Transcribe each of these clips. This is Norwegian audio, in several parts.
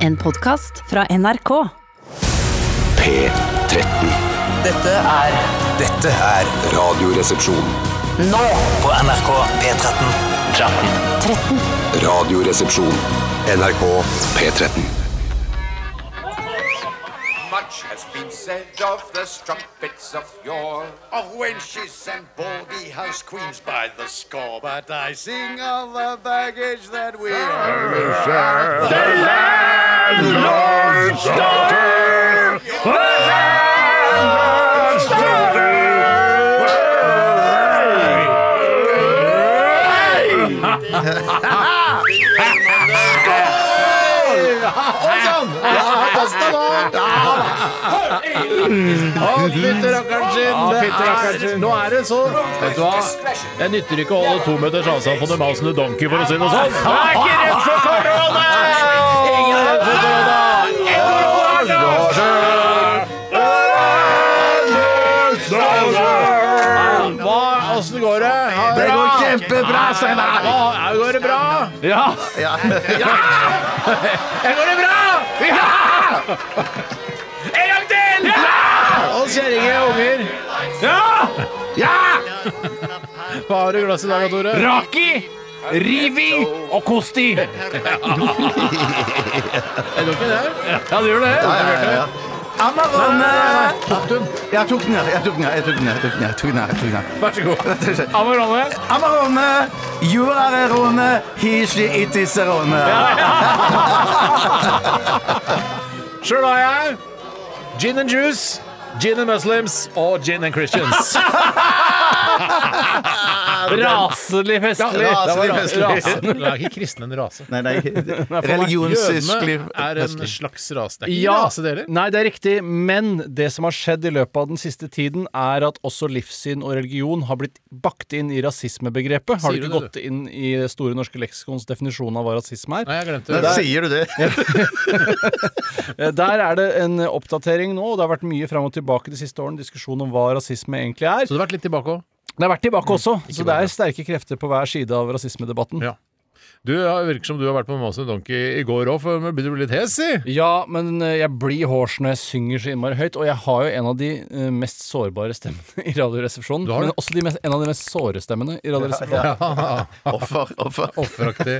En podkast fra NRK. P13. Dette er Dette er Radioresepsjon. nå på NRK P13. 13. Radioresepsjon. NRK P13. Much has been said of the strumpets of yore, of wenches and baldy house queens by the score. But I sing of the baggage that we Nå er det så Vet du hva? Det nytter ikke å holde to meters avstand på den masende donkey, for å si det sånn. Jeg er ikke redd for korona! Ingen er redd for korona! Hva- Åssen går det? Det går kjempebra, Steinar. Går det bra? Ja. Ja! Ja, Går det bra? Ja! En gang til! Ja! Og kjerringer og unger. Ja! Ja! Hva har du i glasset i dag, Tore? Raki, Rivi og Kosti. Er du ikke det? Ja, det gjør det. eh, Jeg tok den, jeg tok den, jeg tok den, jeg tok den, jeg tok den, jeg tok den. Vær så god. Amarone. Amarone, juarerone, hishi itiserone. Sjøl har jeg gin and juice, gin and muslims og gin and christians. Raselig festlig. Ja, raselig festlig. Rasen. Det er ikke kristne en rase. Nei, nei, religionssyskelig. Jødene er en slags rase. Det er ikke Ja, rase, det heller. nei, det er riktig, men det som har skjedd i løpet av den siste tiden, er at også livssyn og religion har blitt bakt inn i rasismebegrepet. Har Sier du du det, ikke gått inn i det Store norske leksikons definisjon av hva rasisme er? Nei, jeg glemte Da det. sier du det. Eh, Der er det en oppdatering nå, og det har vært mye fram og tilbake de siste årene diskusjon om hva rasisme egentlig Så Mm. er. det har vært litt tilbake òg. Det har vært tilbake også, så det bare. er sterke krefter på hver side av rasismedebatten. Ja. Du ja, det virker som du har vært på Masen Donkey i går òg, for nå begynner du å bli litt hes, si. Ja, men eh, jeg blir hårs når jeg synger så innmari høyt, og jeg har jo en av de eh, mest sårbare stemmene i Radioresepsjonen. har Men det. også de mest, en av de mest såre stemmene i Radioresepsjonen. Offer, offer. Offeraktig,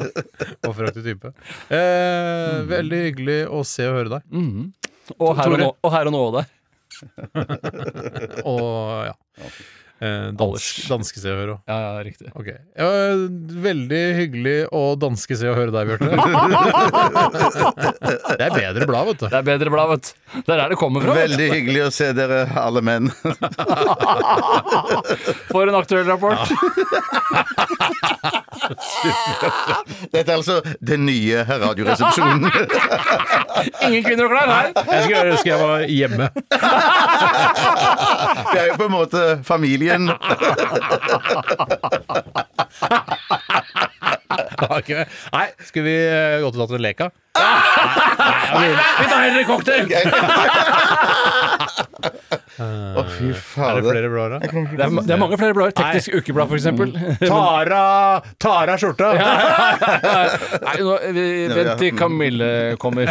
offeraktig type. Eh, Veldig hyggelig å se og høre deg. Og her og Tore. nå, og her og nå der. Og Mm. ja. Eh, dansk, danske se og høre òg. Ja, ja, riktig. Ok. Ja, veldig hyggelig å danske se og høre deg, Bjarte. det er bedre blad, vet du. Det er bedre blad, vet du. Det er der det kommer fra. vet du. Veldig hyggelig å se dere, alle menn. For en aktuell rapport. Dette er altså den nye radioresepsjonen. Ingen kvinner og klær her. Jeg skulle ønske jeg var hjemme. Vi er jo på en måte familien. Okay. Nei, skulle vi eh, gått og tatt en leka? Vi tar heller en cocktail. Å, Er fy det fader. flere blader? Det er, det er mange flere blader. Teknisk ukeblad, for eksempel. Mm. Tara Tara skjorta! Nei, nå, vi, vent til Kamille kommer.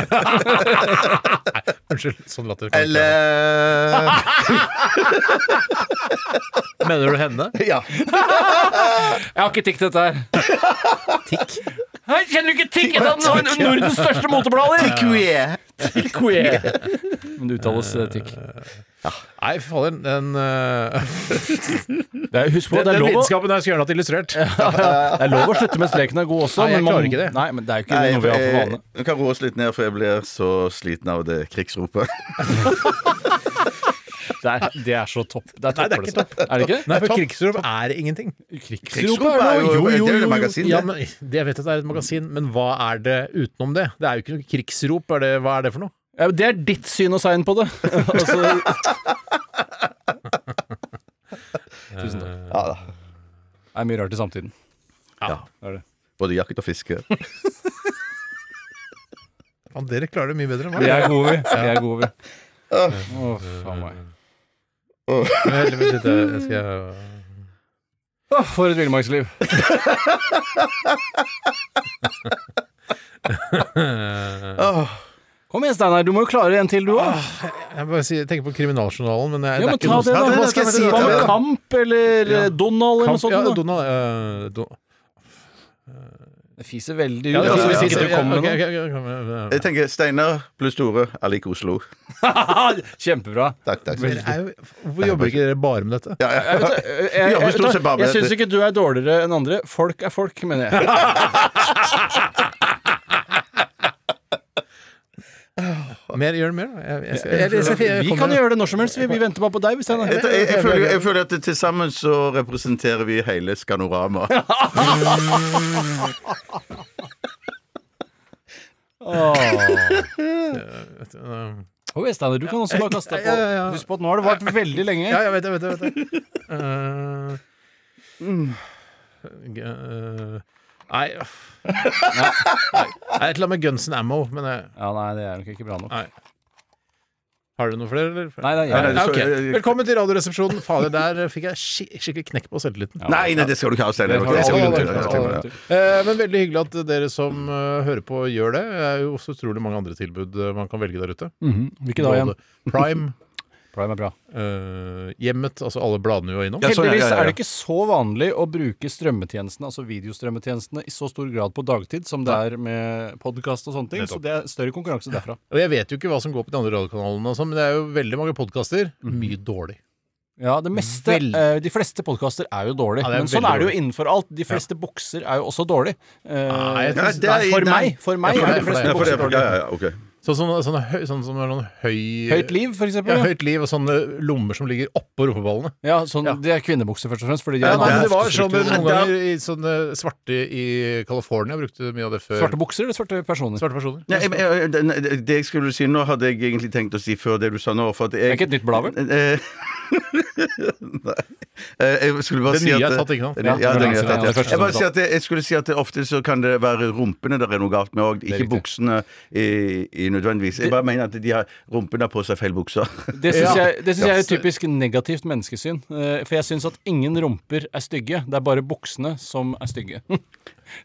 Unnskyld, sånn latter. kan ikke Eller være. Mener du henne? Ja. Jeg har ikke tikk dette her. Tikk? Hei, kjenner du ikke tikk? Et av Nord- Nordens største moteblader. Tikkuie. Tikk-oe. Men det uttales eh, tikk. Nei, fy fader. Den, eh, Det er, husk på, den, det er den lov å, lidenskapen der skulle gjerne hatt illustrert. det er lov å slutte mens leken er god også. Nei, jeg men man- klarer ikke det. Nei, men det er jo ikke Nei, noe vi har for vane. jeg, jeg kan roe oss litt ned, for jeg blir så sliten av det krigsropet. Det er, det er så topp. Det er Nei, det er ikke toppløst. Er det ikke? Nei, for krigsrop er ingenting. Krigsrop Krigsrop er jo, Jo, jo, det er jo jo, et jo. magasin. Ja, det. men, det jeg vet at det er et magasin, men hva er det utenom det? Det er jo ikke noe krigsrop. Er det, hva er det for noe? Ja, Det er ditt syn og segn på det. altså, Tusen takk. Ja da. Det er mye rart i samtiden. Både jakt og fiske. Faen, dere klarer det mye bedre enn Vi meg. er gode, vi. Vi er gode, vi. Å, faen meg. Vent litt, vent litt, jeg skal... Åh, for et villmarksliv. Åh, Kom igjen, Steinar. Du må jo klare en til, du òg. Jeg bare sier- tenker på Kriminaljournalen, men jeg, det Ja, er men ikke ta noe det, da. Ja, Hva det- skal jeg det- si? det- Hva med det- Kamp eller eh, Donald eller noe sånt? Ja, da? Donald eh, Don- Det fiser veldig ut. Ja, altså, hvis ja, ikke ja, du kommer ok, med noe. ok, ok, kom Jeg med- tenker Steinar pluss Tore er lik Oslo. Kjempebra. Takk, takk. Men er jo- Hvorfor jobber ikke dere bare med dette? Ja, ja. Jeg, Vi jobber stort sett bare med jeg syns dette. ikke du er dårligere enn andre. Folk er folk, mener jeg. Mer, gjør det mer, da. Jeg, jeg, skal- jeg, jeg, jeg, jeg Vi kan gjøre det når som helst. Vi, vi venter bare på deg. Hvis jeg, Jeg, jeg, jeg, føler, jeg føler at til sammen så representerer vi hele Skanorama. det. oh, yes, Steinar, du kan også bare kaste deg Ja, ja, på. ja. Husk på at nå har det vart veldig lenge. Ja, jeg vet det, jeg vet det. jeg vet det. Eh, g- eh, Nei uff. Nei. Det er et eller annet med Guns N' Ammo, men eh, jeg, Ja, nei, det er nok ikke bra nok. nei. Har dere noe flere, eller? Nei, det er Nei, jeg. nei, Ja, så- ok. Velkommen til Radioresepsjonen. Fader, der fikk jeg skik- skikkelig knekk på selvtilliten. Nei, nei, det skal du ikke ha, Steinar. Hold, Det skal du hold, ikke hold, ha. hold, hold. Eh, Men veldig hyggelig at dere som eh, hører på, gjør det. Det er jo også utrolig mange andre tilbud eh, man kan velge der ute. Hvilken dag igjen? Både Prime, Prime er bra. eh, Hjemmet, altså alle bladene vi var innom. Ja, sånn, ja, Heldigvis ja, ja. er det ikke så vanlig å bruke strømmetjenestene, altså videostrømmetjenestene, i så stor grad på dagtid som det er med podkast og sånne ting. Så det er større konkurranse derfra. Og jeg vet jo ikke hva som går på de andre radiokanalene, og sånn, men det er jo veldig mange podkaster. Mye dårlig. Ja, det meste, Vel- eh, De fleste podkaster er jo dårlig, Ja, det er men sånn veldig er det jo dårlig. innenfor alt. De fleste bokser er jo også dårlig. Eh, Nei, jeg Ja, synes- det er- for nei. meg, for meg Ja, for er deg, de for fleste Ja, for det, bokser for, dårlig. ja, ja, ok. Sånn som sånn, høy, sånn, som er sånn høy Høyt liv, for eksempel. Ja, Ja, høyt liv og sånne lommer som ligger oppå rumpeballene. ja, sånn, Det er kvinnebukser, først og fremst. Fordi de Ja, har en nei, men annen det var sånn hoftestruktur. noen ganger i sånne svarte i California brukte mye av det før. Svarte bukser eller svarte personer? Svarte personer. Nei, jeg- jeg- det- nei, det jeg skulle si nå, hadde jeg egentlig tenkt å si før det du sa nå. For at jeg, Det er ikke et nytt blad, vel? Eh, Nei. Eh, Jeg skulle bare Det si nye at er tatt, ikke sant? Det nye- Ja, Ja, det nye det er er tatt, det ja. første Jeg, bare som er si at det, jeg skulle si at det ofte så kan det være rumpene det er noe galt med òg, ikke buksene i, i nødvendigvis. Jeg bare mener at de har rumpene har på seg feil bukser. Det syns Ja. jeg, det synes Ja. jeg er et typisk negativt menneskesyn. eh, For jeg syns at ingen rumper er stygge. Det er bare buksene som er stygge.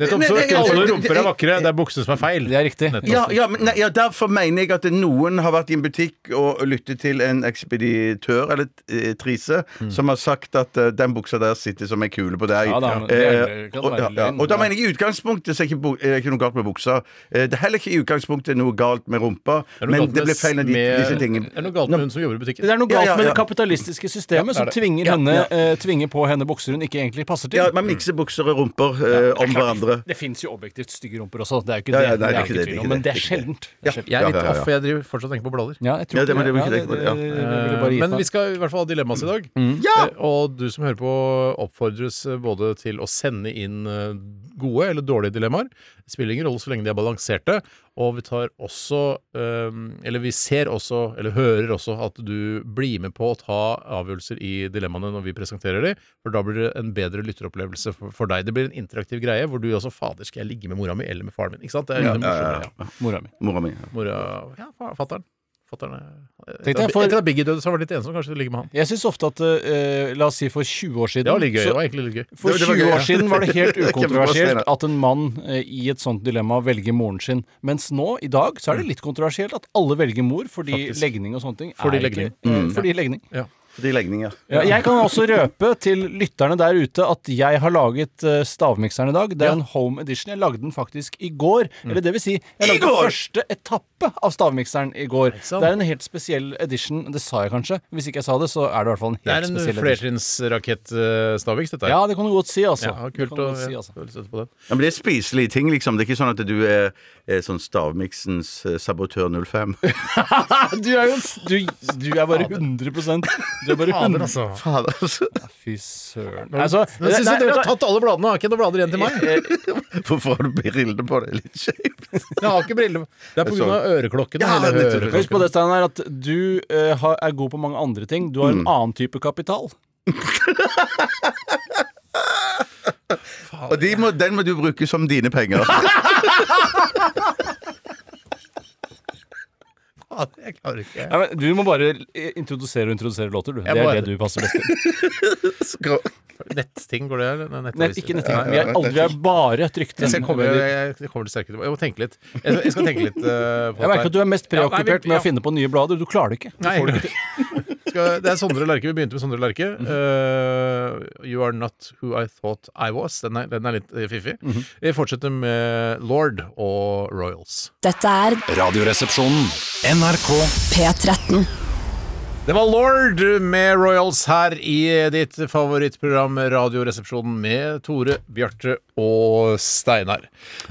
Nettopp, Nei, så nei, ikke jeg- alle jeg- rumper er vakre, det er buksene som er feil. Det er riktig. Nettopp. Ja, ja, men nei, ja, derfor mener jeg at noen har vært i en butikk og lyttet til en ekspeditør eller eh, trise som har sagt at eh, den buksa der sitter som ei kule på deg. Mm. Ja, da, men det Eh, er- kan og, være ja, ja. løgn. og da mener jeg i utgangspunktet så er ikke, bu- er det ikke noe galt med buksa. Eh, Det er heller ikke i utgangspunktet noe galt med rumpa, Det er noe men galt med det ble feil når de, med- disse tingene Det er noe galt med hun som jobber i butikken. Det er noe Ja, galt ja, med ja. det kapitalistiske systemet som tvinger, henne, eh, tvinger på henne bukser hun ikke egentlig passer til. Ja, man mikser bukser og rumper eh, om hverandre. Det fins jo objektivt stygge rumper også, det er jo ikke Ja, ja, det. nei, det er det er ikke ikke det, det er tvil ikke om, men det, det er det er ikke sjeldent. Det er sjeldent. Jeg er litt Ja, ja, ja. off, jeg driver fortsatt og tenker på blader. Ja, jeg tror Ja, det må ikke du ikke det, tenke på, ja. Eh, det- det- det ville bare gitt Men meg. vi skal i hvert fall ha dilemmas i dag. Mm. Eh, Og du som hører på, oppfordres eh, både til å sende inn eh, gode eller dårlige dilemmaer. Det spiller ingen rolle så lenge de er balanserte. Og vi tar også eh, Eller vi ser også, eller hører også, at du blir med på å ta avgjørelser i dilemmaene når vi presenterer de, for da blir det en bedre lytteropplevelse for, for deg. Det blir en interaktiv greie hvor du også Fader, skal jeg ligge med mora mi eller med faren min? Ikke sant? Det er en morsom greie. Mora mi. Mora mi. Mora Ja, fa- fatter'n. Fatter'n er- Tenkte jeg Etter for- etter at Biggie døde, så var det litt ensom. Kanskje du ligger med han. Jeg syns ofte at eh, La oss si for 20 år siden Det var litt gøy. så- Det var egentlig litt gøy. For Det- det var 20 gøy, ja. år siden var det helt Det er kjempebra, ukontroversielt Steinar. at en mann eh, i et sånt dilemma velger moren sin. Mens nå, i dag, så er det litt kontroversielt at alle velger mor fordi Faktisk. legning og sånne ting. Fordi er legning. Ikke, eh, fordi legning. Fordi legninger. Ja, jeg kan også røpe til lytterne der ute at jeg har laget eh, stavmikseren i dag. Det er en home edition. Jeg lagde den faktisk i går. Eller det vil si, jeg lagde første etappe av stavmikseren i går. sant? Det er en helt spesiell edition. Det sa jeg kanskje. Hvis ikke jeg sa det, så er det i hvert fall en Det er helt en spesiell edition. flertrinnsrakett, eh, Stavik, dette Ja, det kan du godt si, altså. Ja, Det kult kan du å godt si, altså. ja, støtte på det. Ja, men det er spiselige ting, liksom. Det er ikke sånn at du er, er sånn stavmiksens eh, sabotør 05. Du er jo du, du er bare 100 Du er bare 100 altså. Fader, altså. Fy søren. Altså, Nå syns jeg dere har tatt alle bladene. Jeg har ikke noen blader igjen til Eh, meg. Hvorfor har du brillene på deg? Litt skjevt. Jeg har ikke briller. Det er pga. øreklokkene. hele Ja, nettopp. øreklokkene. Husk på det, Steinar, at du eh, har, er god på mange andre ting. Du har Mm. en annen type kapital. Og de må, den må du bruke som dine penger. Ja, Jeg klarer ikke. Nei, men du må bare eh, introdusere og introdusere låter, du. Det er bare- det du passer best til. Skrå- Netting, går det? Eller? Nei, Nei, nettavis. ikke Nei, netting. Vi er aldri vi er bare trykte. Jeg skal komme, Jeg jeg, jeg kommer til sterkere tilbake. Jeg må tenke litt. Jeg skal, jeg skal tenke litt eh, på merker at du er mest Ja, nei, vi- preokkupert med ja. å finne på nye blader. Du klarer det ikke. Nei, jeg gjør det ikke. skal, det er Sondre Lerche. Vi begynte med Sondre Lerche. Mhm. Eh, you are not who I thought I was. Den er, den er litt eh, fiffig. Mhm. Vi fortsetter med Lord og Royals. Dette er Radioresepsjonen. NRK P13. Det var Lord med Royals her i ditt favorittprogram Radioresepsjonen med Tore, Bjarte og Steinar.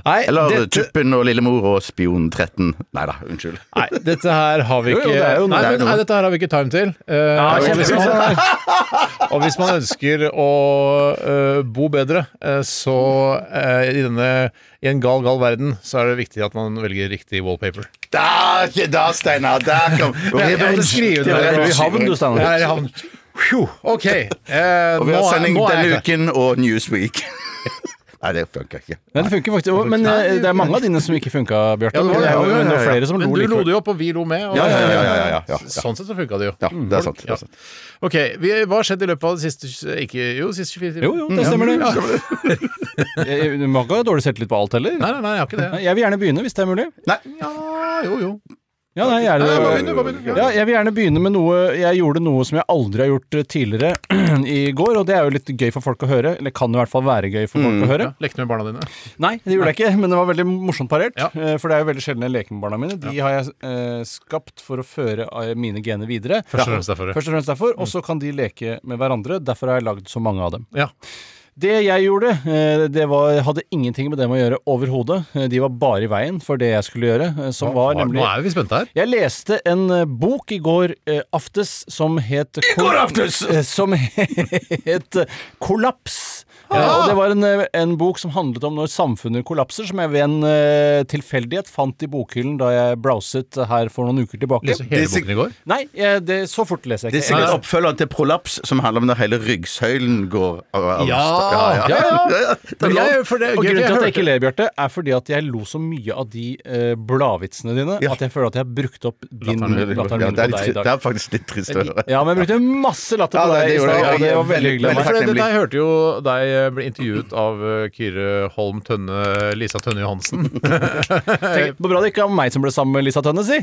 Nei, Eller dette- Tuppen og Lillemor og Spion 13. Nei da, unnskyld. Nei, dette her har vi Jo, ikke jo, det er jo noe. nei, Det er men, noe. nei, dette her har vi ikke time til. Eh, og, hvis man, og hvis man ønsker å eh, bo bedre, eh, så eh, i denne i en gal, gal verden, så er det viktig at man velger riktig wallpaper. Da, da Steinar! Der kom Jeg måtte skrive det. Ja, Du er i unnskyld. havn, du, Jeg Steinar. er i havn. Phew, OK. eh, Og vi nå har er- sending nå er jeg denne klar. uken og Newsweek. Nei, det funker ikke. Nei, det funker faktisk. Men eh, det er mange av dine som ikke funka, Bjarte. Ja, det var det. Men Ja, ja, det var ja, ja. flere som Men lo du lo likevel. det jo opp, og vi lo med. Og Ja, ja, ja, ja, ja, ja, ja. Sånn sett så funka det jo. Ja, det er sant. Det Ja. er sant. Ok, vi, Hva har skjedd i løpet av de siste ikke, Jo, de siste 24 timer? Jo, jo, det stemmer det. Jeg- Du må ikke ha dårlig selvtillit på alt heller. Nei, nei, nei, jeg har ikke det. Nei, Jeg vil gjerne begynne, hvis det er mulig. Nei, Ja, jo, jo. Ja, nei, jeg, er, Nei, bare begynn, bare begynn. ja, jeg vil gjerne begynne med noe Jeg gjorde noe som jeg aldri har gjort eh, tidligere i går, og det er jo litt gøy for folk å høre. Eller kan i hvert fall være gøy for folk Mm, å høre. Lekte med barna dine. Nei, det gjorde jeg ikke, men det var veldig morsomt parert. Ja. eh, For det er jo veldig sjelden jeg leker med barna mine. De har jeg eh, skapt for å føre eh, mine gener videre. Først og fremst derfor, ja. Først og fremst derfor, og så kan de leke med hverandre. Derfor har jeg lagd så mange av dem. Ja. Det jeg gjorde, eh, det var, hadde ingenting med dem å gjøre overhodet. Eh, De var bare i veien for det jeg skulle gjøre, eh, som var nemlig Nå er vi spente her. jeg leste en eh, bok i går eh, aftes som het I går aftes! Som het eh, Kollaps. Eh, og det var en, eh, en bok som handlet om når samfunnet kollapser, som jeg ved en eh, tilfeldighet fant i bokhyllen da jeg browset her for noen uker tilbake. Leste hele Det er sik- boken i går. Nei, eh, det, så fort leser Det jeg er ikke. sikkert oppfølgeren til Prolaps, som handler om når hele ryggsøylen går av. av- Ja, ja, ja, ja. Men Det er jeg- lov. Eh, for det er Og gøy, for grunnen til at jeg hørte- ikke ler, Bjarte, er fordi at jeg lo så mye av de eh, bladvitsene dine Ja. at jeg føler at jeg har brukt opp din Latteren min. latteren Ja, min det, på er litt, deg i det dag. er faktisk litt trist å høre. Ja, men jeg brukte masse latter Ja, på det- deg i det gjorde stad, jeg. og det var veldig hyggelig av Veldig For meg. det, takknemlig. dette hørte jo deg eh, bli intervjuet av eh, Kyrre Holm Tønne Lisa Tønne Johansen. Skal Tenk på bra det ikke var meg som ble sammen med Lisa Tønne, si!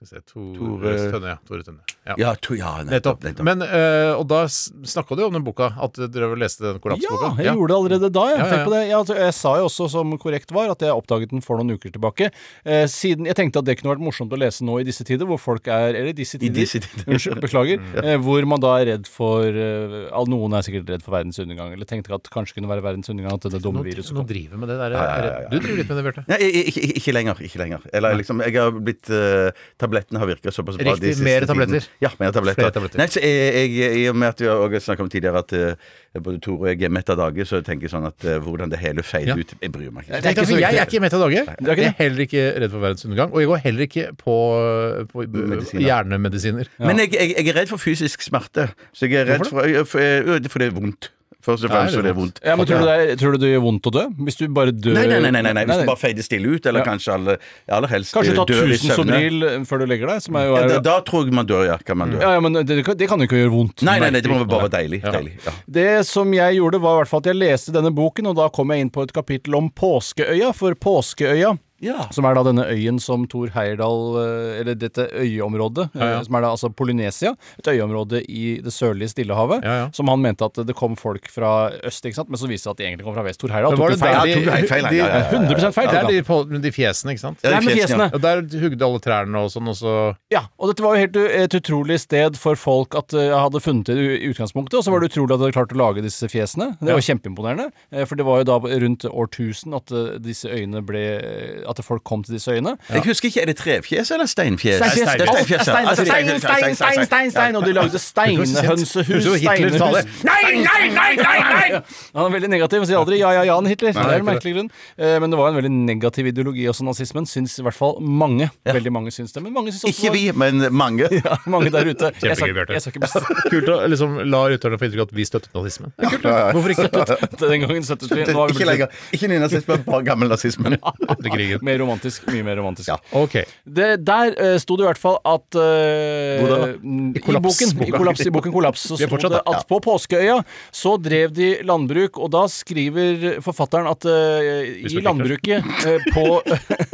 vi se, Tore, Tore- Tønne, ja. Tore Tønne. Ja. Ja, to, ja Nettopp. nettopp. nettopp. Men, eh, og da snakka du jo om den boka, at dere leste den Ja, kollapsboka. jeg gjorde det allerede da. Ja, Jeg, ja, Tenk på det. Jeg, altså, jeg sa jo også, som korrekt var, at jeg oppdaget den for noen uker tilbake. Eh, siden Jeg tenkte at det kunne vært morsomt å lese nå i disse tider, hvor folk er Eller disse tider. disse tider. Mm. Unnskyld, beklager. Eh, hvor man da er redd for eh, al- Noen er sikkert redd for verdens undergang, eller tenkte at kanskje kunne være verdens undergang at det dumme Nå, viruset nå kom. driver vi med det der. Du driver litt med det, Bjarte. Nei, ikke, ikke, ikke lenger. ikke lenger Eller liksom, jeg har blitt eh, Tablettene har virka såpass bra Riktig, mer tabletter. tiden. Ja, mer tabletter. Flere tabletter. Nei, så jeg, jeg, I og med at vi har også snakket om tidligere at eh, både Tore og jeg er mett av dage, så tenker jeg sånn at eh, hvordan det hele feier Ja. ut Jeg bryr meg Tenk, ikke. altså, jeg er ikke mett av dage. er ikke Jeg er heller ikke redd for verdens undergang. Og jeg går heller ikke på, på Medisiner. hjernemedisiner. Men jeg, jeg, jeg er redd for fysisk smerte. Så jeg er redd for, for, for, for det er vondt. Først og Ja, fremst det er for det er vondt. vondt. Ja, men tror du, det er, tror du det gjør vondt å dø? Hvis du bare dør Nei, nei, nei, nei, nei, nei. hvis Nei, nei. du bare feider stille ut, eller Ja. kanskje aller, aller helst Kanskje ta eh, dør i 1000 søvne. Sobril eh, før du legger deg, som er jo Ja, er, da, da tror jeg man dør, ja. Kan man dø. ja, ja, men det, det kan jo ikke gjøre vondt. Nei, nei, nei, det må bare være deilig. deilig ja. Det som jeg gjorde, var i hvert fall at jeg leste denne boken, og da kom jeg inn på et kapittel om Påskeøya, for Påskeøya Som er da denne øyen som Thor Heyerdahl eh, Eller dette øyeområdet, eh, som er da altså Polynesia. Et øyeområde i det sørlige Stillehavet. Ja, ja. Som han mente at det kom folk fra øst, ikke sant? men så viste det seg at de egentlig kom fra vest. Thor Heyerdahl Men var det tok jo feil. der de- Han tok jo feil. feil, ja, ja, ja, ja. Det 100 feil. tok er han. de, på, de fjesene, ikke sant? Det Ja, de er med fjesene, fjesene. Og der hugde alle trærne og sånn, og så Ja, og dette var jo helt u- et utrolig sted for folk at eh, jeg hadde funnet det i i utgangspunktet, og så var det utrolig at de hadde klart å lage disse fjesene. Det var kjempeimponerende, eh, for det var jo da rundt årtusen at eh, disse øyene ble eh, At folk kom til disse øyene. Jeg husker ikke, er det trefjes eller steinfjes? Steinfjes. Det Alt er er steinfjes, ja. stein, Altså, stein, stein, stein, stein, stein, og de lagde steinhønsehus, Husker du Hitler sa det? steinhus Nei, nei, nei, nei, nei! Han er veldig negativ og sier aldri ja, ja, ja, han Hitler. det er en merkelig grunn. Eh, Men det var en veldig negativ ideologi også, nazismen, syns i hvert fall mange. Veldig mange syns det. Men mange syns også det Ikke var- vi, men mange. ja, mange der ute. Jeg skal- Bjarte. jeg skal ikke bestemme Kult å liksom la rytterne få inntrykk av at vi støttet nazismen. Det er kult, Hvorfor ikke? den gangen 70 Nå har vi Ikke blitt lenger. Ikke nynazismen, bare gammel nazismen. Etter krigen. Mer romantisk. Mye mer romantisk. Ok. Det, der eh, sto det i hvert fall at eh, Hvor da? I, kollaps, boken, I boka. kollaps, i boken Kollaps så Vi er sto fortsatt det der. at på Påskeøya så drev de landbruk, og da skriver forfatteren at eh, i landbruket eh, på,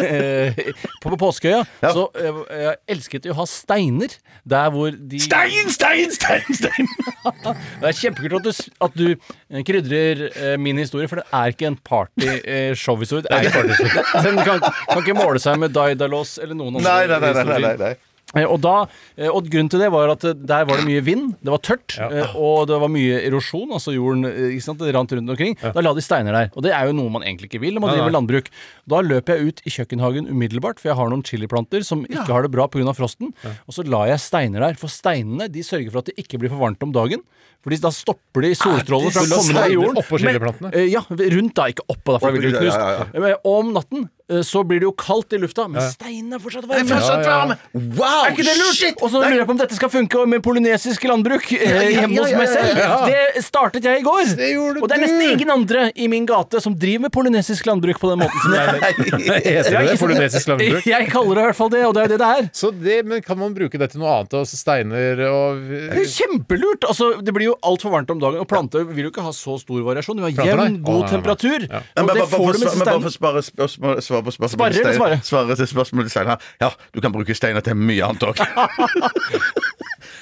eh, på, på Påskeøya så eh, eh, elsket de å ha steiner der hvor de Stein, stein, stein, stein! det er kjempekult at du, s- at du eh, krydrer eh, min historie, for det er ikke en eh, party-showhistorie. den kan, kan ikke måle seg med Daidalos eller noen andre Nei, nei, nei, nei, nei, nei, historier. nei. Eh, Og, da, eh, og grunnen til det var at eh, der var det mye vind, det var tørt, eh, og det var mye erosjon. Altså jorden eh, ikke sant, det rant rundt omkring. Da la de steiner der. Og det er jo noe man egentlig ikke vil når man driver landbruk. Da løp jeg ut i kjøkkenhagen umiddelbart, for jeg har noen chiliplanter som ikke har det bra pga. frosten. Og så la jeg steiner der. For steinene de sørger for at det ikke blir for varmt om dagen. Fordi da stopper de solstrålene fra å komme ned i jorden. Oppå chiliplantene. Eh, Ja, rundt da, ikke oppå da, for det blir Ja, knust. ja, ja, Men Om natten eh, så blir det jo kaldt i lufta, men steinene er fortsatt varme. Wow, Er ikke det lurt? Og så lurer jeg på om dette skal funke med polynesisk landbruk eh, hjemme hos meg selv. Det startet jeg i går. Det gjorde og det er nesten ingen andre i min gate som driver med polynesisk landbruk på den måten. Som jeg, Heter Ja, det det ikke sant? polynesisk landbruk? jeg kaller det i hvert fall det, og det er jo det det er. Så det, men kan man bruke det til noe annet? Altså steiner og Det er jo kjempelurt! Altså, det blir jo altfor varmt om dagen, og planter vil jo ikke ha så stor variasjon. Du har Planter, nei. jevn, Å, god nei, nei. temperatur. Men Og det bare bare får for du med svar- men bare steinen. for å spare spørsmål, svare på spørsmål Svare eller svare? Svare til spørsmål til Steinar. Ja, du kan bruke steiner til mye annet òg.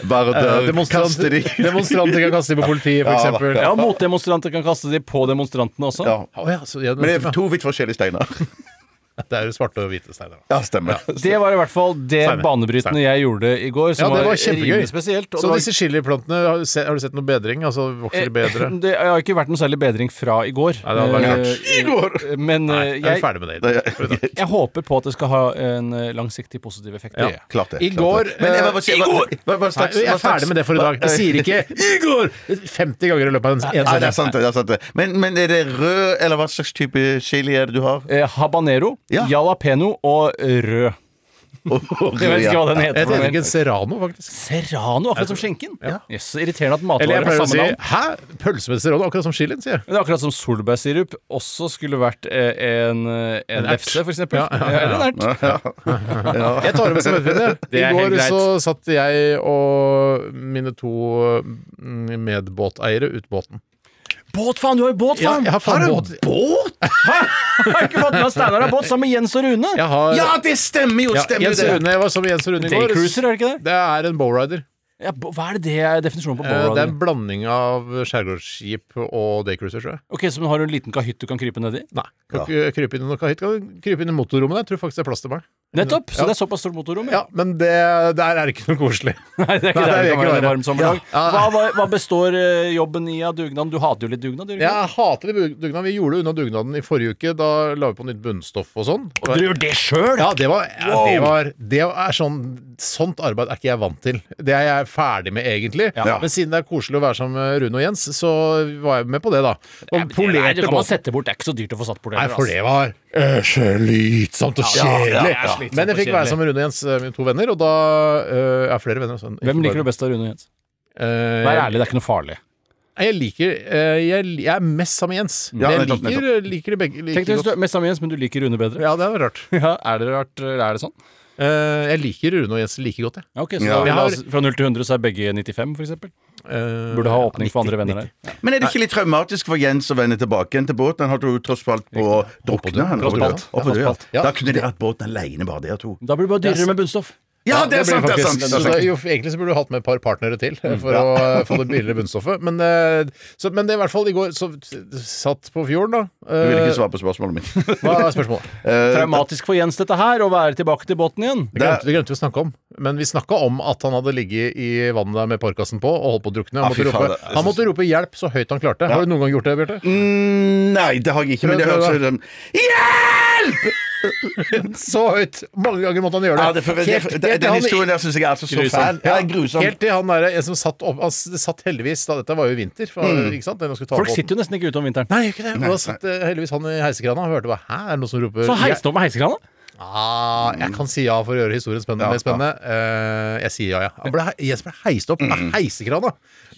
Bare Eh, dør, demonstrant- kaste de Demonstranter kan kaste dem på politiet, Ja, for eksempel. Ja, motdemonstranter kan kaste de på demonstrantene også. Ja. Å ja, så, ja, Men det er to vidt forskjellige steiner. det er jo svarte og hvite steiner. da. Ja, stemmer. Det var i hvert fall det Steiner. banebrytende Steiner. jeg gjorde i går, Ja, som det var var, kjempegøy. rimelig spesielt. og Så det var disse chiliplantene, har du, sett, har du sett noe bedring? Altså vokser de bedre? Eh, Det har ikke vært noe særlig bedring fra i går. Nei, det hadde vært Eh, eh, Men Nei, eh, jeg er vi jeg, ferdig med Nei, det. jeg- Slutt da. jeg håper på at det skal ha en eh, langsiktig positiv effekt. Ja. Det gjør jeg. Klart det. I klart går, det. Men jeg må bare si- eh, hva- i går- hva- Nei, hva slags- jeg hva er slags- ferdig med det for i dag. Jeg sier ikke 'i går' 50 ganger i løpet av en en Nei, det er sending. sant. det er sant det. Men, men er det rød, eller hva slags type chili er det du har? Eh, Habanero, Ja. jalapeno og rød. Jeg vet ikke hva den heter. Jeg for heter noe, ikke men- en serrano, faktisk. Serrano, akkurat som skjenken. Jøss, så irriterende at Eller jeg matvarer har pleier å samme si navn. 'hæ? Pølse med serrano'? Akkurat som chilien, sier jeg. Men det er akkurat som solbærsirup også skulle vært eh, en, eh, en En ert. lefse, for eksempel. Ja, ja, ja. Eller en ert. Jeg tar det med som møtepinne. Det I er helt går greit. så satt jeg og mine to mm, medbåteiere ut båten. Båt, faen! Du har jo båt, Ja, faen! jeg har faen båt. Jeg har ikke fått med at Steinar har båt sammen med Jens og Rune. Jeg har Ja, det stemmer jo! Ja, Stemmer Jens det. Rune, jeg var sammen med Jens Rune i går. Daycruiser, er det ikke det? Det er en bowrider. Ja, bo- hva er det det er definisjonen på Eh, Det er bowrider? en blanding av skjærgårdsskip og daycruiser, tror jeg. Ok, Så har du en liten kahytt du kan krype nedi? Nei. Kan ikke krype inn i noe kahytt. Kan du krype inn i motorrommet der? Tror faktisk det er plass til meg. Nettopp! Så Ja. det er såpass stort motorrom? Ja, men det, der er det ikke noe koselig. Nei, det Nei, det er ikke der det kan vil jeg ikke være en være. varm sommerdag. Ja. Hva, hva, hva består eh, jobben i av dugnaden? Du hater jo litt dugnad, gjør du ikke? Jeg hater det bug- dugnad. Vi gjorde unna dugnaden i forrige uke. Da la vi på nytt bunnstoff og sånn. det? Du gjør det sjøl! Ja, det var, ja, det var det er sånn, Sånt arbeid er ikke jeg vant til. Det er jeg ferdig med, egentlig. Ja. Men siden det er koselig å være sammen med Rune og Jens, så var jeg med på det, da. Og Nei, polerte det kan man båten. sette bort. Det er ikke så dyrt å få satt bort Nei, heller, for altså. det var eh, slitsomt og kjedelig. ja, ja, slitsomt Men jeg og fikk være kjedelig. sammen med Rune og Jens, eh, mine to venner, og da eh, Jeg har flere venner. Sånn, Øh, Hvem liker du best av Rune og Jens? Eh, Vær ærlig, det er ikke noe farlig. Jeg liker eh, jeg, jeg er mest sammen med Jens. Men jeg nettopp, liker, liker de begge Tenk like deg hvis godt. du er mest sammen med Jens, men du liker Rune bedre. Ja, det er rart. Ja, Er det rart, eller er det sånn? Eh, jeg liker Rune og Jens like godt, jeg. Ja, ok, så Ja. da, Jeg har- la oss- Fra 0 til 100 så er begge 95, for eksempel. Eh, Burde ha åpning for andre venner der. Men er det ikke litt traumatisk for Jens å vende tilbake igjen til båten? Han har jo tross alt på å drukne. han. Tross alt. Oppå det, ja. Tross alt, ja. Da kunne de hatt båten alene, bare dere to. Da blir det bare dyrere med bunnstoff. Ja, det blir er sant! det faktisk- er sant, det Så er Mm, da, sant. jo, egentlig så burde du hatt med et par partnere til eh, for å eh, få det billigere bunnstoffet. Men, eh, så, men det er i hvert fall i går så satt på fjorden, da. Du vil Eh, ikke Eh, svare på spørsmålet mitt. Hva er spørsmålet? Traumatisk for Jens, dette her, å være tilbake til båten igjen. Det glemte, det glemte vi å snakke om. Men vi snakka om at han hadde ligget i vannet der med parkasen på og holdt på å drukne. Ah, Han, fy måtte faen, rope, det- jeg han måtte synes- rope hjelp så høyt han klarte. Har du noen gang gjort det, Bjarte? Mm, Nei, det har jeg ikke, men det Prøv, høres prøv, ut som Hjelp! Så høyt! Mange ganger måtte han gjøre det. Ja, det, for, det, Helt- helt det, til den han- historien der syns jeg er altså så fæl. Ja, grusom. Helt til han der en som satt opp Han s- satt heldigvis da, Dette var jo i vinter. For, ikke sant? Den han skulle ta Mm. Folk båten. sitter jo nesten ikke ute om vinteren. Nei, gjør ikke det. Men Da satt eh, heldigvis han i heisekrana og hørte bare Hæ, er det noen som roper Så heiste opp med heisekrana? Ah, jeg kan si ja for å gjøre historien spennende. Ja, mer spennende. Eh, jeg sier ja, ja. Han ble, he- Jesper ble heist opp Mm. med heisekrana!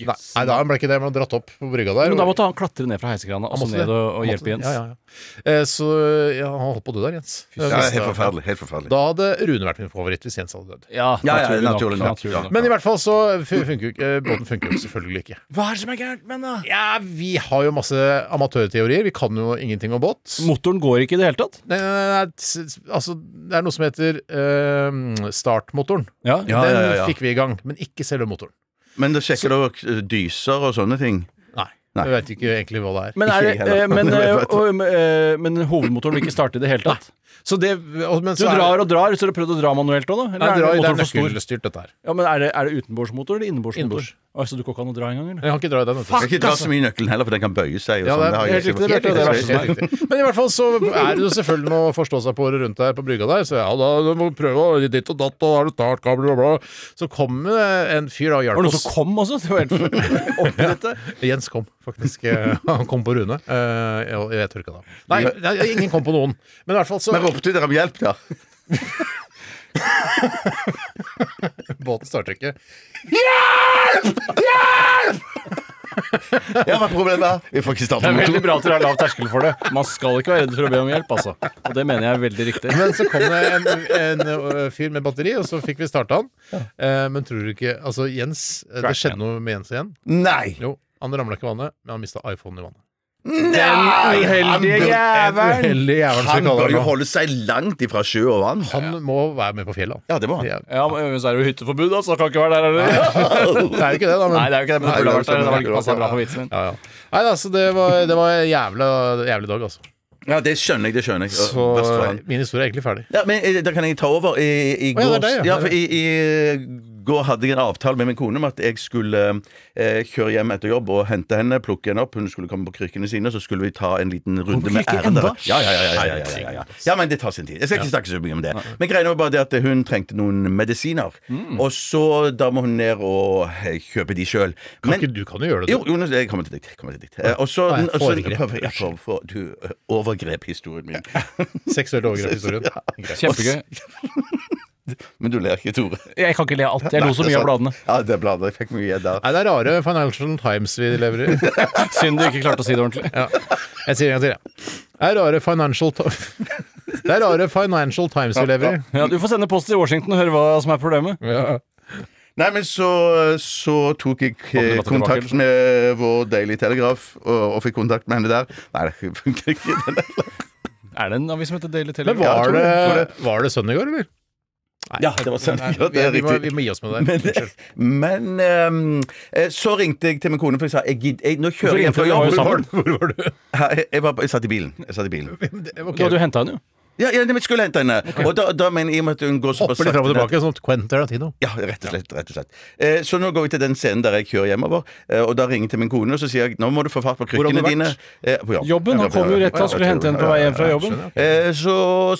Nei, da ble ikke det, men han dratt opp på brygga der. Men da og- måtte han klatre ned fra heisekrana og Han så måtte ned det. og, og Han måtte hjelpe det. Jens. Ja, ja, ja. Eh, så ja, han holdt på å dø der, Jens. Eh, Ja, helt forferdelig. Helt forferdelig. Da hadde Rune vært min favoritt hvis Jens hadde dødd. Ja, Ja, ja, naturlig nok, ja. Men i hvert fall så fu- funker jo ikke eh, båten funker jo selvfølgelig ikke. Hva er det som er gærent med den, da? Ja, Vi har jo masse amatørteorier. Vi kan jo ingenting om båt. Motoren går ikke i det hele tatt. Nei, nei, nei, nei, s- s- altså, det er noe som heter eh, startmotoren. Ja. Ja, Den ja, ja. fikk vi i gang, men ikke selve motoren. Men da sjekker dere eh, dyser og sånne ting? Nei. Nei. Jeg veit ikke egentlig hva det er. Men, er, Ikke jeg heller. eh, men, Det eh, vet jeg. og, eh, men hovedmotoren vil ikke starte i det hele tatt. Så det, og, men Du så er- drar og drar, så har du prøvd å dra manuelt òg, da? Nei, dra, Eller er det er motoren for stor? nøkkelstyrt, dette her. Ja, men er det, er det utenbordsmotor eller innbordsmotor? Innbords. Oi, så du går ikke an å dra engang, eller? Jeg kan ikke dra i den. vet du. Jeg kan ikke dra så mye i nøkkelen heller, for den kan bøye seg. Ja, Og sånn. det er har jeg helt ikke riktig, det fått- Bjarte, det er Helt riktig. Helt riktig. Men i hvert fall så er det jo selvfølgelig noe forstå-seg-på-ere rundt deg på brygga der. Så ja, da du må prøve å ditt og datt, og har du startkabler og bla. Så kom det en fyr da og Var hjalp det noen oss. sånn som kom også? Det var helt oppi dette. Jens kom, faktisk. Eh, Han kom på Rune. Eh, Jeg, jeg tør ikke da. Nei, nei, ingen kom på noen. Men i hvert fall så Men ropte dere om hjelp, da? Båten starter ikke. Ja, hva er problemet? Vi får ikke Det starte er veldig motoren. bra at dere har lav terskel for det. Man skal ikke være redd for å be om hjelp, altså. Og det mener jeg er veldig riktig. Men så kom det en, en ø, fyr med batteri, og så fikk vi starta han. Eh, Men tror du ikke Altså, Jens eh, Det skjedde noe med Jens igjen. Nei! Jo, han ramla ikke i vannet, men han mista iPhonen i vannet. Nei! Han bør- En uheldig jævel, som vi Han kaller bør han jo nå. holde seg langt ifra sjø og vann. Han må være med på fjellet, han. Ja, det må han. Det er- Ja, men så er det jo hytteforbud, da, så han kan ikke være der Det heller. er jo ikke det, da. Men... Nei, det er jo ikke det, men det burde ha vært der. Det var ikke passet bra for vitsen min. Ja, ja. Nei, altså, det var, det var en jævla, jævlig dag, altså. Ja, det skjønner jeg. det skjønner jeg Så Verst for han. min historie er egentlig ferdig. Ja, men eh, Da kan jeg ta over. I, i, Å, går, ja, ja, det er deg, ja. for i, I går hadde jeg en avtale med min kone om at jeg skulle eh, kjøre hjem etter jobb og hente henne, plukke henne opp. Hun skulle komme på krykkene sine, så skulle vi ta en liten runde med ærender. Ja ja ja, ja, ja, ja, ja, ja. ja, men det tar sin tid. Jeg skal ikke snakke så mye om det. Men greia var bare det at hun trengte noen medisiner. Mm. Og så da må hun ned og eh, kjøpe de sjøl. Kan ikke du kan jo gjøre det? Jo, du. Jonas, jeg kommer til dikt. jeg Kommer til dikt. Eh, og så Nei, og så- foregrep. prøver jeg på- for- Du eh, overgrep historien min. Seksuelt overgrep-historien. Greit. Kjempegøy. Men du ler ikke, Tore. Jeg kan ikke le av alt. Jeg lo så mye av bladene. Ja, det er bladet. Jeg fikk mye igjen der. Nei, det er rare Financial Times vi lever i. Synd du ikke klarte å si det ordentlig. Ja. Jeg sier det en gang til, jeg. Det er rare Financial Ti- Det er rare Financial Times vi lever i. Ja, du får sende post til Washington og høre hva som er problemet. Ja. Nei, men så, så tok jeg eh, Kom tilbake, kontakt tilbake. med vår Daily Telegraph og, og fikk kontakt med henne der. Nei, det funker ikke. den der. Er det en avis som heter Daily Men Telegraph? var tror det, det, var det sønn i går, eller? Ja, det var sønn i går, det Nei, er vi, vi, må, riktig. vi må gi oss med det. Unnskyld. Men ehm, eh, så ringte jeg til min kone, for jeg sa jeg gidd, jeg, nå kjører jeg hjem fra Hvorfor jobb. ringte du? Hvor var du? Hvor var du? Ja, Jeg, jeg, var, jeg satt i bilen. Jeg satt i bilen. Ok. Da du hentet henne jo. Ja, ja, men jeg skulle hente henne. Og da, da men i og med at hun går såpass Hopper litt fram og sakte ned- tilbake, sånn at Quentin Tarantino. Ja, rett og slett. rett og slett eh, Så nå går vi til den scenen der jeg kjører hjemover. Eh, og da ringer jeg til min kone og så sier jeg, nå må du få fart på Hvor har du krykkene dine. vært? Eh, på jobb. Jobben. Han kom jo rett til han skulle hente henne på vei hjem fra jobben. Eh, Så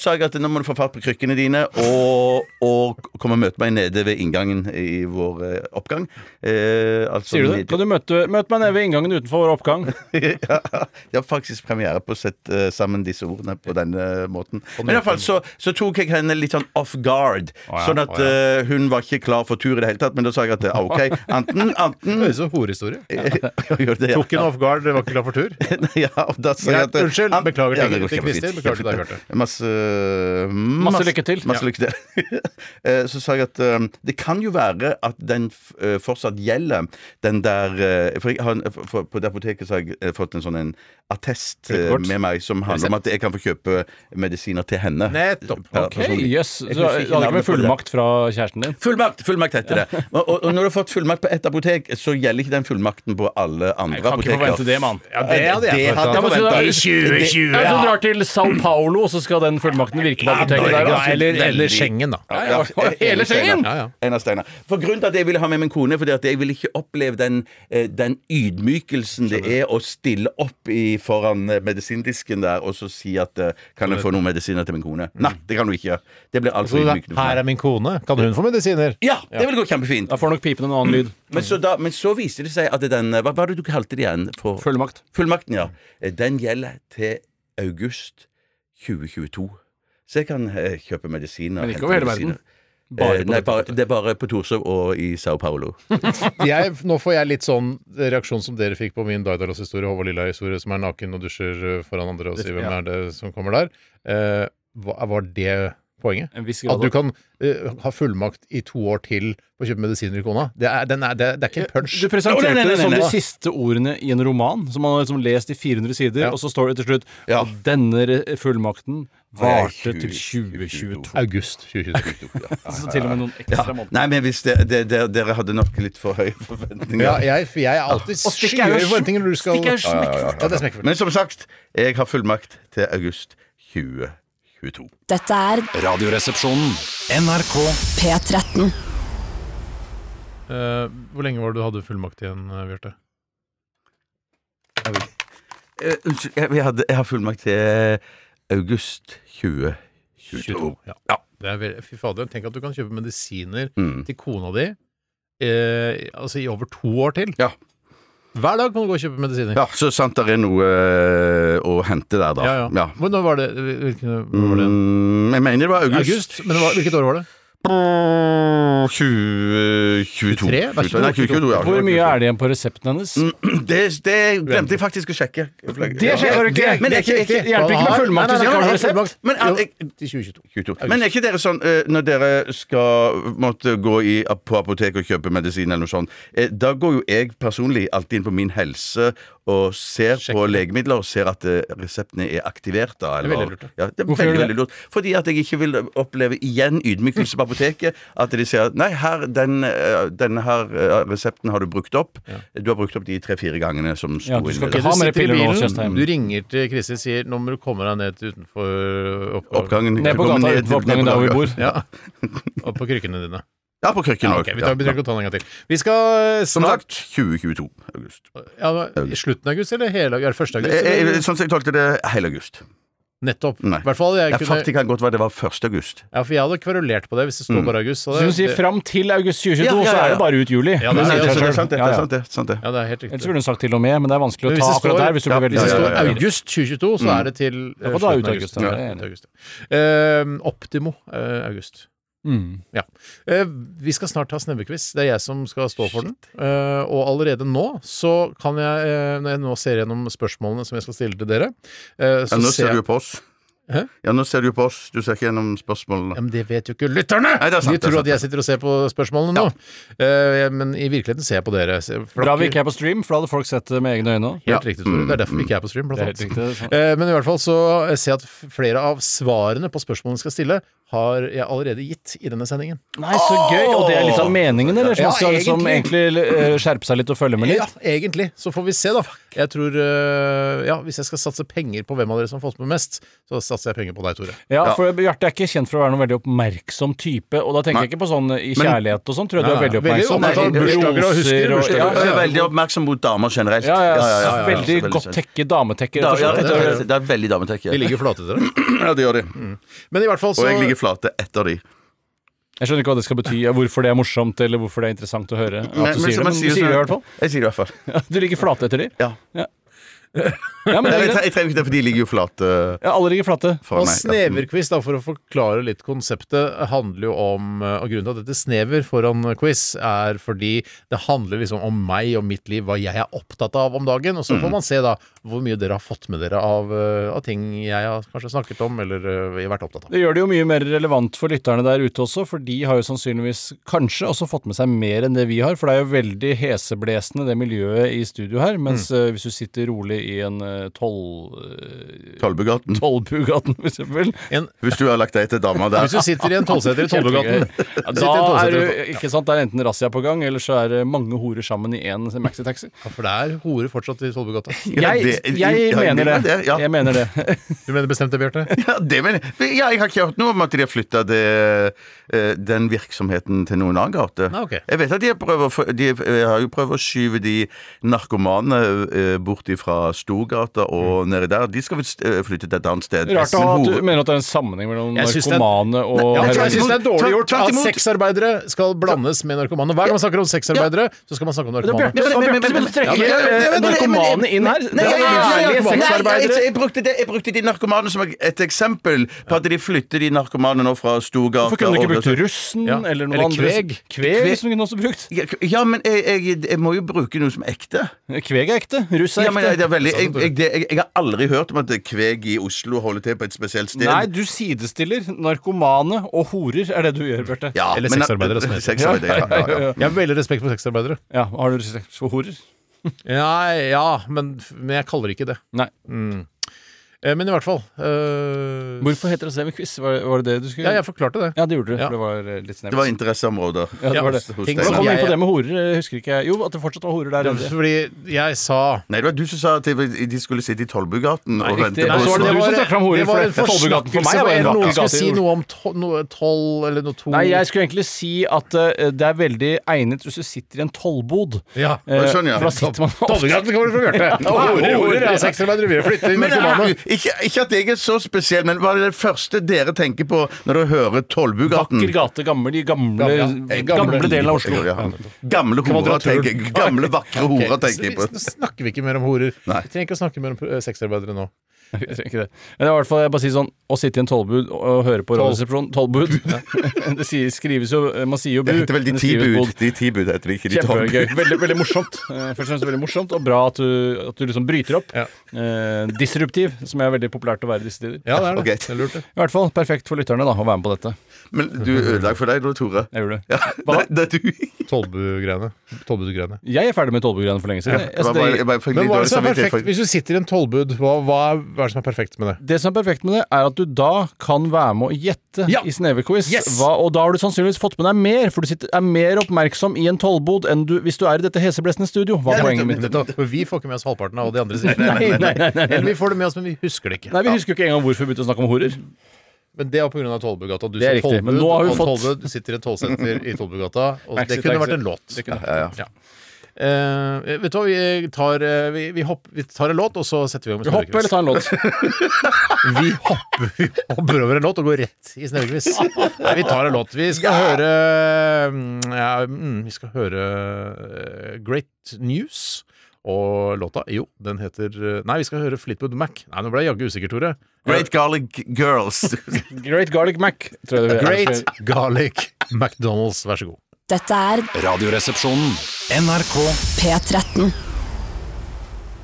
sa jeg at nå må du få fart på krykkene dine og, og komme og møte meg nede ved inngangen i vår eh, oppgang. Eh, altså Sier du det? Kan du møte, møt meg nede ved inngangen utenfor vår oppgang. ja, jeg har faktisk premiere på å sette eh, sammen disse ordene på denne måten. Men i hvert fall så, så tok jeg henne litt sånn off guard. Sånn at eh, hun var ikke klar for tur i det hele tatt, men da sa jeg at eh, OK, enten, enten Høres ut som horehistorie. Ja, gjør det, ja. Tok en off guard, dere var ikke klar for tur. ja, og da sa jeg at eh, Greit, unnskyld. Han- Beklager til- det går til kjempefint. Christer. Beklager til deg, Bjarte. Masse, Masse lykke til. Masse lykke til. Eh, Så sa jeg at eh, det kan jo være at den f- eh, fortsatt gjelder, den der eh, For, jeg har, en- for- for på det apoteket så har jeg eh, fått en sånn en attest eh, Kredittkort. med meg som handler om at jeg kan få kjøpe medisiner til henne. Nettopp. Per- Ok, personlig. jøss. sånn Jeg Så Du husker hadde ikke navnet med på det. fullmakt fra kjæresten din? Fullmakt fullmakt heter det. Og, og- og når du har fått fullmakt på ett apotek, så gjelder ikke den fullmakten på alle andre Kan ikke apoteker. forvente det, mann. Ja, det hadde jeg Det hadde jeg forventet. forventet. I 2020, Ja, så du drar til Sao Paulo, og så skal den fullmakten virke på apoteket der? Norge, da. eller, eller Veldig. Schengen, da. Ja, ja. Hele Schengen! Ja, ja. Einar Steinar. For grunnen til at jeg ville ha med min kone, fordi at jeg ville ikke oppleve den, eh, den ydmykelsen det er å stille opp i, foran eh, medisindisken der og så si at eh, Kan jeg få noen medisiner til min kone? Mm. Nei, det kan du ikke. Det blir altfor Her ydmykende. For meg. er min kone. Kan hun få medisiner? Ja, det vil gå kjempefint. Da får nok pipen en annen lyd. Men så, da, men så viste det seg at den eh, Hva var det du kalte det igjen? For, Fullmakt. fullmakten, ja. Eh, Den gjelder til august 2022. Så jeg kan eh, kjøpe medisiner. Men ikke hente over hele medisiner. verden? Bare eh, på nei, dette bare, punktet. det er bare på Torshov og i Sao Paulo. Jeg, nå får jeg litt sånn reaksjon som dere fikk på min Daidalos-historie, Håvard Lilla-historie, som er naken og dusjer eh, foran andre og sier hvem Ja. er det som kommer der. Eh, hva- var det poenget? En viss grad At du av- kan eh, ha fullmakt i to år til på å kjøpe medisiner i kona? Det er, den er, det, er- det er ikke en punch. Du presenterte Nei, nei, nei, det som nei, de nei. siste ordene i en roman, som man har liksom lest i 400 sider, Ja. og så står det til slutt Ja. at denne re- fullmakten varte til 2022. 2022. August 2022. Så til og med noen Ja. ekstra måneder. Nei, men hvis det, det, det, dere hadde nok litt for høye forventninger. Ja, jeg, jeg er alltid Og stikk er jo skyhøy i forventninger når du skal stikk er jo smekkfullt. Ja, det er smekkfullt. Men som sagt, jeg har fullmakt til august 2022. Dette er Radioresepsjonen. NRK P13. Eh, hvor lenge var det du hadde fullmakt igjen, eh, Bjarte? Eh, Unnskyld, jeg, jeg, hadde, jeg har fullmakt til eh, august 2022. Ja. Ja. Det er veldig, fy fader, tenk at du kan kjøpe medisiner Mm. til kona di eh, altså i over to år til. Ja. Hver dag kan du gå og kjøpe medisiner. Ja, så sant det er noe eh, å hente der, da. Ja, ja. Hvor- Når var det? Hvilken, hvor var det? Mm, jeg mener det var august. August? Men det var, hvilket år var det? 2022. Tre? Vær så god. Nei, 22, ja. Hvor mye er det igjen på resepten hennes? Mm. Det, det glemte jeg faktisk å sjekke. Det skjer ikke! Men Det er ikke- Det hjelper ikke med fullmakt hvis du ikke har noen resept. Men er- Jo, jeg- til 2022. 22. Men er ikke dere sånn eh, når dere skal måtte gå i, på apotek og kjøpe medisin eller noe sånt, eh, da går jo jeg personlig alltid inn på Min Helse og ser på legemidler og ser at eh, reseptene er aktivert da. er Eller, veldig lurt, da. Ja, det er Hvorfor veldig, gjør du veldig lurt. Fordi at jeg ikke vil oppleve igjen ydmykelse på apoteket. At de sier nei, her, den, eh, denne her eh, resepten har du brukt opp. Du har brukt opp de tre-fire gangene som sto Ja, du skal inne. ikke ha Du mer sitter i piller nå, bilen, Tjøstheim. du ringer til Kristin og sier nå må du komme deg ned til utenfor øh, opp- Oppgangen. Ned på Kom gata ned- utenfor ned oppgangen på der hvor vi gata. bor. Ja. Og på krykkene dine. Ja, på krykken Ja, òg. ok, vi tar, vi trenger ikke å ta den en gang til. Vi skal Som snart sagt, 2022. august. ja, men I slutten av august eller hele august? Første august? Eh, eh, Eller? Sånn som jeg tolket det, hele august. Nettopp. Nei. I hvert fall jeg Ja, kunne faktisk kan godt være det var 1. august. Ja, for jeg hadde kverulert på det hvis det Mm. sto bare august. så Hvis det- du sier det- fram til august 2022, Ja, ja, ja, så ja. er det bare ut juli. Ja, det sier Nei, jeg altså, det selv. er sant, det. Ja, det ja. er sant, det, er sant, det. Ja, det er helt riktig. Ellers ville hun sagt til og med, men det er vanskelig å Men ta hvis det akkurat står- der hvis du ja, blir veldig Hvis det Ja, står ja, ja, ja. august 2022, så er det til eh, Mm. Ja, for da er slutten ut av august, august. ja, Ja, det ut er august. Eh, Optimo eh, august. Mm. Ja. Eh, vi skal snart ta snevekviss. Det er jeg som skal stå for den. Eh, og allerede nå så kan jeg, eh, når jeg nå ser gjennom spørsmålene som jeg skal stille til dere eh, Ja, så nå ser ser du jeg jo på oss. Hæ? Ja, nå ser du jo på oss. Du ser ikke gjennom ja, spørsmålene. men det vet jo ikke lytterne! Nei, det er sant, De det er tror sant, at jeg sitter og ser på spørsmålene nå. Eh, men i virkeligheten ser jeg på dere. Se- Bra vi flakker. ikke er på stream, for da hadde folk sett det med egne øyne. Helt riktig, Tore. Det er derfor vi ikke er på stream, blant Det er helt annet. riktig, det er sant. Eh, Men i hvert fall så ser jeg at f- flere av svarene på spørsmålene vi skal stille, har jeg allerede gitt i denne sendingen. Nei, så gøy! Og det er litt av meningen, eller? Så Ja, man skal liksom egentlig eh, skjerpe seg litt og følge med Ja, litt? egentlig. Så får vi se, da. Jeg tror eh, Ja, hvis jeg skal satse penger på hvem av dere som har fått med mest, så satser jeg penger på deg, Tore. Ja, for Bjarte er ikke kjent for å være noen veldig oppmerksom type, og da tenker jeg ikke på sånn i kjærlighet og sånn, tror jeg du er Nei, veldig nei. Veldig oppmerksom. opptatt av Nei, bursdager og husker roser bursdager. ja, Jeg er veldig oppmerksom mot damer generelt. ja, ja, ja, ja, ja. Veldig godt tekke, dametekke, rett Da, og ja, slett. det, er, det er veldig dametekke. Vi ligger flate til dere. Ja, det gjør de. Men i hvert fall Og så jeg ligger flate etter de. Jeg skjønner ikke hva det skal bety, ja, hvorfor det er morsomt, eller hvorfor det er interessant å høre. Men- At du men sier som det, man men du sier det i hvert fall. Jeg sier det i hvert fall. Du ligger flate etter de. Ja. Ja, men det er Eller, jeg, tre- greit. jeg trenger ikke det, for de ligger jo flate Ja, alle ligger flate. for og meg. ja. sneverquiz, da, for å forklare litt konseptet, handler jo om eh, Og grunnen til at dette snever foran quiz, er fordi det handler liksom om meg og mitt liv, hva jeg er opptatt av om dagen. Og så Mm. får man se da hvor mye dere har fått med dere av, eh, av ting jeg har kanskje snakket om eller eh, vært opptatt av. Det gjør det jo mye mer relevant for lytterne der ute også, for de har jo sannsynligvis kanskje også fått med seg mer enn det vi har, for det er jo veldig heseblesende det miljøet i studio her, mens Mm. eh, hvis du sitter rolig i en eh, tolv... eh, Tollbugaten. Tollbugaten, for eksempel. En, Hvis du har lagt deg til dama der. hvis du sitter i en tolvseter i Tollbugatan Ja, sitter i en Da tolvseter i er du, Tollbugatan. ikke sant, det er enten razzia på gang, eller så er det mange horer sammen i én maxitaxi. ja, For det er horer fortsatt i Tollbugata. Ja, Jeg, jeg det- ja, mener det. det- det, ja. Jeg mener det. Du mener bestemt det, Bjarte? Ja, det mener jeg. Ja, jeg har ikke hørt noe om at de har flytta den virksomheten til noen annen gate. Nei, ok. Jeg vet at de, har prøvd å få- de eh, har jo prøvd å skyve de narkomane eh, bort fra Storgata og nedi der. De skal vel eh, flytte til et annet sted. Rart å Men ha at hoved- du mener at det er en sammenheng mellom Jeg syns det er- narkomane og Ja, jeg heroin. syns det er dårlig gjort Tvert at imot. sexarbeidere skal blandes med narkomane. Hver gang man snakker om sexarbeidere, så skal man snakke om narkomane. Bjarte som trekker Ja, men- narkomane inn her. Nei, Det jeg, er Ærlige Nei, jeg, sexarbeidere. jeg, brukte det, jeg brukte de narkomane som et eksempel på at de flytter de narkomane nå fra Storgata Hvorfor kunne du ikke over- brukt russen Ja. eller noen Eller andre? kveg. Kveg Kveg. som kunne også brukt. Ja, Ja, men jeg, jeg, jeg må jo bruke noe som er ekte. Kveg er ekte. Russ er Ja, men det ekte. er veldig, jeg, jeg, det- jeg, jeg har aldri hørt om at kveg i Oslo holder til på et spesielt sted. Nei, du sidestiller narkomane og horer, er det du gjør, Bjarte. ja, Eller men- sexarbeidere, som det heter. Sexarbeidere, ja, ja, ja. Jeg har veldig respekt for sexarbeidere. Ja, har du respekt for horer? Ja, ja men, men jeg kaller det ikke det. Nei. Eh, Men i hvert fall eh, Hvorfor heter det semiquiz? Var, var det det du skulle Ja, jeg forklarte det. Ja, det gjorde du. Ja. For det var eh, litt Det var snevert. interesseområder. Ja, det var det. hos Ting deg. som Kom inn jeg- på det med horer. eh, Husker ikke jeg. Jo, at det fortsatt var horer der. Ja, inne. Fordi jeg sa Nei, det var du som sa at de de skulle sitte i Tollbugaten og riktig. vente på Nei, så var det det du som var- trakk fram horer, det for var en det- Tollbugata for meg forsnakkelse. var en Var vakker noen skulle gate i si Oslo. noe om to- noe tolv eller noe to Nei, jeg skulle egentlig si at eh, det er veldig egnet hvis du sitter i en tollbod. Ja. Eh, Sånn, ja. For da sitter man ofte Tollgraden kommer fra Bjarte. Horer, horer, ja, sexarbeidere, vi flytter inn Men narkomane. det er- ikke, ikke at jeg er så spesiell, men hva er det første dere tenker på når dere hører Tollbugaten? Vakker gate, gamle, de gamle, Ja, ja. gamle, delen av Oslo. Ja. Gamle horer, Kvadraturen. tenker jeg. Gamle, vakre horer, tenker jeg på. Nå snakker vi ikke mer om horer. Nei. Vi trenger ikke å snakke mer om eh, sexarbeidere nå. Jeg trenger ikke det. Men det er i hvert fall, jeg bare sier sånn, å sitte i en tollbud og, og høre på Radioresepsjonen Tollbud. det sier, skrives jo eh, Man sier jo bu. Det heter vel De men det ti skrives bod. bud. De ti bud heter det ikke. De tolv Kjempegøy. bud. Veldig, veldig morsomt. Eh, Først og fremst veldig morsomt, og bra at du, at du liksom bryter opp. Ja. Eh, disruptiv, som er veldig populært å være i disse tider. Ja, det er det. Ok. det er lurt, det. I hvert fall perfekt for lytterne da, å være med på dette. Men du ødela for deg nå, Tore. Jeg gjorde det. Ja, Hva? nei, det er du. Tollbugreiene. Tollbudgreiene. Jeg er ferdig med tollbudgreiene for lenge siden. Jeg- Det var altså, bare- det, jeg bare fikk Men litt hva er dårlig det som er samvittighet. perfekt? for- Hvis du sitter i en tollbud, hva, hva, er- hva er det som er perfekt med det? det som er perfekt med det, er at du da kan være med å gjette Ja. i snevequiz. Yes. Hva, og da har du sannsynligvis fått med deg mer, for du sitter, er mer oppmerksom i en tollbod enn du hvis du er i dette heseblesende studio. Hva er poenget mitt? For vi får ikke med oss halvparten av hva de andre sier. Eller vi får det med oss, men vi husker det ikke. Nei, Vi husker jo ikke engang hvorfor vi begynte å snakke om horer. Men det var pga. Tollbugata. Du Det sier er riktig, Tollbud, men nå har vi og fått- Tollbud sitter i et tollsenter i Tollbugata. Og Exit, det kunne exit. vært en låt. Ja, ja. Eh, vet du hva, vi tar, eh, vi, vi, hopp, vi tar en låt, og så setter vi i gang med Hopp eller ta en låt. Vi hopper, vi hopper over en låt og går rett i Snøhvitquiz. Nei, vi tar en låt. Vi skal høre mm, ja, mm, Vi skal høre eh, Great News. Og låta Jo, den heter eh, Nei, vi skal høre Fleetwood Mac. Nei, nå ble jeg jaggu usikker, Tore. Great Garlic Girls. Great Garlic Mac, tror jeg det er. Great Garlic McDonald's, vær så god. Dette er Radioresepsjonen. NRK P13.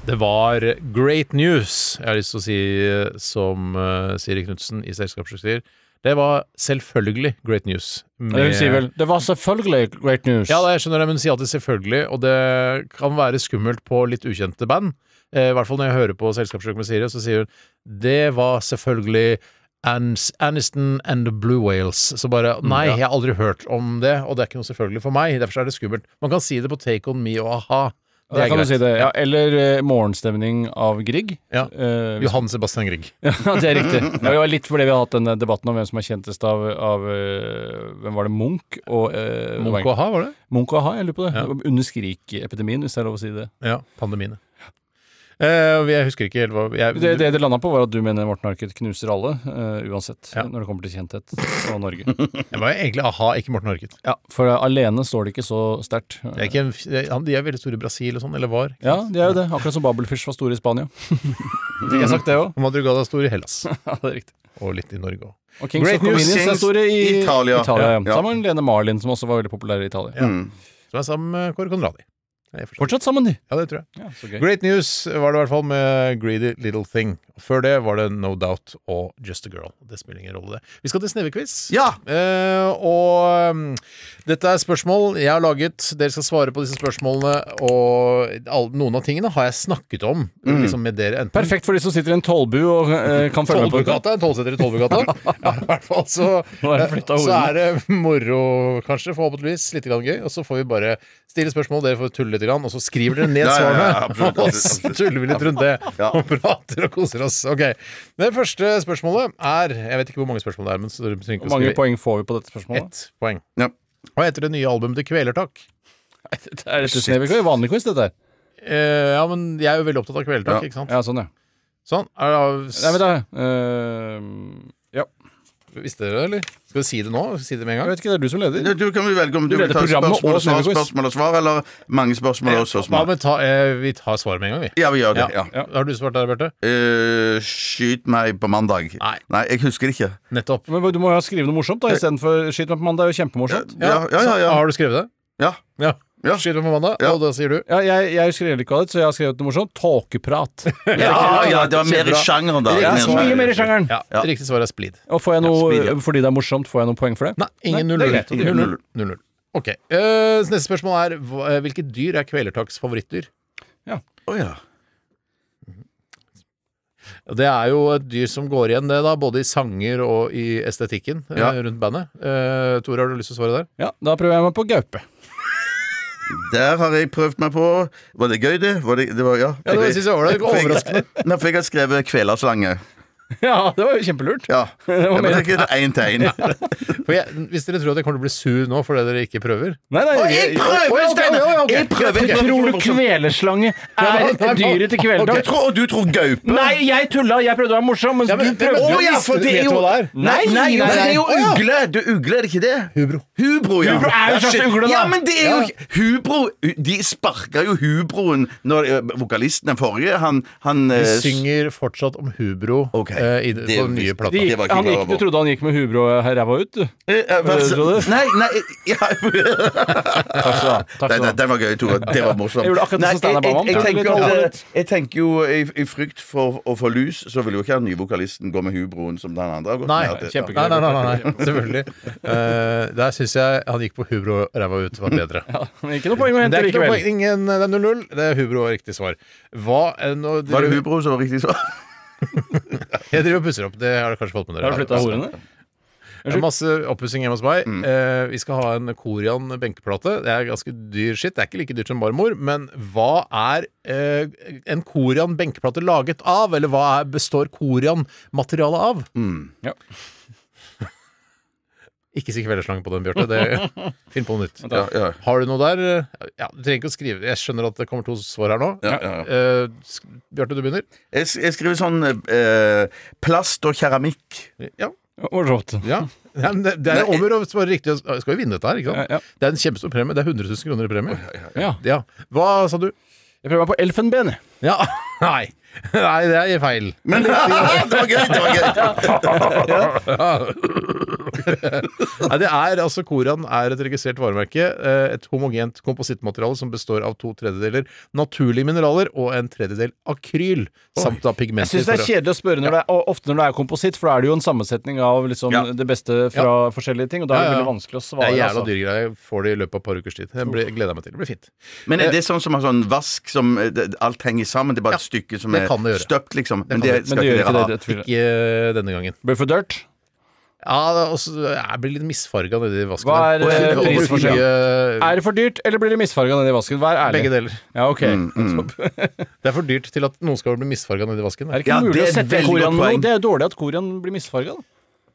Det var Great News, jeg har lyst til å si eh, som eh, Siri Knutsen i Selskapsjuks sier. Det var selvfølgelig Great News. Eller hun med- sier vel Det var selvfølgelig great news. Ja, det, jeg skjønner det, men hun sier alltid selvfølgelig, og det kan være skummelt på litt ukjente band. Eh, I hvert fall når jeg hører på Selskapssjokk med Siri, så sier hun det var selvfølgelig Ans Aniston and the Blue Whales. Så bare Mm, nei, jeg har aldri hørt om det, og det er ikke noe selvfølgelig for meg. Derfor så er det skummelt. Man kan si det på Take On Me og a-ha. Ja, Det er kan du greit. si det. Ja, eller eh, Morgenstemning av Grieg. Ja. Eh, hvis- Johan Sebastian Grieg. ja, det er riktig. Ja, det var litt fordi vi har hatt denne debatten om hvem som er kjentest av, av eh, Hvem var det? Munch og eh, Munch og a-ha, var det? Munch og a-ha, jeg lurer på det. Under skrikepidemien, hvis det er lov å si det. Ja. Pandemiene. Eh, og jeg husker ikke helt hva jeg, Det det, det landa på, var at du mener Morten Harket knuser alle, eh, uansett, Ja. når det kommer til kjenthet og Norge. Det var egentlig a-ha, ikke Morten Harket. Ja, For eh, alene står det ikke så sterkt. Det er ikke en, det- han- de er veldig store i Brasil og sånn, eller var. Ja, det er jo det. Akkurat som Babelfish var store i Spania. Fikk jeg sagt det òg? Madrugada er stor i Hellas, Ja, det er riktig. og litt i Norge òg. Og Kings Great of News Convenience er Kings, store i Italia. ja. Ja. Sammen med Lene Marlin, som også var veldig populær i Italia. Som er sammen med Kåre Conradi. Jeg forstår. Fortsatt sammen, de. Ja, det tror jeg. Ja, så gøy. Great News var det i hvert fall med Greedy Little Thing. Før det var det No Doubt og Just a Girl. Det spiller ingen rolle, det. Vi skal til snevequiz. Ja! Eh, og um, dette er spørsmål jeg har laget. Dere skal svare på disse spørsmålene. Og all, noen av tingene har jeg snakket om Mm. liksom med dere. Enten Perfekt for de som sitter i en tollbu og eh, kan følge med på dette. Tollbugata, en tollsetter i Tollbugata. ja, I hvert fall så, eh, Nå er det flyttet så hodene. er det moro, kanskje, forhåpentligvis. Litt grann gøy. Og så får vi bare stille spørsmål, dere får tulle litt, grann, og så skriver dere ned Ja, ja, svarene. ja, absolutt, og absolutt, så tuller vi litt rundt det, og prater og koser oss. Ok, Det første spørsmålet er Jeg vet ikke hvor mange spørsmål det er, men så dere trenger ikke Hvor å mange skrive poeng får vi på dette spørsmålet? ett poeng. Ja. Hva heter det nye albumet til Kvelertak? Det er rett og slett ikke vanlig quiz, dette her. Eh, ja, men jeg er jo veldig opptatt av Kvelertak, Ja. ikke sant? Ja, sånn, ja. Sånn. Er det, Nei, men da, eh, ja. Visste dere det, eller? Skal vi si det nå? Skal vi si det med en Jeg gang? vet ikke, det er du som leder. Du, du kan vel velge om du, Du vil leder ta programmet spørsmål og og svar, Snevequiz. spørsmål og svar, eller mange spørsmål og Ja, spørsmål. men ta, eh, vi tar svaret med en gang, vi. Ja, vi gjør det. ja. Har du svart der, Bjarte? Eh, skyt meg på mandag. Nei. jeg husker det ikke. Nettopp. Men du må jo skrive noe morsomt da istedenfor 'Skyt meg på mandag'. Det er jo kjempemorsomt. Ja, ja, ja. Så, ja, har du skrevet det? ja. Ja. Ja. Skyter på mandag, Ja. og da sier du Ja, jeg, jeg skrev ikke av det, så jeg har skrevet noe morsomt. Tåkeprat. Ja, ja, det var mer i sjangeren, da. Ja, Mer i så mye sjangeren. mer i sjangeren. Ja. Riktig svar er splid. Og får jeg Ja, speed, noe, ja. fordi det er morsomt, får jeg noen poeng for det? Nei, ingen Nei, det er greit, 0-0. det er greit. 0-0. 0-0. Ok. Eh, så neste spørsmål er hva- eh, hvilket dyr er kvelertaks favorittdyr? Å, ja. Og Det er jo et dyr som går igjen, det da, både i sanger og i estetikken eh, Ja. rundt bandet. Eh, Tore, har du lyst til å svare der? Ja, Da prøver jeg meg på gaupe. Der har jeg prøvd meg på Var det gøy, det? Var det, det var, ja. Ja, det synes jeg var det. For jeg- Overraskende. Nei, for jeg har skrevet 'Kvelerslange'. Ja, det var jo kjempelurt. Ja. Jeg må mer- tenke det én til én. For jeg, hvis dere tror at jeg kommer til å bli sur nå fordi dere ikke prøver Nei, nei, jeg prøver, Oi, ok, Steinar! oi, oi, ok. Jeg prøver. Jeg Tror du kveleslange er et dyret til Jeg kvelertak? tror, og du tror gaupe? Nei, jeg tulla! Jeg prøvde å være morsom, mens du prøvde Å ja, for det er jo Vet du Nei, nei, Nei, nei, for det er jo nei. Å, ja. ugle! Du ugle, er det ikke det? Hubro. Hubro, ja. Hubro er jo en slags shit. ugle, da. Ja, men det er jo Hubro De sparka jo hubroen når eh, vokalisten, den forrige, han, han eh, De s- synger fortsatt om hubro Ok. eh, i, det- Det på den nye visste- plata. De Det gikk, var ikke han bra, gikk, du Bård. trodde han gikk med hubro og ræva ut, du? Eh, eh, hva- Tror du det? Nei, nei ja. Takk skal du ha. Takk Nei, skal nei, du ha. Den var gøy, Tore. Det var morsomt. Jeg gjorde akkurat det Nei, som Steinar jeg- ba meg om. Jeg, Ja. jeg, Litt tenker jo at, eh, overalt. jeg tenker jo i, i frykt for å få lus, så vil jo ikke han nye vokalisten gå med hubroen som den andre har gått Nei, med. At det- kjempegøy. Nei, nei, nei, nei, nei. selvfølgelig. Eh, der syns jeg han gikk på hubro og ræva ut var bedre. Men Ikke noe poeng å Men Det hente er ikke noe likevel. poeng. Ingen, eh, det er 0-0. Det er hubro og riktig svar. Hva, eh, nå, Var det hubro som var riktig svar? Jeg driver og pusser opp. Det har dere kanskje fått med dere. Har du flytta Altså- horene? Det er masse oppussing hjemme hos meg. Eh, vi skal ha en Korian benkeplate. Det er ganske dyr skitt. Det er ikke like dyrt som marmor, men hva er eh, en Korian benkeplate laget av? Eller hva er, består Korian-materialet av? Ja. Ikke si kvelderslangen på den, Bjarte. Det- Finn på noe nytt. Ja, ja. Har du noe der? Ja, du trenger ikke å skrive. Jeg skjønner at det kommer to svar her nå. Ja, ja, ja. Eh, sk- Bjarte, du begynner. Jeg, s- jeg skriver sånn eh, plast og keramikk. Ja. Morsomt. ja. Nei, men det, det er jo om å gjøre å svare riktig. og- Skal jo vinne dette her, ikke sant? Ja, ja. Det er en kjempestor premie. Det er 100 000 kroner i premie. Ja. Ja. Hva sa du? Jeg prøver meg på elfenben. Ja, nei. Nei, det er feil. Men det var gøy! det var gøy Nei, det er altså Koran er et registrert varemerke. eh, Et homogent komposittmateriale som består av to tredjedeler naturlige mineraler og en tredjedel akryl, samt av pigmenter. Jeg syns det er for å- kjedelig å spørre når det er, og ofte når det er kompositt, for da er det jo en sammensetning av liksom Ja. det beste fra forskjellige ting, og da er Ja, det ja. veldig vanskelig å Det svare. er jævla altså. dyre greier. Jeg Får det i løpet av et par ukers tid. Jeg blir- gleder jeg meg til. Det blir fint. Men er det sånn som har sånn vask som eh, det- alt henger sammen? Det er bare et stykke som det er kan det gjøre. støpt, liksom? Men kan det det. Men skal det gjør ikke ikke det, dere det ha. tviler jeg. Ikke eh, denne gangen. Blir for dørt? Ja, det er også, jeg blir litt misfarga nedi vasken. Hva er, her. eh, Og- og- prisforskjell? mye- Er det for dyrt, eller blir det misfarga nedi vasken? Vær ærlig. Begge deler. Ja, ok. Mm. Det er for dyrt til at noen skal bli misfarga nedi vasken. Er det ikke Ja, mulig det å er et sette veldig koraen godt med poeng. noe? Det er jo dårlig at koraen blir misfarga.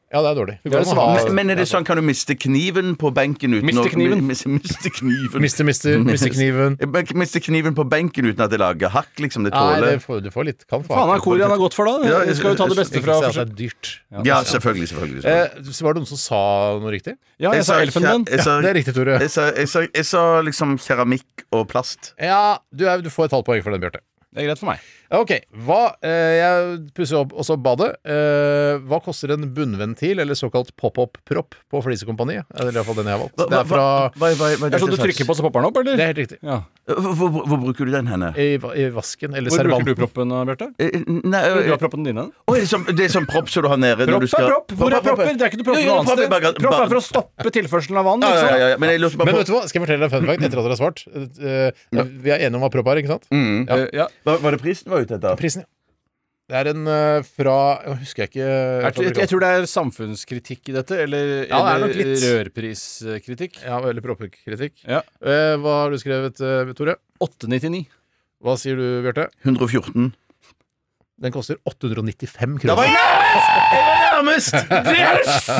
Ja, det er dårlig. Du Det er kan det ha- svarte. Men, men er det sånn, kan du miste kniven på benken uten Miste å- kniven? mi- mi- Miste kniven. Mister, mister, mister kniven. Eh, men Miste kniven på benken uten at det lager hakk, liksom. Det Nei, tåler det får, du får litt kan få akkurat Faen, er koraen er litt. godt for da? Ja, Vi skal jo ta det beste Ikke fra si at det forskjell. er dyrt. Ja, selvfølgelig. selvfølgelig, selvfølgelig. Eh, så var det noen som sa noe riktig? Ja, jeg sa elfenben. jeg sa- Ja, det er riktig, Tore. Jeg sa, jeg, sa, jeg sa liksom keramikk og plast. Ja, du, er, du får et halvt poeng for den, Bjarte. Det er greit for meg. Ok, hva, eh, Jeg pusser opp også badet. Eh, hva koster en bunnventil, eller såkalt pop-opp-propp, på Flisekompaniet? Eller iallfall den jeg har valgt. Det er fra hva, hva, hva, Jeg så sånn du trykker på så popper den opp, Det eller? er helt riktig. Ja. Hvor, hvor, hvor bruker du den henne? I, va- i vasken, eller Hvor bruker du servanten. proppen, Bjarte? Eh, Nei, Hvor eh, er proppen din? hen? Å, er det, som, det er som propp som du har nede når Propp er du skal propp! Hvor er propper? Det er ikke noe propper Jo, jo, noe annet propp er sted. bare- Propp er for å stoppe tilførselen av vann. Ja, ikke ja, sant? ja, ja, men jeg lurte bare Men på vet du hva, skal jeg fortelle deg en fun fact etter at dere har svart? Eh, vi er enige om hva propp er, ikke sant? Eh, ja. Mm. hva, Var det prisen var ute etter? Prisen, ja. Det er en eh, fra jeg Husker jeg ikke Jeg, tror- jeg, jeg tror det er samfunnskritikk i dette, eller, Ja, det er nok eller litt. rørpriskritikk. Ja, Eller proppekritikk. Ja. Eh, hva har du skrevet, eh, Tore? 899. Hva sier du, Bjarte? 114. Den koster 895 Da var kroner. jeg nærmest! Jeg var nærmest!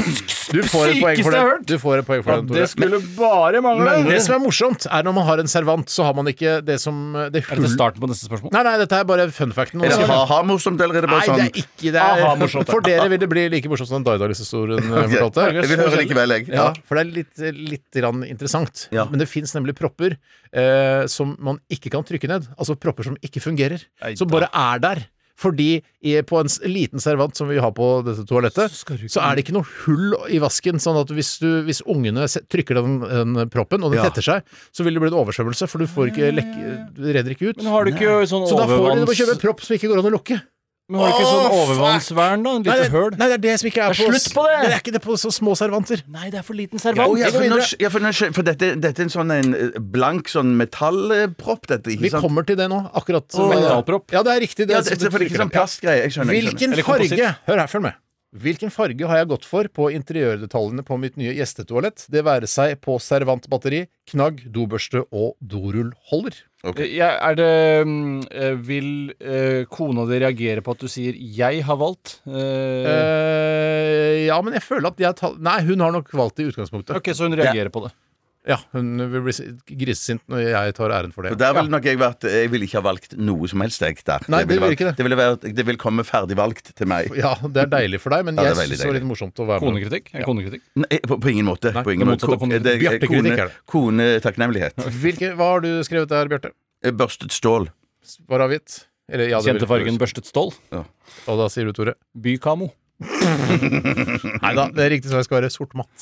Det er det Du får et poeng sykeste jeg for har den. hørt. Du får et poeng for den, Tore. skulle bare Men det som er morsomt, er når man har en servant, så har man ikke det som eh, det Er dette hull... starten på neste spørsmål? Nei, nei, dette er bare fun facten. Er det ha-ha morsomt, eller er det Nei, bare sånn det er ikke det. Er, Aha, morsomt, ja. for dere vil det bli like morsomt som Daidalis-historien eh, Ok, fortalte. Jeg vil høre likevel, jeg. Ja, for det er litt, litt grann interessant. Ja. Men det fins nemlig propper eh, som man ikke kan trykke ned. Altså propper som ikke fungerer. Nei Som bare er der. Fordi i- på en s- liten servant som vi har på dette toalettet, så, er det ikke noe hull i vasken. Sånn at hvis, du, hvis ungene se- trykker den, den proppen, og den Ja. tetter seg, så vil det bli en oversvømmelse, for du får ikke lekke, du redder ikke ut. Men har du ikke sånn Så da får du, du må kjøpe en overvanns... propp som ikke går an å lukke. Men har du ikke Åh, sånn fuck! overvannsvern, da? En Nei, lite det, høl? nei, det er det som ikke er, Det er på, slutt på det! det er ikke det på så små servanter. Nei, det er for liten Å, servant. ja, går for, nå videre. skj- ja, for, nå skj- for dette, dette er en sånn en eh, blank sånn metallpropp, dette, Vi ikke sant? kommer til det nå, akkurat. Mineralpropp. Ja, det er riktig. Det, ja, det, det, for det er ikke sånn plastgreie. Jeg skjønner. jeg skjønner. Hvilken Eller kompositt. farge Hør her, følg med. Hvilken farge har jeg gått for på interiørdetaljene på mitt nye gjestetoalett? Det være seg på servantbatteri, knagg, dobørste og dorullholder. Jeg, er det mm, eh, Vil eh, kona di reagere på at du sier 'jeg har valgt'? Eh, Eh, ja, men jeg føler at jeg tar Nei, hun har nok valgt det i utgangspunktet. ok, så hun reagerer på det. Ja, hun vil bli si- grisesint når jeg tar æren for det. Så der ville ja. nok jeg vært Jeg ville ikke ha valgt noe som helst, jeg, der. Nei, det ville ville vært- ikke det. Det ville, vært, det ville komme ferdigvalgt til meg. ja, det er deilig for deg, men Ja, jeg det er veldig syns det var deilig. litt morsomt å være med. Konekritikk? Er det konekritikk? Nei, på, på ingen måte. Nei, på ingen det måte. motsatte av konekritikk. Det er Bjartekritikk kone- er det. Konetakknemlighet. Hvilke, hva har du skrevet der, Bjarte? Eh, Børstet stål. Svar avgitt? Eller, ja, det- Kjente fargen børstet stål? Og da sier du, Tore? Bykamo. Nei da, det er riktig svar skal være sort matt.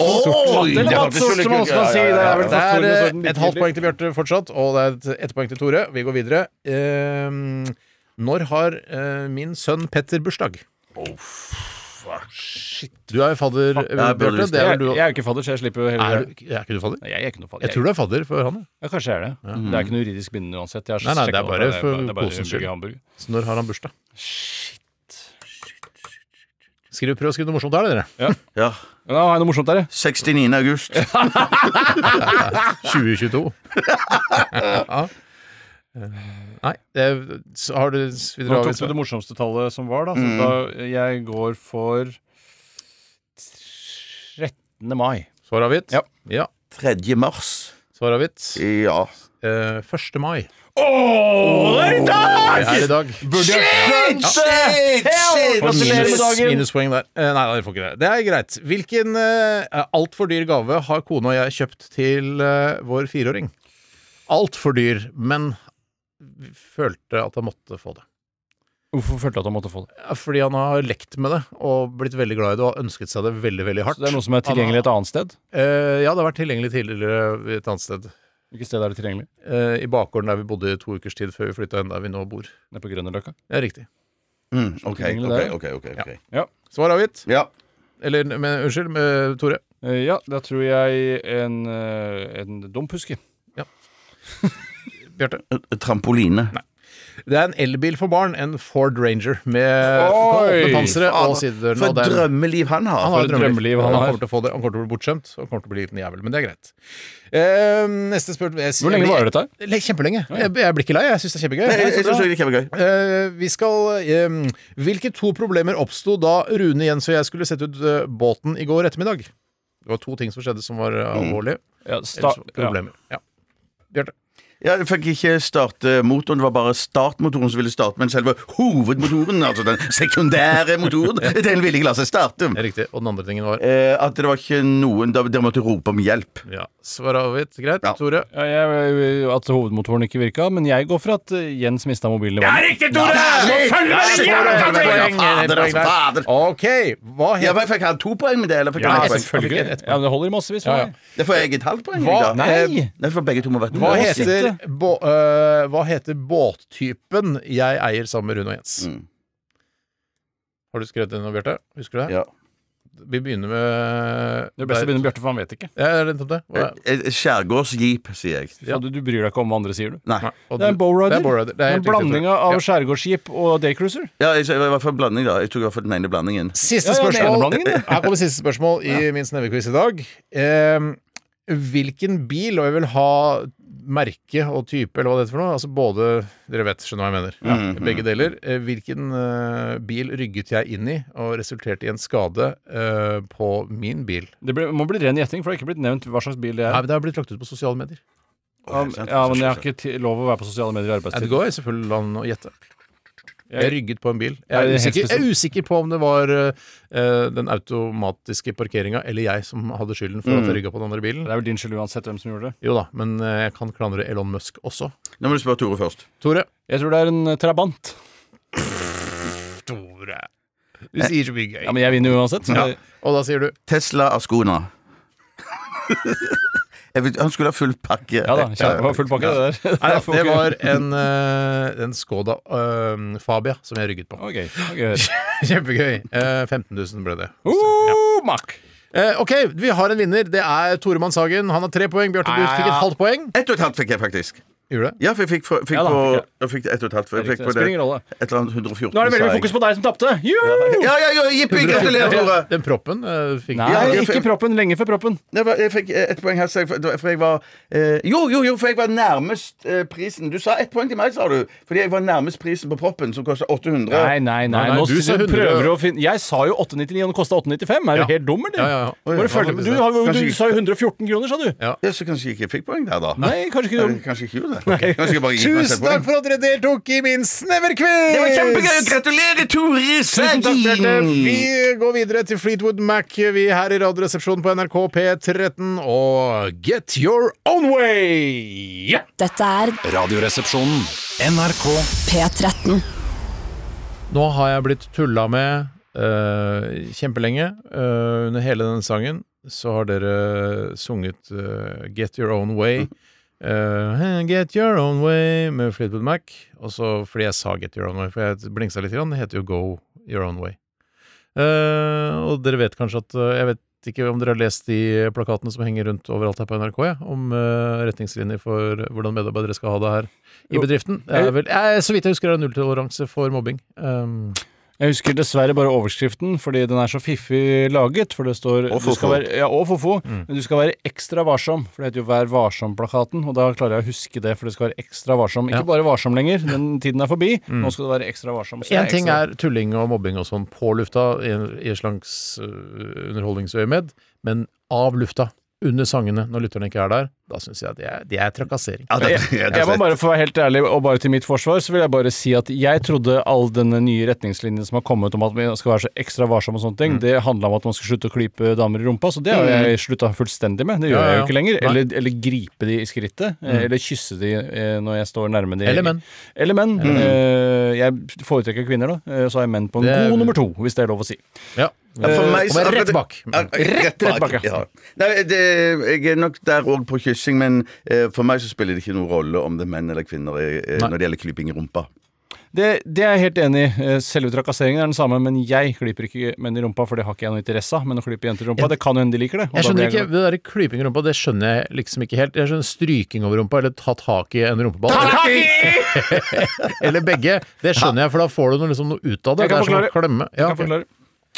Eller matsort, som man skal si. Det er vel Det er faktorene eh, som- et halvt poeng til Bjarte fortsatt, og det er et, ett poeng til Tore. Vi går videre. Ehm, når har eh, min sønn Petter bursdag? Du er jo fadder, eh, burde Bjarte. visst Det er Jeg, vel du jeg er jo ikke fadder, så jeg slipper jo heller er, du, er ikke du fadder? Nei, Jeg er ikke noe fadder. Jeg tror du er fadder for han. ja. Ja, kanskje jeg er det. Det er ikke noe juridisk bindende uansett. Jeg har Nei, nei, det er sjekket bare opp for det er bare kosens hamburger, skyld. hamburger. Så når har han bursdag? Skriv, prøv å skrive noe morsomt der, dere. Ja. Ja, da har jeg noe morsomt der, jeg. 69. august. 2022. ja. Eh, Nei, det, så har du vil dere Nå ha tok du det morsomste tallet som var, da. Så da jeg går for 13. mai. Svar avgitt? Ja. 3. mars. Svar avgitt. Ja. Eh, 1. mai. Takk! Det er i dag. Shit! Shit! Shit! Får Gratulerer med minus, dagen! minuspoeng der. Eh, nei, nei, dere får ikke det. Det er greit. Hvilken uh, altfor dyr gave har kona og jeg kjøpt til eh, vår fireåring? Altfor dyr, men følte at han måtte få det. Hvorfor følte du at han måtte få det? Ja, Fordi han har lekt med det og blitt veldig glad i det og ønsket seg det veldig veldig hardt. Så det er noe som er tilgjengelig et annet sted? Eh, ja, det har vært tilgjengelig tidligere et annet sted. Hvilket sted er det tilgjengelig? Eh, I bakgården der vi bodde i to ukers tid før vi flytta inn der vi nå bor. Nede på Grønnerløkka? Det er riktig. Mm, OK, OK, OK. ok, ok. Svar avgitt? Ja. Eller, men, unnskyld, eh, Tore. Eh, ja, da tror jeg en, eh, en dumphuske. Bjarte. Eh, Trampoline. Det er en elbil for barn, en Ford Ranger med Oi! åpne panseret og sidedørene. For og det et er- drømmeliv han har. Han har et For et drømmeliv drømmeliv. han Han har. kommer til å få det. Han kommer til å bli bortskjemt og kommer til å bli en jævel, men det er greit. Eh, neste spørsmål jeg- Hvor lenge varer dette? Le- Kjempelenge. Jeg, jeg blir ikke lei. Jeg syns det er kjempegøy. Nei, jeg, jeg synes det er kjempegøy. Eh, vi skal eh, Hvilke to problemer oppsto da Rune Jens og jeg skulle sette ut eh, båten i går ettermiddag? Det var to ting som skjedde som var eh, alvorlige. Ja, sta Ellers var det problemer. Ja. Bjarte. Ja, jeg fikk ikke starte motoren, det var bare startmotoren som ville starte, men selve hovedmotoren, altså den sekundære motoren, den ville ikke la seg starte. Det er riktig. Og den andre tingen var Eh, at det var ikke noen da- Dere måtte rope om hjelp. ja, Svar avgitt. Greit. Ja. Tore. Ja, jeg, eh, at hovedmotoren ikke virka, men jeg går for at eh, Jens mista mobilen i vannet. riktig, Tore! Følg med Shit, videre! fader, poeng, fader, poeng altså, der. fader. OK, hva Ja, het men Fikk han to poeng med det? Eller fikk Ja, han ett poeng? selvfølgelig. Ja, men det holder i massevis. Ja, ja. for meg. Det får jeg et halvt poeng. Hva? Da. Nei! Nei, for begge to må være Hva Nå heter, sitter- bå, øh, hva heter båttypen jeg eier sammen med Rune og Jens? Mm. Har du skrevet den nå, Bjarte? Husker du det? Ja. Vi begynner med Det er best å begynne med Bjarte, for han vet ikke. Ja, er det nettopp det? Hva er- Eh, eh, Skjærgårdsjeep, sier jeg. Så Du, du bryr deg ikke om hva andre sier, du. Nei. og Det er en du- bowrider. Det er bowrider. Det er En helt riktig, blanding Tore. av Ja. skjærgårdsskip og daycruiser. Ja, jeg, jeg, I hvert fall blanding, da. Jeg tok i hvert fall den ene blandingen. Siste Ja, ja, det er spørsmål. blandingen, det. Her kommer siste Ehm, spørsmål i min snevequiz i dag. Eh, hvilken bil, og jeg vil ha merke og type, eller hva det heter for noe. Altså både Dere vet, skjønner hva jeg mener. Begge deler. Eh, Hvilken eh, bil rygget jeg inn i og resulterte i en skade eh, på min bil? Det ble, må bli ren gjetting, for det har ikke blitt nevnt hva slags bil det Nei, er. men Det har blitt lagt ut på sosiale medier. Ja, ja, men jeg har ikke ti- lov å være på sosiale medier i Nei, Det arbeidstid. går selvfølgelig an å gjette. Jeg rygget på en bil. Er Jeg er det helt usikker, jeg er spesielt? usikker på om det var eh, den automatiske parkeringa eller jeg som hadde skylden for at jeg rygga på den andre bilen. Mm. Det er vel din skyld uansett hvem som gjorde det. Jo da, men eh, jeg kan klandre Elon Musk også. Nå må du spørre Tore først. Tore. Jeg tror det er en eh, Trabant. Tore. Du sier så mye gøy. Ja, men jeg vinner uansett. Så det, Og da sier du Tesla Ascona. Jeg vet, han skulle ha full pakke. ja da, kjempe, det var full pakke, det der. Nei, får det ikke- var en, eh, en Skoda eh, Fabia som jeg rygget på. Ok, ok. hør. Kjempegøy. Eh, 15 000 ble det. Oh, Mack! Eh, ok, vi har en vinner. Det er Tore Mannshagen. Han har tre poeng. Bjarte, du fikk et halvt poeng. Ett og et halvt fikk jeg faktisk. Gjorde det? Ja, for jeg fikk, for, fikk Ja da, på fikk jeg. Jeg fikk ett og et halvt. for Jeg Det fikk er riktig. på Spiller ingen rolle. Et eller annet 114. Nå er det veldig mye fokus på deg som tapte! Juhu! Ja, ja, ja, jippi! Gratulerer, Tore! Den proppen eh, fikk Nei, Ja, jeg- ikke proppen. Lenge før proppen. Nei, hva- Jeg fikk eh, ett poeng her, så jeg- for jeg var eh, Jo, jo, jo, for jeg var nærmest eh, prisen. Du sa ett poeng til meg, sa du. Fordi jeg var nærmest prisen på proppen, som koster 800. Nei, nei, nei. Nei, nei, Nå du sa prøver 100. du å finne Jeg sa jo 899, og den kosta 895. Er du Ja. helt dum, eller? Ja, ja, ja. Oi, Bare følg ja, med. faktisk du, det. har, jo- du Kanskje ikke- sa jo 114 kroner, sa du. Ja, så kanskje jeg ikke fikk poeng der, da. Nei, kanskje ikke du Eller Kanskje ikke gjorde det. Kanskje jeg bare gikk Tusen meg selv poeng. takk for at dere deltok i min sneverquiz! Det var kjempegøy! Gratulerer, Tore Vi Sagen! går videre til Fleetwood Mac, vi her i Radioresepsjonen på NRK P13, og Get Your Own Way! Ja! Dette er Radioresepsjonen. NRK P13. Nå har jeg blitt tulla med eh, kjempelenge. Eh, under hele denne sangen så har dere sunget eh, Get Your Own Way. Eh, get Your Own Way med Fleetwood Mac. Og så fordi jeg sa Get Your Own Way, for jeg blingsa litt, grann, det heter jo Go Your Own Way. Eh, og dere vet kanskje at eh, Jeg vet ikke om dere har lest de plakatene som henger rundt overalt her på NRK, ja, om eh, retningslinjer for hvordan medarbeidere skal ha det her i Jo. bedriften. Det er vel, eh, så vidt jeg husker, er det nulltoleranse for mobbing. Um, Jeg husker dessverre bare overskriften, fordi den er så fiffig laget. For det står Og du skal fofo. være, ja, og fofo. Men du skal være ekstra varsom, for det heter jo Vær varsom-plakaten. Og da klarer jeg å huske det, for det skal være ekstra varsom. Ikke Ja. bare varsom lenger, den tiden er forbi. Nå skal du være ekstra varsom. Så det Én ting ekstra- er tulling og mobbing og sånn på lufta i, i et slags øh, underholdningsøyemed, men av lufta, under sangene, når lytterne ikke er der, da syns jeg det er, det er trakassering. Ja, det- det- Jeg må bare for å være helt ærlig, og bare til mitt forsvar, så vil jeg bare si at jeg trodde all denne nye retningslinjen som har kommet om at man skal være så ekstra varsom og Mm. sånne ting, det handla om at man skal slutte å klype damer i rumpa, så det har jeg slutta fullstendig med. Det Ja, gjør jeg ja. jo ikke lenger. Nei. Mm. Eller, eller gripe de i skrittet, eh, eller kysse de eh, når jeg står nærme de. Eller menn. Mm. Eller menn. Eh, Jeg foretrekker kvinner, da. eh, Så er jeg menn på en Det er- god nummer to, hvis det er lov å si. Ja. Ja, for meg så- Kom igjen, Eh, rett bak. Ja, Rett, rett bak, ja. Nei, det, jeg er nok der òg på kyssing, men eh, for meg så spiller det ikke noen rolle om det er menn eller kvinner eh, Nei. når det gjelder klyping i rumpa. Det, det er jeg helt enig i. Eh, Selve trakasseringen er den samme, men jeg klyper ikke menn i rumpa, for det har ikke jeg noe interesse av. Men å klype jenter i rumpa, det kan jo hende de liker det. og Jeg da skjønner blir ikke, glad. Det der klyping i rumpa det skjønner jeg liksom ikke helt. Jeg skjønner Stryking over rumpa eller ta tak i en rumpeball. Eller begge. Det skjønner jeg, for da får du noe, liksom, noe ut av det. Jeg det kan er som å forklare. klemme. Ja, Jeg kan ok. forklare.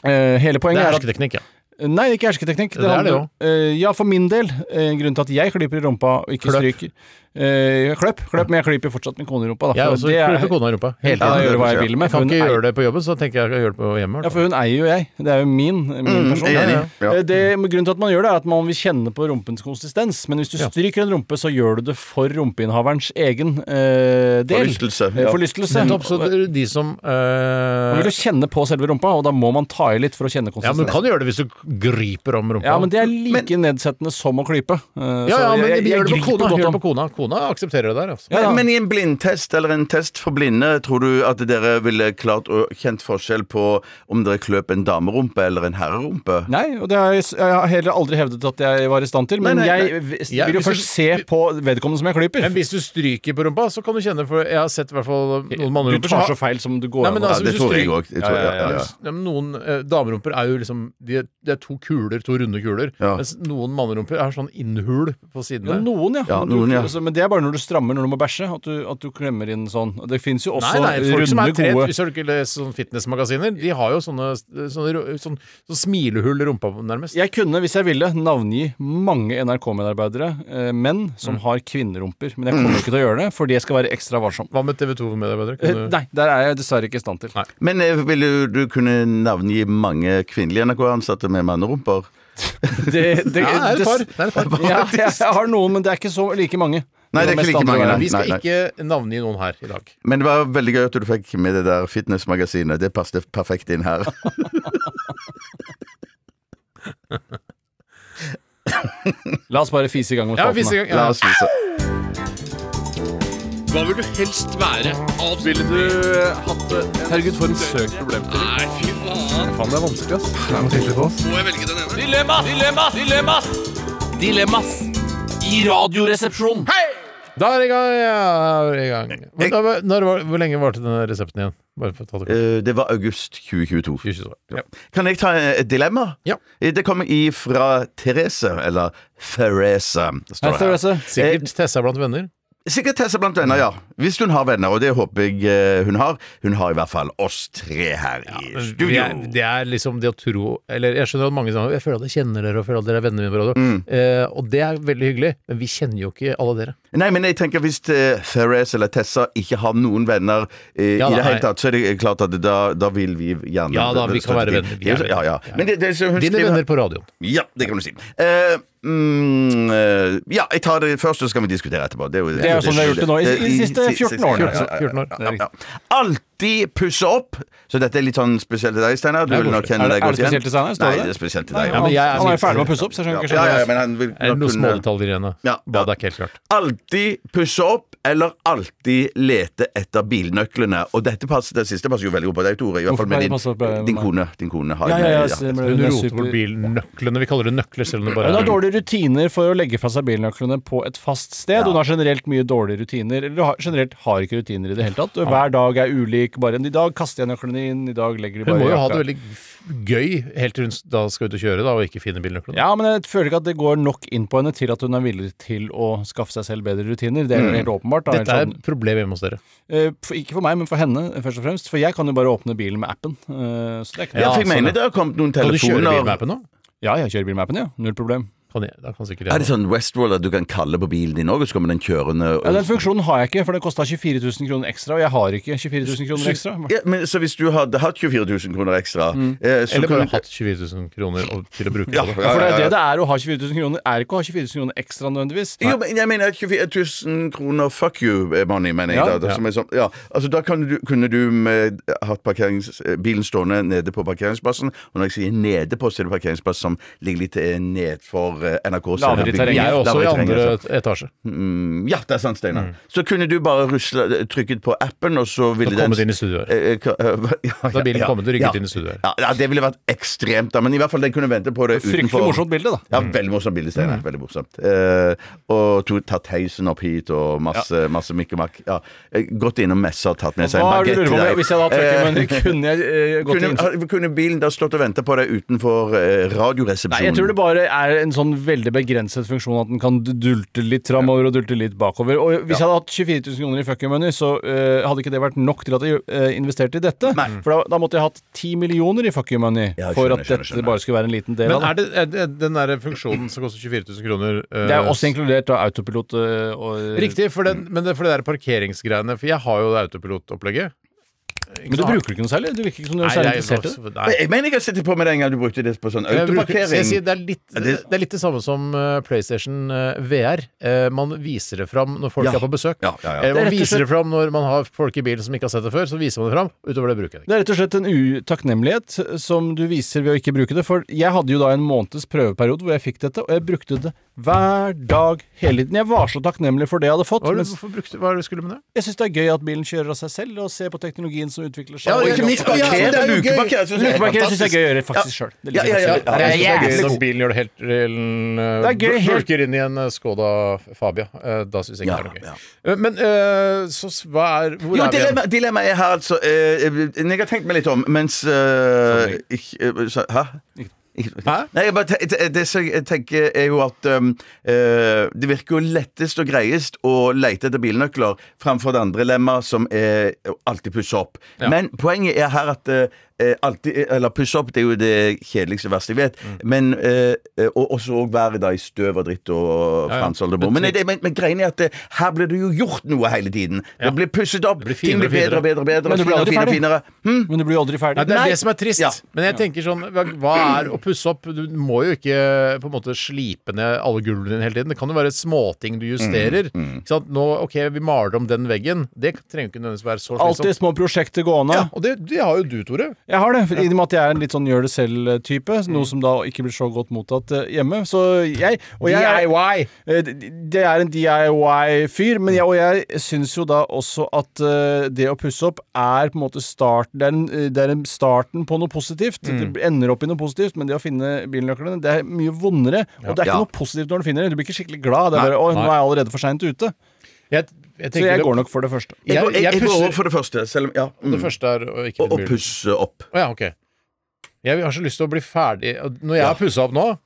Eh, hele Det poenget er er, at hersketeknikk, ja. Nei, det er ikke hersketeknikk. Det er det handler- eh, ja, for min del. eh, grunnen til at jeg klyper i rumpa og ikke Kløpp. stryker eh, Kløpp. kløpp, Men jeg klyper fortsatt min kone i rumpa. Da, Jeg for også det er- klyper kona i rumpa. Hele Ja, tiden. jeg gjør hva jeg Ja. vil med. Jeg For kan hun, ikke eier, gjøre det på jobben, så tenker jeg at jeg gjør det på hjemme. i hvert ja, fall. for hun eier jo jeg. Det er jo min, Mm, min person. jeg er enig. Ja. Eh, Det, men grunnen til at man gjør det, er at man vil kjenne på rumpens konsistens. Men hvis du Ja. stryker en rumpe, så gjør du det for rumpeinnehaverens egen eh, del. Forlystelse, Eh, ja. Forlystelse. Nettopp, så det er de som Man eh, vil jo kjenne på selve rumpa, og da må man ta i litt for å kjenne Ja, konsistensen. men du kan gjøre det hvis du griper om rumpa. Ja, men det er like nedsettende som å klype. Eh, ja, ja, så men gjør det på griper kona. godt Gjør om- det på kona. kona aksepterer det der, altså. Ja, ja. Men, men i en blindtest eller en test for blinde, tror du at dere ville klart og kjent forskjell på om dere kløp en damerumpe eller en herrerumpe? Nei, og det har jeg, s- jeg har heller aldri hevdet at jeg var i stand til, men Nei, nei, jeg v- s- Ja, vil jo hvis du- først se på vedkommende som jeg klyper. Men hvis du stryker på rumpa, så kan du kjenne For jeg har sett i hvert fall noen Du mannerumper som tar har- så feil som du går Nei, an men å altså, Ja, det hvis du tror jeg stryker- òg. Ja, ja, ja, Ja, men noen eh, damerumper er jo liksom de er, Det er to kuler, to runde kuler. Ja. Mens noen mannerumper er sånn innhul på Ja, sidene. noen, ja. Ja, Men du- noen, ja. altså, Men det er bare når du strammer når du må bæsje, at du, at du klemmer inn sånn. Og Det fins jo også Nei, nei, folk som runde, er trent gode Hvis du ikke leser sånne fitnessmagasiner, de har jo sånne, sånne, ro- sånn- sånn smilehull i rumpa, nærmest. Jeg kunne, hvis jeg ville, navngi mange NRK-medarbeidere, eh, menn, Mm. som har kvinnerumper. Men jeg kommer ikke til å gjøre det, fordi jeg skal være ekstra varsom. Hva med TV 2-medarbeidere? Eh, Kunne- Nei, der er jeg dessverre ikke i stand til. Men eh, ville du kunne navngi mange kvinnelige NRK-ansatte med mannerumper? Det, det, Ja, det er et par. Det er et par. Ja, jeg har noen, men det er ikke så like mange. Nei, det er ikke mest like andre mange, veien. Vi skal Nei, nei. ikke navngi noen her i dag. Men det var veldig gøy at du fikk med det der fitnessmagasinet. Det passet perfekt inn her. La oss bare fise i gang med Ja, spalten, hvis da. ikke, La ja. oss vise. Herregud, for en søk problem til. Da er det i gang. Ja, er det i gang. Men da, var- når, var- hvor lenge varte denne resepten igjen? Bare for å ta det kort. Eh, Det var august 2022. 22 år. Ja. Kan jeg ta eh, et dilemma? Eh, Ja. Det kommer ifra Therese, eller Therese. Hei, Står det her. Therese. Eh, Sikkert Tessa blant venner. Sikkert Therese blant venner, ja. Hvis hun har venner, og det håper jeg eh, hun har. Hun har i hvert fall oss tre her i studio. Det er, det er liksom det å tro Eller jeg skjønner at mange sier Jeg føler at jeg kjenner dere, og føler at dere er venner med hverandre. Mm. Eh, og det er veldig hyggelig, men vi kjenner jo ikke alle dere. Nei, men jeg tenker hvis eh, Therese eller Tessa ikke har noen venner eh, Ja, i da, det hele nei. tatt, så er det klart at da, da vil vi gjerne Ja, da, vi kan støtte være til. venner. Vi Det er er jo så- Ja, ja. venner. Men det, det, er så hun Dine skriver- venner på radioen. Ja, det kan du si. Eh, mm, eh, ja, jeg tar det først, så skal vi diskutere etterpå. Det er jo, er jo sånn vi har gjort det nå i- i de siste 14 årene. ja, ja, ja, 14 år. ja, ja. Alltid pusse opp. Så dette er litt sånn spesielt til deg, Steinar. Du Det er vil nok koselig. kjenne Er det- deg er godt det igjen. spesielt til Steinar? Står Nei, det? det er spesielt til Nei, deg. han, men jeg er han er sånn jo litt- ferdig med å pusse opp, så jeg skjønner Ja, ikke ja, ja, skjønner men han vil Er det nok noen kunne- smådetaljer igjen? da? Ja, ja. Badet er ikke helt klart. Alltid pusse opp eller alltid lete etter bilnøklene. Og dette passer, det siste passer jo veldig godt på deg, Tore. I hvert Hvorfor fall med pleier det å passe opp, eh, din, din meg? kone. Din kone har Ja, ja, ja, med- stemmer Hun det er roter super- bort bilnøklene. Vi kaller det nøkler, selv om det bare Hun har er dårlige rutiner for å legge fra seg bilnøklene på et fast sted. Hun har generelt mye dårlige rutiner, eller har, generelt har ikke rutiner i det hele tatt. Hver dag er ulik. Bare en i dag kaster jeg nøklene inn, i dag legger de Hun bare må i jo ha jakka. det veldig gøy helt til hun s- da skal ut og kjøre da, og ikke finne bilnøklene. Ja, men jeg føler ikke at det går nok inn på henne til at hun er villig til å skaffe seg selv bedre rutiner. Det er jo helt åpenbart. Da. Mm. Dette er Sånn, et problem hjemme hos dere. eh, for, ikke for meg, men for henne, eh, først og fremst. For jeg kan jo bare åpne bilen med appen. eh, så det er ikke Ja, for jeg sånn, mener det har kommet noen Kan du kjøre bil med telefoner appen nå? ja, jeg kjører bil med appen, ja. Null problem. Kan jeg, da kan sikkert Er det jeg. sånn Westworld at du kan kalle på bilen din òg, og så kommer den Ja, kjørende og den funksjonen har jeg ikke, for det kosta 24 000 kroner ekstra, og jeg har ikke 24 000 kroner ekstra. Mm. ja, men, Så hvis du hadde hatt 24 000 kroner ekstra eh, så Eller kan bare du- hatt 24 000 kroner og, til å bruke Ja, på ja, det. For det er ja, det ja. det er å ha 24 000 kroner, er ikke å ha 24 000 kroner ekstra nødvendigvis. Jo, men jeg mener 24 000 kroner fuck you eh, money, mener jeg. Ja, da, da, som er sånn, ja. altså, da kan du, kunne du med, hatt parkerings, eh, bilen stående nede på parkeringsplassen. Og når jeg sier nede på, så er det parkeringsplass som ligger litt eh, nedfor eh, NRK. så Lavere i det er bygd- terrenget. Jeg er jo også Lavere i andre terrenget, etasje. altså. Ja, det er sant, Steinar. Mm. Så kunne du bare rusle, eh, trykket på appen, og så ville Så den kommet inn i studio her. Eh, eh, ka- eh, hva- ja, Da bilen ja, kommet og rygget ja. inn i studio her. Ja, ja, det ville vært ekstremt, da. Men i hvert fall den kunne vente på det Fryktelig utenfor. morsomt bilde, da. Ja, veldig morsomt bilde, Mm. Steinar. Veldig morsomt. Eh, og to, tatt heisen opp hit, og masse, masse mikk og makk. Ja. eh, Gått innom messa og tatt med seg en Hva er det bagett du lurer på? Hvis jeg hadde hatt 40 minutter, kunne jeg eh, gått kunne, inn ha- kunne bilen da stått og venta på deg utenfor eh, radioresepsjonen? Nei, jeg tror det bare er en sånn veldig begrenset funksjon at den kan dulte litt framover og dulte litt bakover. Og hvis jeg hadde hatt 24 000 kroner i fuck you money, så eh, hadde ikke det vært nok til at jeg eh, investerte i dette. Nei. For da, da måtte jeg hatt 10 millioner i fuck you money Ja, for skjønner, at skjønner, dette skjønner. bare skulle være en liten del Men av er det. det, er det den der funksjonen som koster 24 000 kroner eh, Det er jo også inkludert av autopilot eh, og Riktig, for, den, men det, for det der parkeringsgreiene For jeg har jo det autopilotopplegget. Men du bruker det ikke noe særlig? Du virker ikke som du er Nei, særlig jeg- interessert i det. nei. Nei, Jeg mener jeg har sett det på med deg en gang du brukte det på sånn Jeg bruker- så autoparkering. jeg sier det, er litt, Ja, det det- er litt det samme som eh, PlayStation eh, VR. Eh, Man viser det fram når folk Ja. er på besøk. Ja, ja, ja. Eller Det er man rett og viser det slett- fram når man har folk i bilen som ikke har sett det før. Så viser man det fram. Utover det bruker jeg det ikke. Det er rett og slett en utakknemlighet som du viser ved å ikke bruke det. For jeg hadde jo da en måneds prøveperiode hvor jeg fikk dette, og jeg brukte det hver dag hele tiden. Jeg var så takknemlig for det jeg hadde fått. Hva, er det- mens hvorfor brukte, hva er det du skulle med det? jeg syns det er gøy at bilen kjører av seg selv, og ser på teknologien som utvikler seg. Ja, og ikke minst parkere, det er jo gøy. lukeparkere. synes jeg er Lukeparkere syns jeg er gøy å gjøre faktisk fantastisk. sjøl. Ja, ja, ja, ja. Det er Jeg synes det er jævlig gøy. god. Bilen gjør det helt reellen, Det er gøy, helt- Bulker inn i en eh, Skoda Fabia. Eh, Da syns jeg ikke Ja, det er noe ja. gøy. Eh, Men eh, så s- hva er Hvor Jo, er vi dilemma, igjen? dilemmaet er her altså eh, eh, Jeg har tenkt meg litt om mens eh, ikk- eh, så- Hæ? Hæ? Nei, jeg bare te te- det som jeg tenker er jo at um, eh, det virker jo lettest og greiest å lete etter bilnøkler framfor det andre lemma som er alltid pusse opp. Men poenget er her at eh, eh, alltid, eller pusse opp det er jo det kjedeligste verste jeg vet, men eh, eh, og også å være da i støv og dritt og ja. fransolderbom. Men, det- men, men greien er at det, her blir det jo gjort noe hele tiden. Det blir pusset opp, blir ting finere blir bedre og og bedre og bedre, Men du blir og aldri finere og ferdig. finere. Hm? Men du blir jo aldri Nei, ferdig. det er Nei. det som er trist. Ja. Men jeg tenker sånn hva- Hva er å pusse opp? Du må jo ikke på en måte slipe ned alle gulvene dine hele tiden. Det kan jo være småting du justerer. Ikke sant? Nå, OK, vi maler om den veggen. Det trenger jo ikke nødvendigvis være så Alltid slitsomt. små prosjekter gående. Ja, og det, det har jo du, Tore. Jeg har det, for i og med at jeg er en litt sånn gjør det selv-type, Mm. noe som da ikke blir så godt mottatt eh, hjemme. Så jeg og jeg, DIY. Eh, d- Det er en DIY-fyr, men jeg, og jeg syns jo da også at eh, det å pusse opp er på en måte starten Det er, en, eh, det er en starten på noe positivt. Det ender opp i noe positivt, men det å finne bilnøklene, det er mye vondere. Og det er ikke Ja. noe positivt når du finner det. Du blir ikke skikkelig glad. Det er bare 'Å, nå nei. er jeg allerede for seint ute'. Jeg, jeg Så tenker jeg det- går nok for det første. Jeg, går- jeg, jeg, går pusser- over for det første, selv om ja, Det mm. første er å ikke Og, og finne bilen. pusse opp. Å ja, ok. Jeg har så lyst til å bli ferdig Når jeg har pussa opp nå,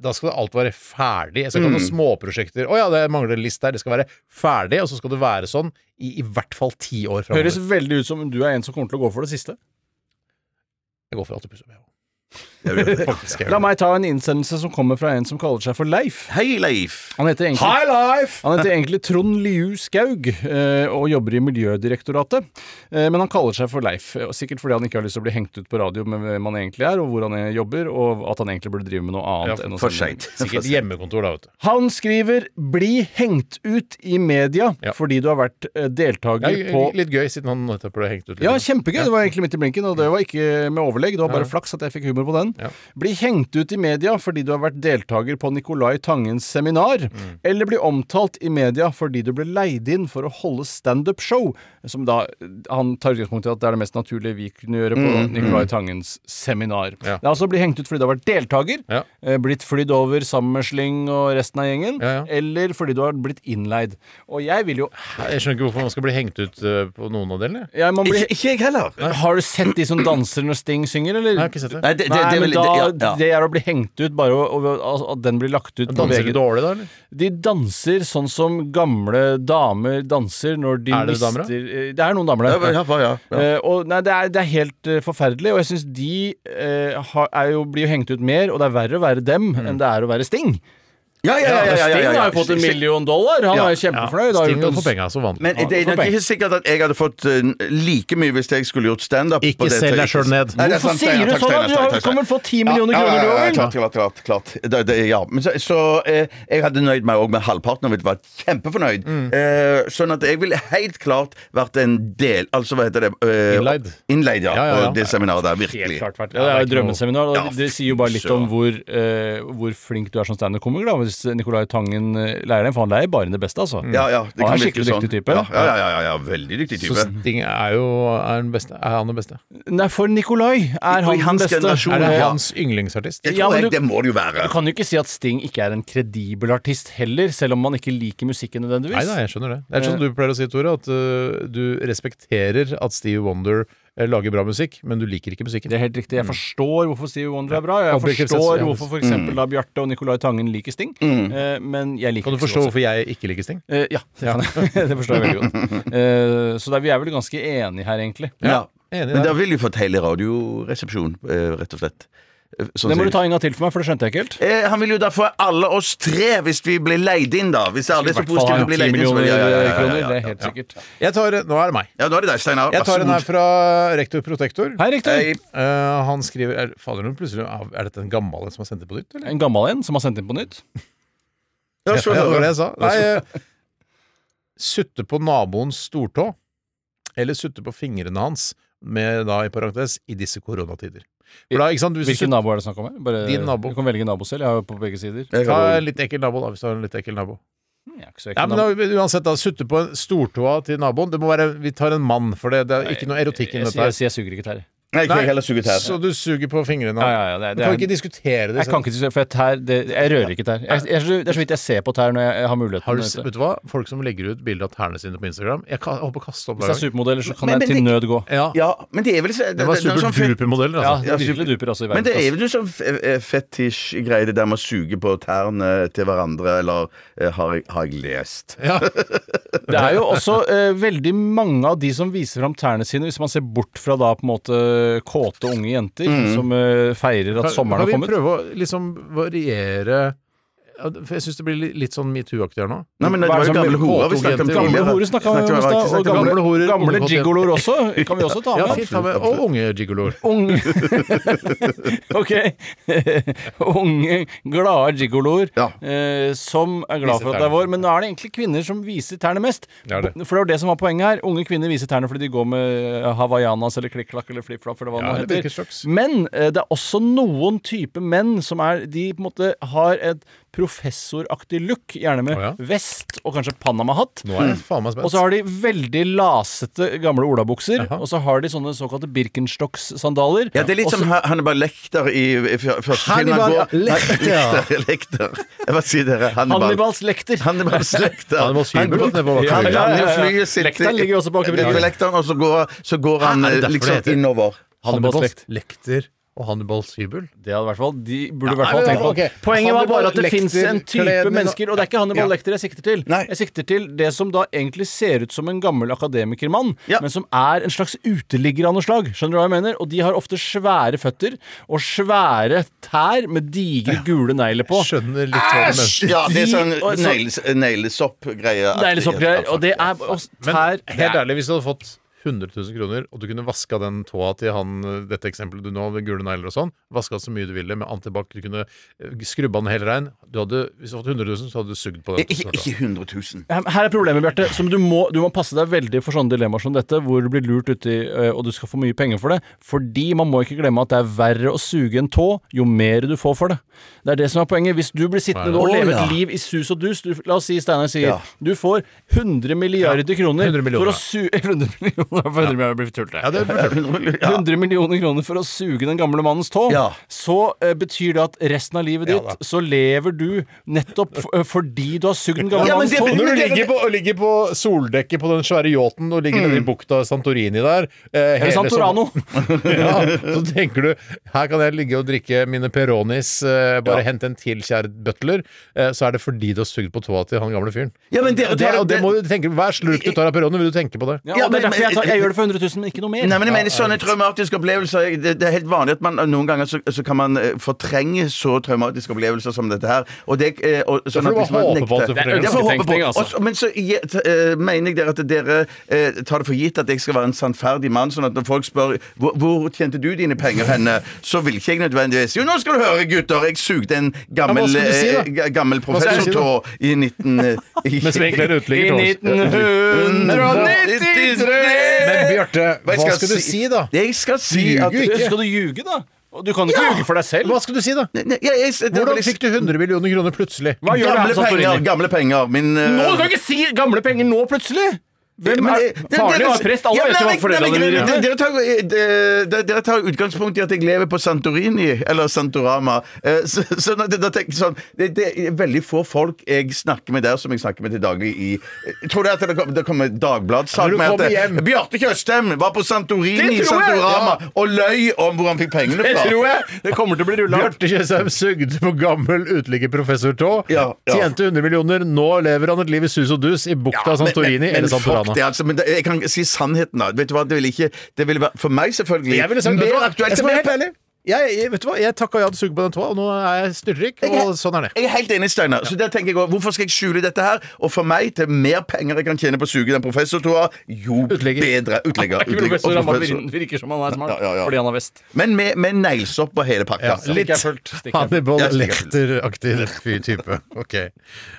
da skal alt være ferdig. Jeg skal ikke ha noen småprosjekter. Å ja, det mangler en list der. Det skal være ferdig, og så skal det være sånn i i hvert fall ti år framover. Høres veldig ut som du er en som kommer til å gå for det siste. Jeg går for alt å pusse opp, jeg òg. La meg ta en innsendelse som kommer fra en som kaller seg for Leif. Hei, Leif! Han heter egentlig High life! Han heter egentlig Trond Liu Skaug eh, og jobber i Miljødirektoratet. Eh, Men han kaller seg for Leif, eh, og sikkert fordi han ikke har lyst til å bli hengt ut på radio med hvem han egentlig er, og hvor han eh, jobber, og at han egentlig burde drive med noe annet. enn å For sende- seint. Sikkert hjemmekontor, da, vet du. Han skriver 'bli hengt ut i media' Ja. fordi du har vært eh, Det deltaker er på jo litt gøy, siden han nettopp ble hengt ut. litt. ja, kjempegøy. Det var egentlig midt i blinken, og det var ikke med overlegg. Det var bare flaks at jeg fikk humor på den. Ja. Bli hengt ut i media fordi du har vært deltaker på Nicolai Tangens seminar, Mm. eller bli omtalt i media fordi du ble leid inn for å holde standup-show, som da han tar utgangspunkt i at det er det mest naturlige vi kunne gjøre på Nicolai Tangens seminar. Mm, Ja. Det er altså bli hengt ut fordi du har vært deltaker, Ja. eh, blitt flydd over sammen med Sling og resten av gjengen, Ja, ja. eller fordi du har blitt innleid. Og jeg vil jo Jeg skjønner ikke hvorfor man skal bli hengt ut eh, på noen av delene. jeg må bli Ikke, ikke jeg heller. har du sett de som danser når Sting synger, eller? Jeg har ikke sett det. Nei, det, det, Nei, det, er men vel- da, det, ja, ja. det er å bli hengt ut, bare å- å- å- at den blir lagt ut. på Danser VG. du dårlig da, eller? De danser sånn som gamle damer danser når de Er det mister damer, da? eh, Det er noen damer der. Ja, ja, ja, ja. Eh, og, nei, det, er, det er helt eh, forferdelig, og jeg syns de eh, har, er jo, blir jo hengt ut mer, og det er verre å være dem Mm. enn det er å være Sting. Ja, ja, ja, ja, ja, ja, Sting ja. har jo fått en million dollar, han Ja. er jo kjempefornøyd. har Sting gjort en for penga, så vant. Men det er nok ikke sikkert at jeg hadde fått eh, like mye hvis jeg skulle gjort standup. Ikke på det selg deg tøyet. selv ned. Nei, det er Hvorfor sant, Steinar. sier du Takk, sånn? da? Steinar. Du Takk, har takk, kommer Steinar. til å få ti millioner Ja, kroner, ja, du ja, ja, òg, vel? Klart, klart, klart, klart. Det, det, ja. Men så, så eh, jeg hadde nøyd meg òg med halvparten og ville vært kjempefornøyd. Eh, sånn at jeg ville helt klart vært en del Altså, hva heter det? Eh, Innleid. Innleid, ja. Ja, ja, ja. Og det seminaret der, virkelig. vært Ja, det er jo et drømmeseminar. og Ja, det- det sier jo bare litt om hvor, eh, hvor flink du er som standup-komiker. da, Hvis Nicolai Tangen eh, lærer deg, for han lærer bare inn det beste, altså. Ja, ja, det han er kan en virke skikkelig sånn. dyktig type. Ja, ja, ja, ja, ja, veldig dyktig Så type. Sting er jo er den beste. Er han den beste? Nei, for Nicolai er han Og i den hans beste. generasjon, Er det Ja. hans yndlingsartist? Jeg Ja, tror men jeg, du- det må det jo være. Du kan jo ikke si at Sting ikke er en kredibel artist heller, selv om man ikke liker musikken Nei nødvendigvis. da, jeg skjønner det. Det er sånn du pleier å si, Tore, at øh, du respekterer at Steve Wonder eh, lager bra musikk, men du liker ikke musikken. Mm. Det er helt riktig. Jeg forstår hvorfor Steve Wonder er bra. Jeg Objektivt sett, forstår ja. hvorfor f.eks. Mm. da Bjarte og Nicolai Tangen liker Sting, eh, men jeg liker Kan du ikke så forstå godt hvorfor jeg ikke liker Sting? Eh, ja, det, kan jeg. det forstår jeg veldig godt. Eh, så det er, vi er vel ganske enige her, egentlig. Ja. Enig Men der. da ville vi fått hele radioresepsjonen, eh, rett og slett. Eh, Sånn Det må som- du ta en gang til for meg, for det skjønte jeg ikke helt. Eh, han vil jo da få alle oss tre hvis vi blir leid inn, da. Hvis alle er så positive til å bli leid inn. så- Ja, ja, ja, ja, ja, ja, det ja. er helt sikkert. Jeg tar, eh, nå er det meg. Ja, nå er det deg, Steinar. Vær Jeg så tar en her god. fra rektor Protektor. Hei, Rektor. Hei. Eh, han skriver er, Fader, nå plutselig Er er dette en gammel en som har sendt det på nytt, eller? En gammel en som har sendt inn på nytt. Ja, Ja, så- det var det jeg sa. Nei, eh, sutte på naboens stortå, eller sutte på fingrene hans, med da i parentes, i disse koronatider. For da, ikke sant, hvis du Hvilken sutter, nabo er det snakk om her? Bare, Din nabo. Du kan velge nabo selv. Jeg har jo på begge sider. Jeg ta kan- en litt ekkel nabo, da, hvis du har en litt ekkel nabo. Jeg er ikke så ekkel Ja, men da, nabo. uansett, da, sutte på en stortåa til naboen. Det må være, Vi tar en mann, for det, det er ikke noe erotikk i jeg, dette. sier- jeg, her sier jeg suger ikke tær. Nei, ikke jeg heller suger tær. Så du suger på fingrene? Ja, ja, ja, det- du det kan er- ikke diskutere det. Jeg kan selv. ikke diskutere, for tær det, Jeg rører ikke tær. Jeg, jeg, det er så vidt jeg ser på tær når jeg har muligheten. Har du, vet se- du. vet du hva? Folk som legger ut bilde av tærne sine på Instagram Jeg, kan, jeg håper å kaste opp Hvis det hver er gang. supermodeller, så kan Men- men jeg til det- nød gå. Ja. Ja, men det er vel det- Det var det- det er sånn fet- superdupermodeller, Ja, altså. det er virkelig duper også i Men det er verden. altså. vel noe sånn fe- fetisj-greie, det der med å suge på tærne til hverandre, eller eh, har, jeg- har jeg lest? Ja. Det er jo også eh, veldig mange av de som viser fram tærne sine, hvis man ser bort fra da på en måte kåte unge jenter som eh, feirer Mm. at Kan, sommeren har kan vi kommet. prøve å liksom variere Ja, det- For jeg syns det blir litt, litt sånn metoo-aktig her nå. Nei, men det Hva var er det jo som gamle gamle horer vi snakket om kåte Gamle tidligere. horer snakka vi om i Snakket stad, og snakket om- gamle, horer, gamle ungekåte gigoloer også kan vi også ta Ja, med. fint, ta med. Og unge gigoloer. Unge Ok. Unge, glade gigoloer Ja. eh, som er glad Viser for at det er tærne. vår. Men nå er det egentlig kvinner som viser tærne mest. Ja, det. For det var det som var poenget her. Unge kvinner viser tærne fordi de går med eh, hawaiianas eller klikk-klakk eller flip-flop eller hva Ja, det nå eller hvilken heter. slags. Men eh, det er også noen type menn som er De på en måte har et professoraktig look, gjerne med Å, ja. vest og kanskje Panama-hatt. Nå er jeg faen meg Og spent. så har de veldig lasete gamle olabukser. Jaha. Og så har de sånne såkalte Birkenstocks-sandaler. Ja, det er litt Også- som Ha- Hannibal Lekter i i f- første film. Hannibal går- Lecter. Nei, Lekter. Lekter. Jeg bare sier dere Hannibal. Hannibals lekter. Hannibals Lekter. Hannibals hybrid, det var Han akkurat. lander i flyet sitt Lekteren ligger også bak i brygga. ved lekteren, og så går, så går han Hæ, er det derfor eh, det liksom heter? innover. Hannibals Hannibals lekt. lekter og Hannibals hybel. Det hadde i hvert fall, de burde i Ja, hvert fall nei, tenkt på. ok. Poenget var bare at det Hannibal fins en lekter, type kledning, mennesker, og det er ikke Hannibal Ja. Lekter jeg sikter til. Nei. Jeg sikter til det som da egentlig ser ut som en gammel akademikermann, Ja. men som er en slags uteligger av noe slag. Skjønner du hva jeg mener? Og de har ofte svære føtter og svære tær med digre gule negler på. Skjønner litt hva du mener. Ja, det er sånn De- og så- negles- neglesopp-greie. Neglesoppgreier. Og det er og tær Men helt ærlig, hvis du hadde fått 100 000 kroner, og du kunne vaska den tåa til han eh, dette eksempelet du nå, med gule negler og sånn, vaska så mye du ville med antibac, du kunne eh, skrubba den helt rein Du hadde, Hvis du hadde fått 100 000, så hadde du sugd på den. Ikke, ikke 100 000. Her er problemet, Bjarte. Som du, må, du må passe deg veldig for sånne dilemmaer som dette, hvor du blir lurt uti eh, og du skal få mye penger for det. Fordi man må ikke glemme at det er verre å suge en tå jo mer du får for det. Det er det som er poenget. Hvis du blir sittende nå og leve et liv i sus og dus du, La oss si Steinar sier du får 100 milliarder kroner 100 millioner. for å su... 100 millioner for 100 millioner blir for tullete. Ja, det er fortell. 100 millioner kroner for å suge den gamle mannens tå, Ja. så eh, betyr det at resten av livet ditt så lever du nettopp f eh, fordi du har sugd den gamle Ja, men mannens det- tå. Og Når du det- ligger på, og ligger på soldekket på den svære yachten og ligger nede i bukta Santorini der eh, hele Eller Santorano. sommer- ja, Så tenker du her kan jeg ligge og drikke mine Peronis, eh, bare hente en til, kjære butler. Eh, så er det fordi du har sugd på tåa til han gamle fyren. Ja, men dere Og det, tar- og det må du tenke Hver slurk du tar av Peroni, vil du tenke på det. Ja, Ja, og det er men- derfor jeg, tar, men- jeg gjør det for 100 000, men ikke noe mer. Nei, men jeg mener sånne traumatiske opplevelser jeg- det, det er helt vanlig at man noen ganger så, så kan man eh, fortrenge så traumatiske opplevelelser som dette her. Og det, eh, og, får sånn at du hvis bare man håpe på at du nekter- fortrenger. Jeg får håpe Ønsketenkning, på. altså. Og så- men så je- t- eh, mener jeg dere at dere eh, tar det for gitt at jeg skal være en sannferdig mann, sånn at når folk spør hvor, hvor tjente du dine penger henne, så vil ikke jeg nødvendigvis Jo, nå skal du høre, gutter, jeg sugde en gammel, hva skal du si, da? eh, ga- gammel Hva skal du si, da? professortå i 19... eh, i- Med sprenklere I uteligger Trolls. 1993! Men Bjarte, hva skal, du si, da? Jeg skal si at Ljuger ikke. Skal du ljuge, da? Og Du kan ikke ljuge for deg selv. Hva skal du si, da? Nei, jeg, jeg, det, liksom- Hvordan fikk du 100 millioner kroner plutselig? Hva gjør du her, Gamle penger, Santorini? gamle penger. Min eh, Nå du kan ikke si gamle penger nå, plutselig! Hvem men er det- det- Farlig det- å være prest. Alle Ja, vet jo nei, hva men- foreldrene nei, men dine dere- gjør. Dere tar, eh, de- de- dere tar utgangspunkt i at jeg lever på Santorini, eller Santorama. Eh, Så, så når det- da tenker jeg sånn, det, det er veldig få folk jeg snakker med der som jeg snakker med til daglig i Eh, Tror du at det kom- det kommer Når Dagbladssak du med at kommer eh, hjem. Bjarte Tjøstheim var på Santorini, Det tror jeg, Santorama, og løy om hvor han fikk pengene Det fra? tror jeg. Det kommer til å bli rulla. Bjarte Tjøstheim sugde på gammel uteliggerprofessor Tå. Ja, ja. Tjente 100 millioner. Nå lever han et liv i sus og dus i bukta Men- Santorini men, men, eller Santorana. Fuck det, altså. Men det, jeg kan si sannheten, da. Vet du hva, det ville ikke Det ville vært for meg, selvfølgelig, Jeg ville sagt, vet du mer hva, jeg aktuelt. skal være helt ærlig. Jeg, jeg, vet du hva? jeg takka ja til å suge på den tåa, og nå er jeg styrtrik, og sånn er det. Jeg er helt enig, Steinar. Så der tenker jeg også, Hvorfor skal jeg skjule dette her? Og for meg, til mer penger jeg kan tjene på å suge den professortoa, jo Utlegger. bedre. Ikke Utlegger. utlegger professor, og han bare professor. virker- virker som han er smart Ja, ja, ja. fordi han har vest. Men med, med neglesopp og hele pakka. Ja, litt jeg fullt, stikker jeg fullt. Hannibal Ja, stikker jeg fullt. Lecter-aktig fyr type. Ok. Eh,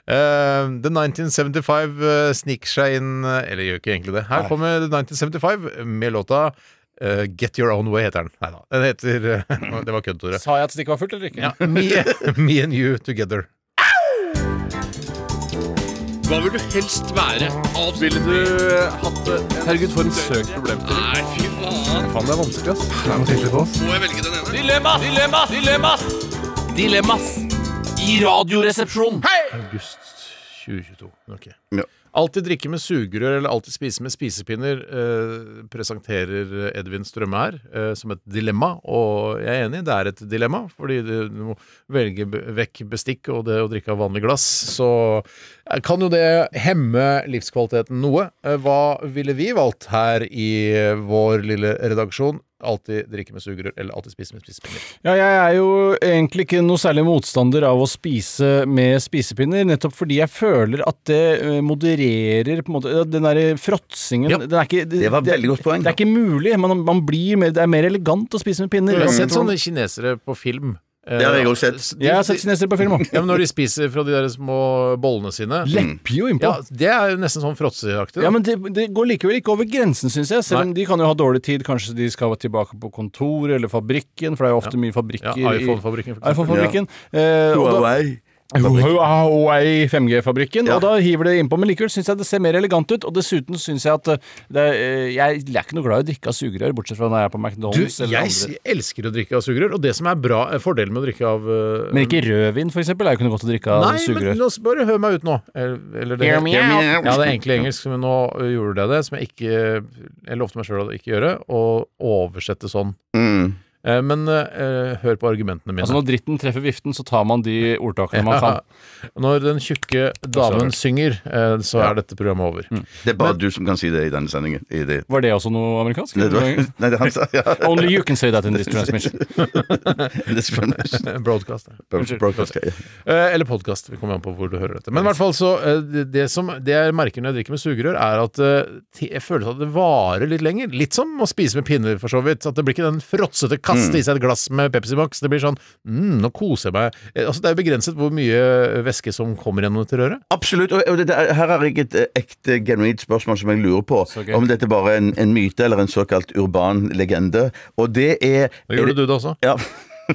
The 1975 eh, sniker seg inn eh, Eller gjør ikke egentlig det. Her kommer The 1975 med låta eh, Get Your Own Way, heter den. Nei da. Den heter eh, Det var kødd, Tore. Sa jeg at stikket var fullt, eller ikke? Ja, me, me and you together. eh, Hva vil du helst være? Ville du hatt det? Herregud, for en søk problemstilling. Nei, fy Faen, det er vanskelig, ass. Dilemmas! Dilemmas! Dilemmas! Dilemmas i Radioresepsjonen. August 2022. Ok. Ja. Alltid drikke med sugerør eller alltid spise med spisepinner, eh, presenterer Edvin Strømme her eh, som et dilemma. Og jeg er enig, det er et dilemma, fordi du, du må velge be- vekk bestikk og det å drikke av vanlig glass. Så eh, kan jo det hemme livskvaliteten noe. Eh, hva ville vi valgt her i eh, vår lille redaksjon? Alltid drikke med sugerør eller alltid spise med spisepinner. Ja, jeg er jo egentlig ikke noe særlig motstander av å spise med spisepinner, nettopp fordi jeg føler at det eh, modererer på en måte ja, Den derre fråtsingen Ja, den er ikke, det var veldig godt poeng. Det er ikke mulig. Man, man blir mer, det er mer elegant å spise med pinner. Jeg har Jeg sett tror- sånne kinesere på film. eh, Det har jeg òg sett. Jeg har sett kinesere på film òg. Ja, men Når de spiser fra de der små bollene sine Lepper jo innpå. Mm. Ja, Det er jo nesten sånn fråtseaktig. da. Ja, men det, det går likevel ikke over grensen, syns jeg. Selv om Nei. de kan jo ha dårlig tid. Kanskje de skal tilbake på kontoret eller fabrikken, for det er jo ofte mye fabrikker. Ja, i- iPhone-fabrikken, for eksempel. iPhone-fabrikken. Eh, og da- Huawei. Huawei 5G-fabrikken. Ja. Og da hiver det innpå, men likevel syns jeg det ser mer elegant ut. Og dessuten syns jeg at eh, det, er, eh, jeg, jeg er ikke noe glad i å drikke av sugerør, bortsett fra når jeg er på Du, McDonald's eller jeg s- andre. elsker å drikke av sugerør, og det som er bra, eh, fordelen med å drikke av eh, Men ikke rødvin, for eksempel, er jo ikke noe godt å drikke av Nei, men sugerør. la oss bare høre meg ut nå. Eller, eller det, Hear me out. Ja, det er egentlig engelsk, men nå eh, gjorde jeg det, som jeg ikke Jeg lovte meg sjøl å ikke gjøre, å oversette sånn. Mm. Eh, Men eh, hør på argumentene mine. Altså Når dritten treffer viften, så tar man de ordtakene man kan. Når den tjukke damen synger, eh, så er dette programmet over. Mm. Det er bare du som kan si det i denne sendingen. I det. Var det også noe amerikansk? Nei, det var, nei, det er han sa ja. Only you can say that in this transmission. Det er spennende. Broadcast. ja. Broadcast, ja. Eh, Eller podkast. Vi kommer an på hvor du hører dette. Men i hvert fall så eh, Det, det som det jeg merker når jeg drikker med sugerør, er at eh, te- jeg føler at det varer litt lenger. Litt som å spise med pinner, for så vidt. At det blir ikke den fråtsete kaste Mm. i seg et glass med Pepsi Max. Det blir sånn mm, nå koser jeg meg. Eh, Altså, det er jo begrenset hvor mye væske som kommer gjennom dette røret. Absolutt. Og og det, det er, her har jeg et eh, ekte, genuint spørsmål som jeg lurer på. gøy. Om dette bare er en, en myte eller en såkalt urban legende. Og det er Da gjorde du det også. Ja.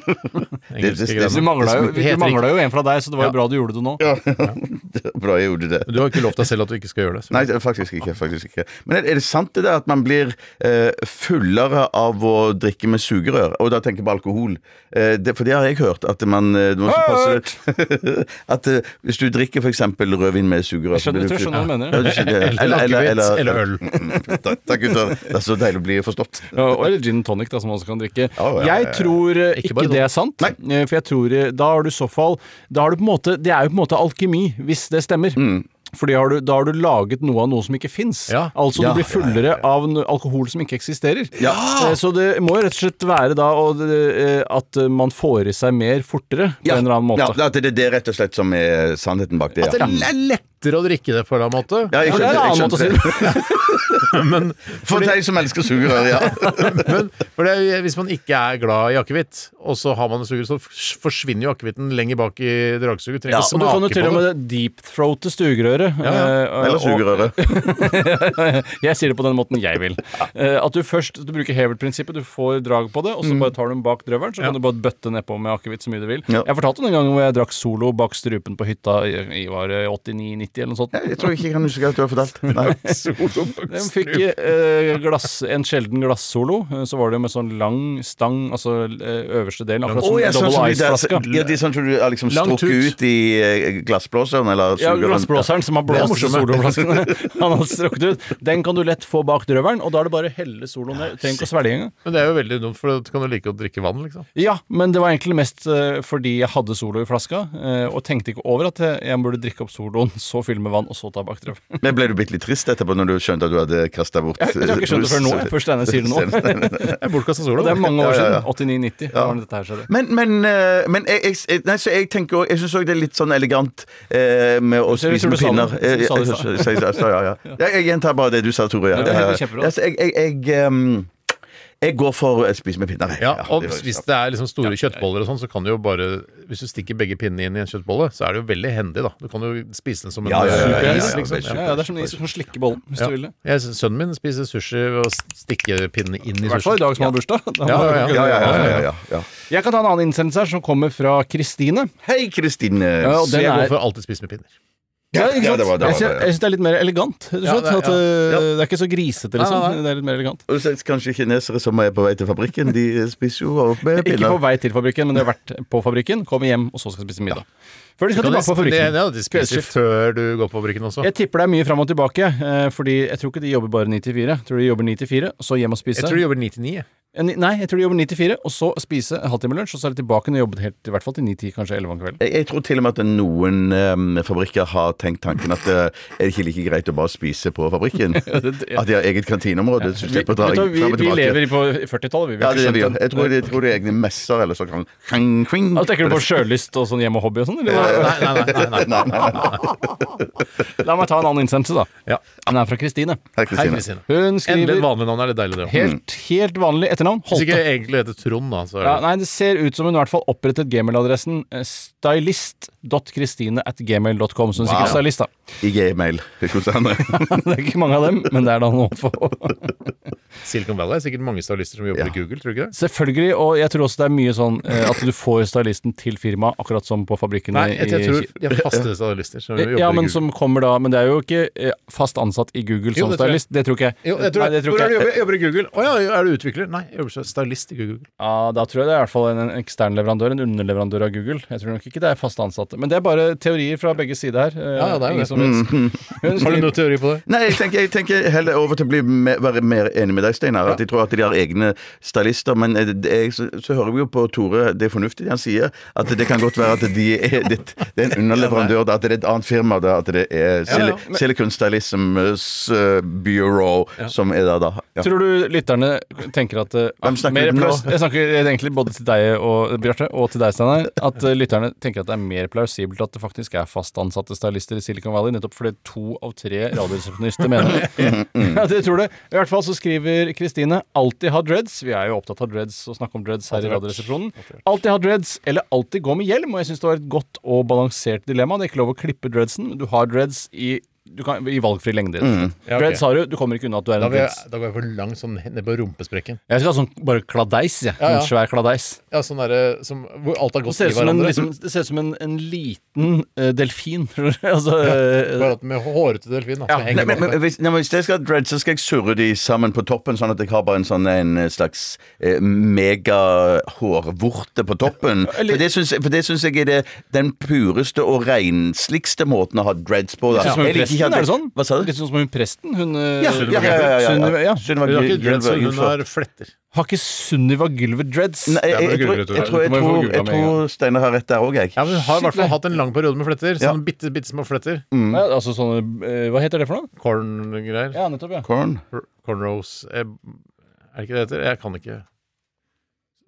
Engelske det- det- greiene. Du mangla jo, Helt du manglet jo en fra deg, så det var jo bra du gjorde det nå. Bra jeg gjorde det. Du har ikke lovt deg selv at du ikke skal gjøre det. så- Nei, det er faktisk ikke. faktisk ikke Men er, er det sant det der at man blir eh, fullere av å drikke med sugerør? Og da tenker jeg på alkohol. Eh, det, for det har jeg hørt. At man eh, du må også passe det. At eh, hvis du drikker f.eks. rødvin med sugerør Jeg skjønner- jeg tror jeg blir full. skjønner hva du mener. Ja, du skjønner det. Eller akevitt, eller øl. Mm, takk, takk, gutter. Det er så deilig å bli forstått. Ja, Og eller gin and tonic, da, som man også kan drikke. Ja, ja, ja, ja. Jeg tror eh, ikke, bare det er sant. eh, For jeg tror eh, da har du i så fall da har du på en måte, Det er jo på en måte alkemi, hvis det stemmer. Mm. Fordi har du, Da har du laget noe av noe som ikke fins. Ja. Altså Ja, du blir ja, ja, fullere av no- alkohol som ikke eksisterer. Eh, Så det må jo rett og slett være da og det, eh, at eh, man får i seg mer fortere på en eller annen måte. Ja, at det, det er rett og slett som er sannheten bak det. At det Ja. Mm. er lettere å drikke det på en eller annen måte. Ja, jeg Ja, det er skjønte, en jeg annen måte å si skjønte. det For deg som elsker sugerør, ja. Men for det, er- hvis man ikke er glad i akevitt, og så har man en sugerør, så f- forsvinner jo akevitten lenger bak i dragsuget. Trenger Ja, ikke Og du kan jo smake til og på det. med deep-throate stugerøret. eh, Eller og- sugerøret. jeg sier det på den måten jeg vil. Eh, At du først du bruker hevel-prinsippet. Du får drag på det, og Mm. så bare tar du den bak drøvelen. Så kan du bare bøtte nedpå med akevitt så mye du vil. Ja. Jeg fortalte om den gangen hvor jeg drakk solo bak strupen på hytta i i var det 89-90 eller noe sånt. Jeg tror ikke jeg kan huske at du har fortalt. Nei. Den fikk eh, glass, en sjelden glassolo. Eh, Så var det jo med sånn lang stang, altså eh, øverste delen, akkurat som Å, ja, sånn double som de der- ice-flaska. Ja, de sånn som du har liksom Lang tut. strukket ut i eh, glassblåseren eller Ja, sugeren. glassblåseren som har Det er blåst morsomme. soloflaskene. Han har strukket ut. Den kan du lett få bak drøvelen, og da er det bare å helle soloen ned. Trenger ikke å svelge engang. Men det er jo veldig dumt, for da kan du like å drikke vann, liksom. Ja, men det var egentlig mest eh, fordi jeg hadde Solo i flaska, eh, og tenkte ikke over at jeg, jeg burde drikke opp Soloen, så fylle med vann, og så ta bakdrøm. Men ble du bitte litt trist etterpå når du skjønte at du hadde kasta bort Jeg tror ikke jeg skjønte det før nå. jeg. Først denne sier det nå. Det er Bortkasta sola. Og det er mange år Ja, ja, ja. siden. 89-90. da var det dette her skjedde. Men, men, eh, men jeg, jeg- jeg, nei, så jeg tenker også, Jeg syns òg det er litt sånn elegant eh, med å Så jeg spise tror med du sa pinner. det. Eh, Du sa det i jeg- stad. jeg- jeg- jeg- ja, ja. Jeg jeg gjentar bare det du sa, Tore. Ja. Ja, det er Ja, ja. kjempebra. Ja, så Jeg, jeg, jeg, ehm, jeg går for eh, spise med pinner. jeg. Ja, og det var- hvis det er liksom store kjøttboller og sånn, så kan du jo bare Hvis du stikker begge pinnene inn i en kjøttbolle, så er det jo veldig hendig, da. Du kan jo spise den som en Ja, ja, ja, ja, eh, ja, is, ja, liksom. veldig Ja, ja, det er som de som slikker bollen, hvis Ja. du vil det. Jeg- Sønnen min spiser sushi ved å stikke pinnene inn i I hvert fall sushi. i dag som har bursdag. Da Ja, må ja, jeg- ja, ja, ja, ja, ja, ja. Jeg kan ta en annen innsendelse her, som kommer fra Kristine. Hei, Kristine. Ja, og Så den jeg går er for alltid spise med pinner. Ja, ikke Ja, sant? det var- det var- jeg syns- det var- jeg syns det er litt mer elegant. rett og Ja, slett, det- at, eh, Det er ikke så grisete, liksom. Nei, nei, nei. Det er litt mer elegant. Og så Kanskje kinesere som er på vei til fabrikken, de spiser jo opp med Ikke på pinner. vei til fabrikken, men de har vært på fabrikken, kommer hjem, og så skal spise middag. Før de skal Kan tilbake på de- det, fabrikken. ja, de spiser Kveldsskift. før du går på fabrikken også. Jeg tipper det er mye fram og tilbake, eh, fordi jeg tror ikke de jobber bare 9 til 4. Jeg tror de jobber 9 til 4, og så hjem og spise. Jeg tror de jobber 9-9. jeg. Eh, ni- Nei, jeg tror de jobber 9 til 4, og så spise en halvtime lunsj, og så er de tilbake og jobber helt, i hvert fall til 9-10, kanskje 11 om kvelden. Jeg, jeg tror til og med at noen eh, fabrikker har tenkt tanken at eh, er det ikke like greit å bare spise på fabrikken? At de har eget kantineområde, så du slipper å dra Vet du hva, fram og vi, vi tilbake. lever i på 40-tallet, vi. vi Ja, har det er det ikke vi gjør. skjønt Jeg tror, jeg tror det er egne messer eller sånn. kan- Kling, kling. Ja, tenker du på sjølyst og sånn hjem og hobby og sånn? eller? Nei, nei, nei, nei, nei. Nei, nei, nei. La meg ta en annen innsendelse, da. Ja. Den er fra Kristine. Hei, Hei, Kristine. Kristine. Hun Endelig et skriver vanlig navn. Er litt deilig, det òg. helt, helt vanlig etternavn. Hvis ikke Holte. egentlig heter Trond, da. Så er Ja, det. nei, det ser ut som hun i hvert fall opprettet gmailadressen eh, stylist.kristine at gmail.com. Så hun er sikkert Wow. stylist, da. I gmail. Hvordan- Det er ikke mange av dem, men det er da noen få. Silicon Valley er sikkert mange stylister som jobber Ja. i Google, tror du ikke det? Selvfølgelig, og jeg tror også det er mye sånn eh, at du får stylisten til firmaet, akkurat som på fabrikkene Nei, jeg, jeg tror i de har faste stylister som jobber ja, i Google. men som kommer da Men det er jo ikke eh, fast ansatt i Google Jo, som det tror jeg. stylist. Det tror ikke jeg. Jo, jeg tror, Nei, det tror Hvor ikke er du jeg. jobber? Jeg jobber i Google. Å ja, er du utvikler? Nei, jeg jobber som stylist i Google. Ja, Da tror jeg det er i hvert fall en, en ekstern leverandør, en underleverandør av Google. Jeg tror nok ikke det er fast ansatte. Men det er bare teorier fra begge sider her. eh, Ja, ja, det er jo ingen det. som vet. Hun Har du skriver- noen teori på det? Nei, jeg tenker, jeg tenker heller over til å bli mer, være mer enig med deg, Steinar. At jeg tror at de har egne stylister. Men eh, det- jeg, så, så hører vi jo på Tore, det er fornuftig det han sier, at det kan godt være at de er, det, det er en underleverandør, da, at det er et annet firma, da, at det er Sil Ja, ja, Silicon Stylisms eh, Bureau som er der, da. Ja. Tror du lytterne tenker at eh, Hvem snakker mer du nå? plaus- Jeg snakker egentlig både til deg og Bjarte, og til deg, Steinar. At eh, lytterne tenker at det er mer plausibelt at det faktisk er fast ansatte stylister i Silicon Valley, nettopp fordi to av tre radioresepsjonister mener det. ja, det tror du. I hvert fall så skriver Kristine 'alltid ha dreads'. Vi er jo opptatt av dreads og snakke om dreads her i Radioresepsjonen. 'Alltid ha dreads' eller 'alltid gå med hjelm'. Og jeg syns det var et godt og balansert dilemma. Det er ikke lov å klippe dreadsen, men du har dreads i, du kan, i valgfri lengde. Ja, ok. Dreads har du, du kommer ikke unna at du er Da en går jeg, dreads. da går jeg for langt sånn ned på rumpesprekken. Jeg skal ha sånn bare kladeis, jeg. Ja, ja. En svær kladeis. Ja, sånn derre som Hvor alt har Det gått ser i ut som en, hverandre. liksom, det ser ut som en, en liten eh, delfin. altså, eh, Bare at med hårete delfin, da. som henger Nei, bak. men, men, hvis, nei, men hvis jeg skal ha dread, så skal jeg surre de sammen på toppen, sånn at jeg har bare en, sånn, en slags eh, megahårvorte på toppen. Eller- For det syns for det syns jeg er det, den pureste og rensligste måten å ha dreads på. Litt Da. som hun Jeg liker ikke presten, at- er det sånn? Hva sa du? Litt sånn som hun presten. Hun eh, Ja, ja, ja, ja, ja, ja. Sunniva, ja. Sunniva Hun har ikke dreads, Gylver- hun Gylver- har fletter. Har ikke Sunniva Gylver dreads? Nei, jeg, Ja, men jeg, du tror- googler, Tore. jeg tror, Du må jeg jo få tror, googla jeg med en tror Steinar har rett der òg, jeg. Ja, men Hun har i hvert fall Skikkelig. hatt en lang periode med fletter. Sånn bitte, bitte små fletter. Nei, altså sånne eh, Hva heter det for noe? Corn-greier. Ja, nettopp, ja. Corn? R- Cornrows Eh, Er det ikke det det heter? Jeg kan ikke.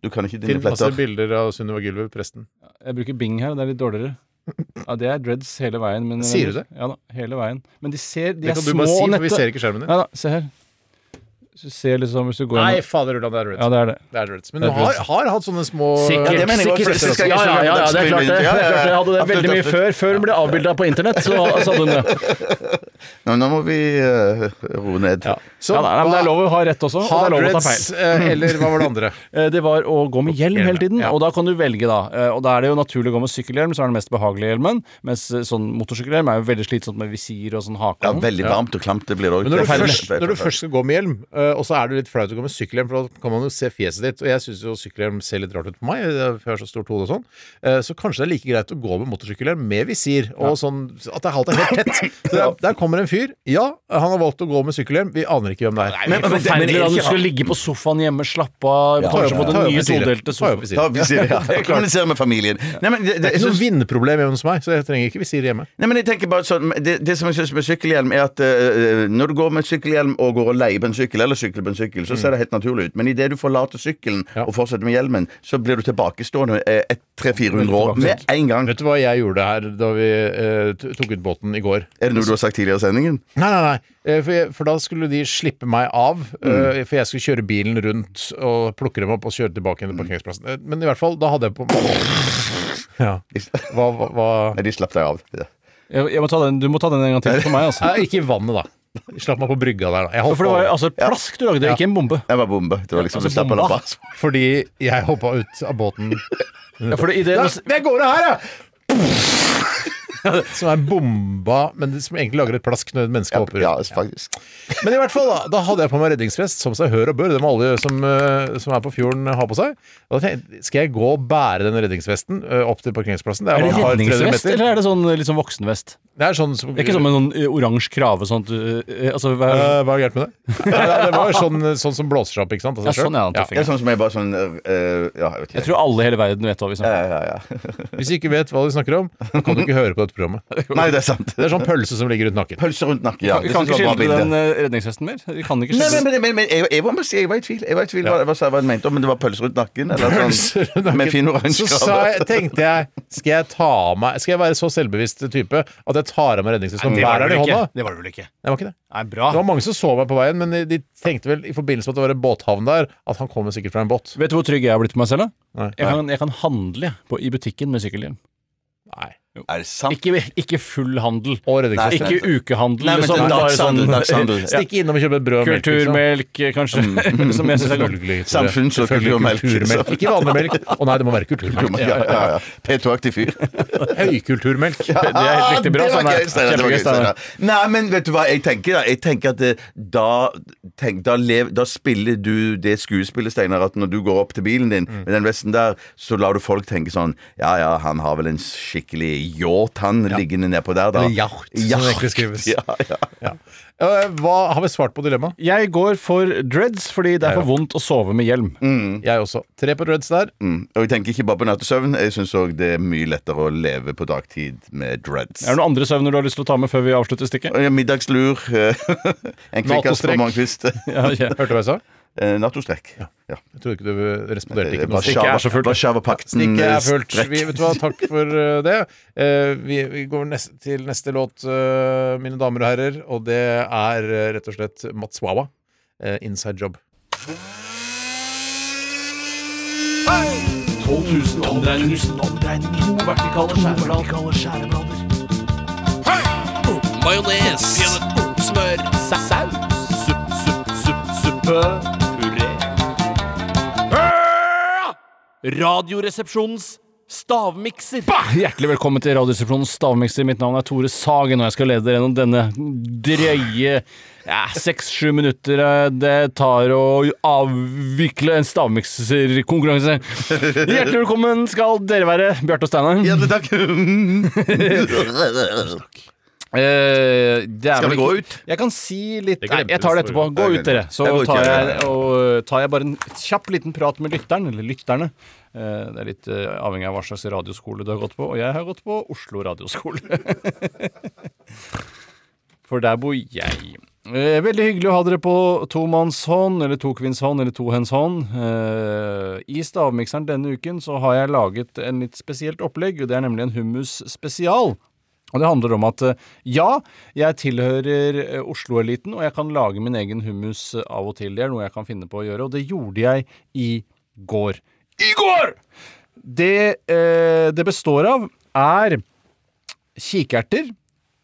Du kan ikke Finn dine masse fletter. bilder av Sunniva Gylver, presten. Jeg bruker Bing her, og det er litt dårligere. Ja, Det er dreads hele veien. Men, eh, Sier du det? Ja da, hele veien. Men de ser De Det er kan du små bare si, og for vi nette. ser ikke skjermen din. Ja da, se her. Hvis du ser liksom Hvis du går Nei, inn- fader Ulland, det er Ja, dreads. det er det. Det er dreads. Men Det hun er har, dreads. har hatt sånne små Sikkert. Ja, det mener jeg også. Sikkert. Fletter skal Ja, ikke ja, ja, det så mye- er klart det. Det Ja, ja, ja. er klart det. Jeg hadde det Absolutt, veldig mye absolutt. før. Før hun ble avbilda på internett, så sa hun det. Nå, nå må vi eh, roe ned. Ja. Så Ja, nei, nei, men det er lov å ha rett også, og det Hard er lov å ta dreads, feil. eh, eller hva var det andre? Eh, Det var å gå med hjelm Hjelm, hele tiden, ja. og da kan du velge, da. Eh, Og da er det jo naturlig å gå med sykkelhjelm, som er den mest behagelige hjelmen. Mens eh, sånn motorsykkelhjelm er jo veldig slitsomt med visir og sånn hake. Ja, og sånn. veldig varmt og klamt det blir det òg. Men når du, først, når altså. du først skal gå med hjelm, eh, og så er det litt flaut å gå med sykkelhjelm, for da kan man jo se fjeset ditt, og jeg syns jo sykkelhjelm ser litt rart ut på meg, eh, for jeg har så stort hode og sånn, Eh, så kanskje det er like greit å gå med motorsykkelhjelm med visir, og sånn at det er halvt helt tett. Så der, der kommer en fyr. Ja, han har valgt å gå med sykkelhjelm, vi aner ikke hvem det er. Men- men- men- men- Forferdelig da du ikke- skulle ligge på sofaen hjemme, slappe av, Ta kanskje jo- på den ta jo nye visiret. todelte Ta jo sofaen. visiret. Ja, vi sier ja. Kommunisere med familien. Nei, men det, Det det, er jeg ikke noe synes, vindproblem hjemme hos meg, så jeg trenger ikke visir hjemme. nei, men jeg tenker bare sånn Det, det som jeg syns med sykkelhjelm, er at eh, når du går med sykkelhjelm og går og leier på en sykkel, eller sykler på en sykkel, så ser det helt naturlig ut. Men idet du forlater sykkelen og fortsetter med hjelmen, så blir du tilbakestående eh, et 300-400 år med en gang. Vet du hva jeg gjorde her da vi eh, t- tok ut båten i går? Er det noe du har sagt tidligere i sendingen? Nei, nei, nei. Eh, For, jeg, for da skulle de slippe meg av. eh, Mm. For jeg skulle kjøre bilen rundt og plukke dem opp og kjøre tilbake igjen til Mm. parkeringsplassen. Eh, Men i hvert fall, da hadde jeg på ja. hva, hva, hva... Nei, de slapp deg av. Ja. Jeg, jeg må ta den, du må ta den en gang til for meg, altså. Nei, ikke i vannet, da. De Slapp meg på brygga der. Da. Jeg holdt For det var på- altså plask du lagde, ikke en bombe. Jeg var bombe. Det var liksom Altså, du slapp bomba. av. Fordi jeg hoppa ut av båten. Ja, for det, i det, Ja, jeg går av her, jeg! som er bomba, men som egentlig lager et plask når et menneske hopper ut. Ja, faktisk. Men i hvert fall, da, da hadde jeg på meg redningsvest, som seg hør og bør. Det må alle som, eh, som er på fjorden eh, ha på seg. Og Da tenkte jeg, Skal jeg gå og bære den redningsvesten eh, opp til parkeringsplassen? Er bare et det par- 300 redningsvest, meter. eller er det sånn eh, litt sånn voksenvest? Det er sånn som Det er ikke sånn med noen eh, oransje krave sånn at du eh, Altså, hva er Eh, Hva er gærent med det? Ja, det var jo sånn, sånn som blåser seg opp, ikke sant? av ja, seg selv. sånn, ja, Ja. den Det er tøffingen. sånn som jeg bare sånn eh, Ja, jeg vet Jeg ikke. tror alle i hele verden vet hva vi snakker om. Ja, ja, ja. Hvis du ikke vet hva de snakker om, da kan du ikke høre på dette programmet. Nei, det er sant. Det er sånn pølse som ligger rundt nakken. Pølse rundt nakken. Ja, Vi det kan synes ikke jeg var et bra skildre bilde. den eh, redningsvesten mer. Vi kan ikke Nei, skildre men, men, men, men jeg, jeg, må bare si, jeg var i tvil. Jeg var i tvil hva, hva, sa- hva han mente om det var pølser rundt nakken. Eller Pølse rundt sånn, nakken. med fin Så oransje sa krave. jeg, tenkte jeg Skal jeg ta av meg Skal jeg være så selvbevisst type at jeg tar av meg redningsvesten og det var bærer den det i vel ikke. hånda? Det var det vel ikke. Det var ikke det. Nei, bra. Det var mange som så meg på veien, men de- de tenkte vel i forbindelse med at det var en båthavn der, at han kommer sikkert fra en båt. Vet du hvor trygg jeg har blitt på meg selv? da? Nei. Jeg kan, jeg kan handle på, i butikken med sykkelhjelm. Nei. Er det sant? Ikke, ikke full handel. Og redningsvest. Ikke ukehandel. Nei, men liksom, det er bare dagshandel, sånn- dagshandel. Ja. Stikke innom og kjøpe brød og melk. liksom. Kulturmelk, eh, kanskje. som jeg synes er godt. Selvfølgelig, Tore. Samfunns- og Selvfølgelig kulturmelk. kulturmelk. Ikke vanlig melk. Å nei, det må være kulturmelk. Ja, ja, ja. P2-aktig fyr. Ah, Høykulturmelk. Det er helt riktig bra. Det var Steinar. gøy, Steinar. Det var Kjempegøy, gøy, Steinar. Steinar. Nei, men vet du hva jeg tenker? Da Jeg tenker at eh, da, tenk, da, lev, da spiller du det skuespillet, Steinar, at når du går opp til bilen din med den vesten der, så lar du folk tenke sånn Ja ja, han har vel en skikkelig yacht, han, liggende nedpå der, da. Eller yacht, som det egentlig skrives. Ja, ja. Eh, Hva har vi svart på dilemmaet? Jeg går for dreads fordi det er for vondt å sove med hjelm. Jeg også. Tre på dreads der. Mm. Og jeg tenker ikke bare på nattesøvn. Jeg syns òg det er mye lettere å leve på dagtid med dreads. Er det noen andre søvner du har lyst til å ta med før vi avslutter stikket? Og ja, Middagslur, eh, en kvikkas på Nattostrekk. morgenkvist, Ja, ok. Hørte du hva jeg sa? eh, nattostrekk. Ja. Jeg trodde ikke du responderte ikke noe. Stikket er så fullt. Warszava-pakten Stikket eh, er fullt. strekk. Vi, vet du hva, takk for eh, det. Eh, vi, vi går nest, til neste låt, eh, mine damer og herrer, og det er eh, rett og slett Mats Wawa, eh, 'Inside Job'. Radioresepsjonens stavmikser. Hjertelig velkommen til Radioresepsjonens stavmikser. Mitt navn er Tore Sagen, og jeg skal lede dere gjennom denne drøye seks-sju minutter eh, det tar å avvikle en stavmikserkonkurranse. Hjertelig velkommen skal dere være, Bjarte og Steinar. Hjertelig takk. Eh, det er Skal vel vi gå ikke- ut? Jeg kan si litt Det Nei, glemte jeg tar det du, etterpå. Gå Ok, ut, dere. Så jeg går ut, tar jeg. jeg, og, tar jeg bare en kjapp liten prat med lytteren, eller lytterne. Eh, Det er litt eh, avhengig av hva slags radioskole du har gått på, og jeg har gått på Oslo radioskole. For der bor jeg. Eh, Veldig hyggelig å ha dere på tomannshånd, eller tokvinnshånd, eller tohendshånd. Eh, I stavmikseren denne uken så har jeg laget en litt spesielt opplegg, og det er nemlig en hummus spesial. Og det handler om at eh, ja, jeg tilhører eh, Oslo-eliten, og jeg kan lage min egen hummus eh, av og til. Det er noe jeg kan finne på å gjøre, og det gjorde jeg i går. I går! Det eh, det består av, er kikerter,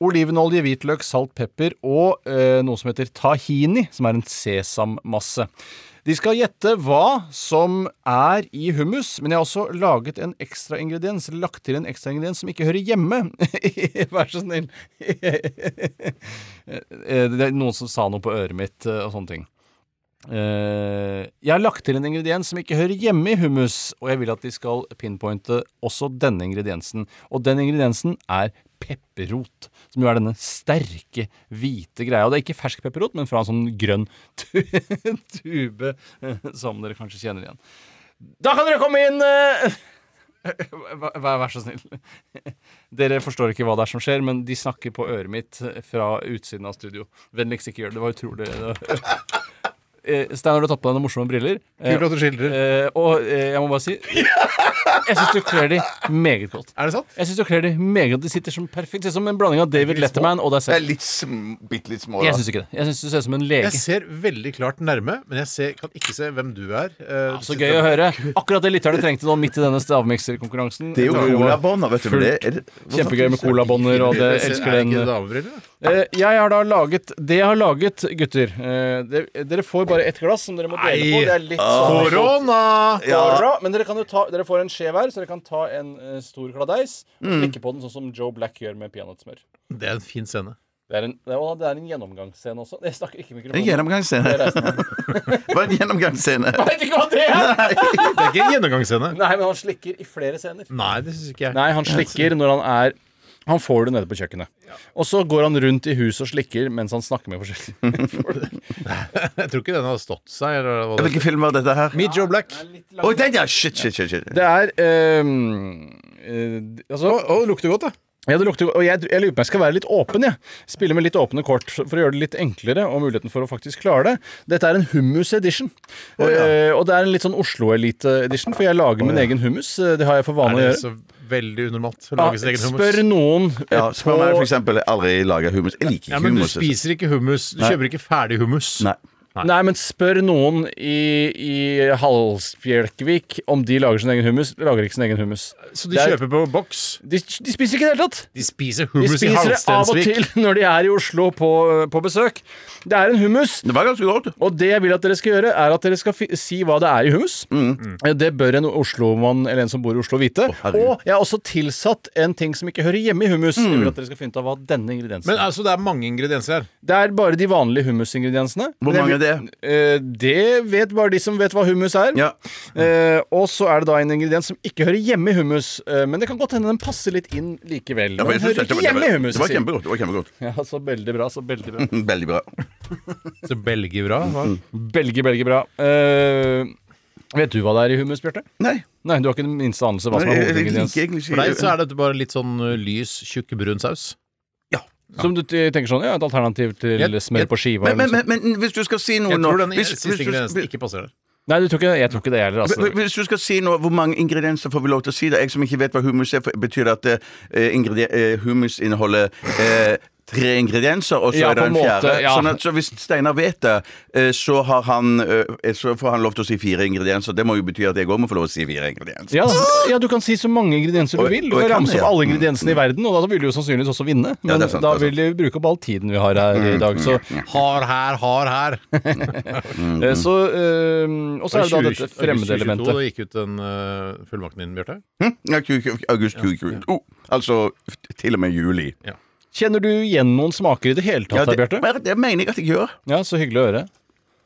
olivenolje, hvitløk, salt, pepper og eh, noe som heter tahini, som er en sesammasse. De skal gjette hva som er i hummus, men jeg har også laget en ekstra ingrediens, eller lagt til en ekstra ingrediens som ikke hører hjemme. Vær så snill. Eh, Det er noen som sa noe på øret mitt eh, og sånne ting. Eh, jeg har lagt til en ingrediens som ikke hører hjemme i hummus, og jeg vil at de skal pinpointe også denne ingrediensen. Og den ingrediensen er pepperrot, som jo er denne sterke, hvite greia. Og det er ikke fersk pepperrot, men fra en sånn grønn tu tube, eh, som dere kanskje kjenner igjen. Da kan dere komme inn! eh, Vær, vær vær så snill. Dere forstår ikke hva det er som skjer, men de snakker på øret mitt fra utsiden av studio. Vennligst ikke gjør det. Det var utrolig. Det var... Eh, Steinar, du har tatt på deg noen morsomme briller. Eh, Kult at du skildrer. eh, og eh, jeg må bare si Jeg syns du kler de meget godt. Eh, Er det sant? Jeg synes du kler de meget godt. De sitter som perfekt. Ser ut som en blanding av David Letterman og deg Jeg er selv. litt, sm- bitte litt små, da. Jeg syns ikke det. Jeg syns du ser ut som en Jeg lege. ser veldig klart nærme, men jeg ser, kan ikke se hvem du er. Eh, Så gøy å høre. Akkurat det lytterne trengte nå midt i denne stavmikserkonkurransen. Det er jo colabånder, vet du. men Det er, Kjempegøy med colabånder, og det Jeg ser- elsker er det ikke den damebriller? da? Eh, jeg har da laget Det jeg har laget, gutter eh, det, Dere får bare ett glass som dere må dele på. Det er litt Ah. sånn Korona! Bra, men dere, kan jo ta, dere får en skje hver, så dere kan ta en eh, stor kladeis og Mm. slikke på den, sånn som Joe Black gjør med peanøttsmør. Det er en fin scene. Det er en, det er, og det er en gjennomgangsscene også. Jeg snakker ikke i mikrofonen. En gjennomgangsscene. Det er reisen. Bare en gjennomgangsscene. Jeg vet ikke hva det er! Det er ikke en gjennomgangsscene. Nei, men han slikker i flere scener. Nei, det syns ikke jeg. Nei, han slikker når han er Han får det nede på kjøkkenet. Og så går han rundt i huset og slikker mens han snakker med forskjellige folk. Jeg tror ikke den har stått seg. Eller hva det Hvilken film var dette her? Meet Joe Black. Å, den, ja! Shit, shit, shit. shit. Det er ehm, eh, altså, Å, å, det lukter godt, da. ja, det lukter, Og jeg, jeg lurer på om jeg skal være litt åpen. jeg. Spille med litt åpne kort for å gjøre det litt enklere og muligheten for å faktisk klare det. Dette er en hummus-edition. Og, eh, og det er en litt sånn Oslo-elite-edition, for jeg lager min egen hummus. Eh, Det har jeg for vane å Er det gjøre. så veldig unormalt å Ja, lage sin egen spør hummus? noen eh, Ja, spør meg for eksempel. Jeg har aldri laga hummus. Jeg liker Ja, ikke men du hummus. spiser ikke hummus. Du Nei. kjøper ikke ferdig hummus. Nei. altså. Nei, men spør noen i, i Halsbjelkvik om de lager sin egen hummus. Lager ikke sin egen hummus. Så de Det er- kjøper på boks. De, de spiser ikke i det hele tatt! De spiser De hummus i spiser det av og til Halstensvik. når de er i Oslo på, på besøk. Det er en hummus, Det var ganske godt. og det jeg vil at dere skal gjøre, er at dere skal fi si hva det er i hummus. Eh, Det bør en Oslomann eller en som bor i Oslo vite. Mm. herregud. Mm. og jeg har også tilsatt en ting som ikke hører hjemme i hummus. Jeg vil at dere skal finne ut av hva denne ingrediensen Men er. altså, det er mange ingredienser her. Det er bare de vanlige hummusingrediensene. Hvor mange er det? Eh, Det vet bare de som vet hva hummus er. Ja. Eh, og så er det da en ingrediens som ikke hører hjemme i hummus, eh, men det kan godt hende den passer litt inn likevel. Ja, men den men jeg hører synes dette ikke var- det var- hjemme i hummus. Det var sier jeg. kjempegodt. Det var kjempegodt. Ja, så veldig bra, så veldig bra. Mm, Veldig bra. Så Belgia bra. hva? Mm. Belge, belge bra. Eh, vet du hva det er i hummus, Bjarte? Nei. Nei, du har ikke den minste anelse hva Jeg, som er jeg, jeg hovedingrediens. liker egentlig For deg så ikke er dette bare litt sånn uh, lys, tjukk, brun saus. Som du t- tenker sånn, ja, et alternativ til Jeg- smør jeg- på skiva liksom. men, eller men, noe sånt. men, men hvis du skal si noe Jeg nå tror den hvis, siste hvis, ingrediensen hvis, ikke passer der. Nei, du tror ikke, jeg tror ikke det heller, altså. hvis du skal si noe, Hvor mange ingredienser får vi lov til å si? det? Jeg som ikke vet hva hummus er, for- betyr det at eh, ingredien- eh, hummus inneholder eh, tre ingredienser, og så Ja, er det på en en måte, fjerde? ja. Sånn at, så hvis Steinar vet det, eh, så, har han, eh, så får han lov til å si fire ingredienser. Det må jo bety at jeg òg må få lov til å si fire ingredienser. Ja, ja, du kan si så mange ingredienser du Og- vil. Du og kan jeg kan ramse det, opp ja. alle ingrediensene i verden, og da vil du jo sannsynligvis også vinne. Men det er sant, Mm, da det er vil du bruke opp all tiden vi har her i dag. Så, Har her, har her. mm, eh, så eh, Og så er det da dette 2022, fremmedelementet. Da gikk ut den uh, fullmakten din, Bjarte. Hm? Ja, ku- ku- August 2022. altså f- til og med juli. Kjenner du igjen noen smaker i det hele Ja, tatt, da, Bjarte? det, det mener jeg at jeg gjør. Ja, så hyggelig å høre.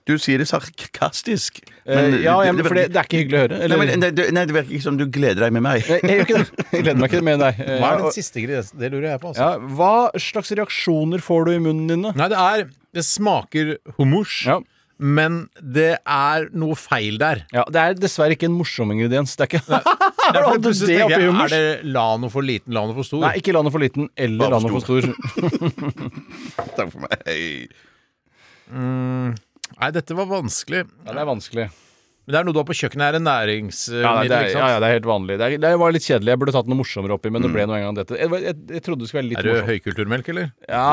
Du sier det sarkastisk. Eh, ja, ja, men for det, det er ikke hyggelig å høre. Nei, Eller, men, det, det- nei, det virker ikke som du gleder deg med meg. Nei, jeg gjør ikke det. Jeg gleder meg ikke med deg. Eh, Hva er ja, den siste ingrediensen? Det lurer jeg på. altså. ja, hva slags reaksjoner får du i munnen din, da? Nei, det er Det smaker hummus, Ja. men det er noe feil der. Ja, Det er dessverre ikke en morsom ingrediens. Det er ikke Ja, for Har du plutselig det tenker oppi jeg, hummers? Er det Lano for liten, Lano for stor? Nei, ikke landet for liten eller Bare for landet for stor. Takk for meg. Hei. Nei, dette var vanskelig. Ja, det er vanskelig. Men det er noe du har på kjøkkenet, er en næringsmiddel, Ja, nei, det er, ikke ja, sant? ja, det er helt vanlig. Det, er, det var litt kjedelig. Jeg burde tatt noe morsommere oppi, men det ble nå engang dette. Jeg, jeg, jeg trodde det skulle være litt Er det morsomt. høykulturmelk, eller? Ja.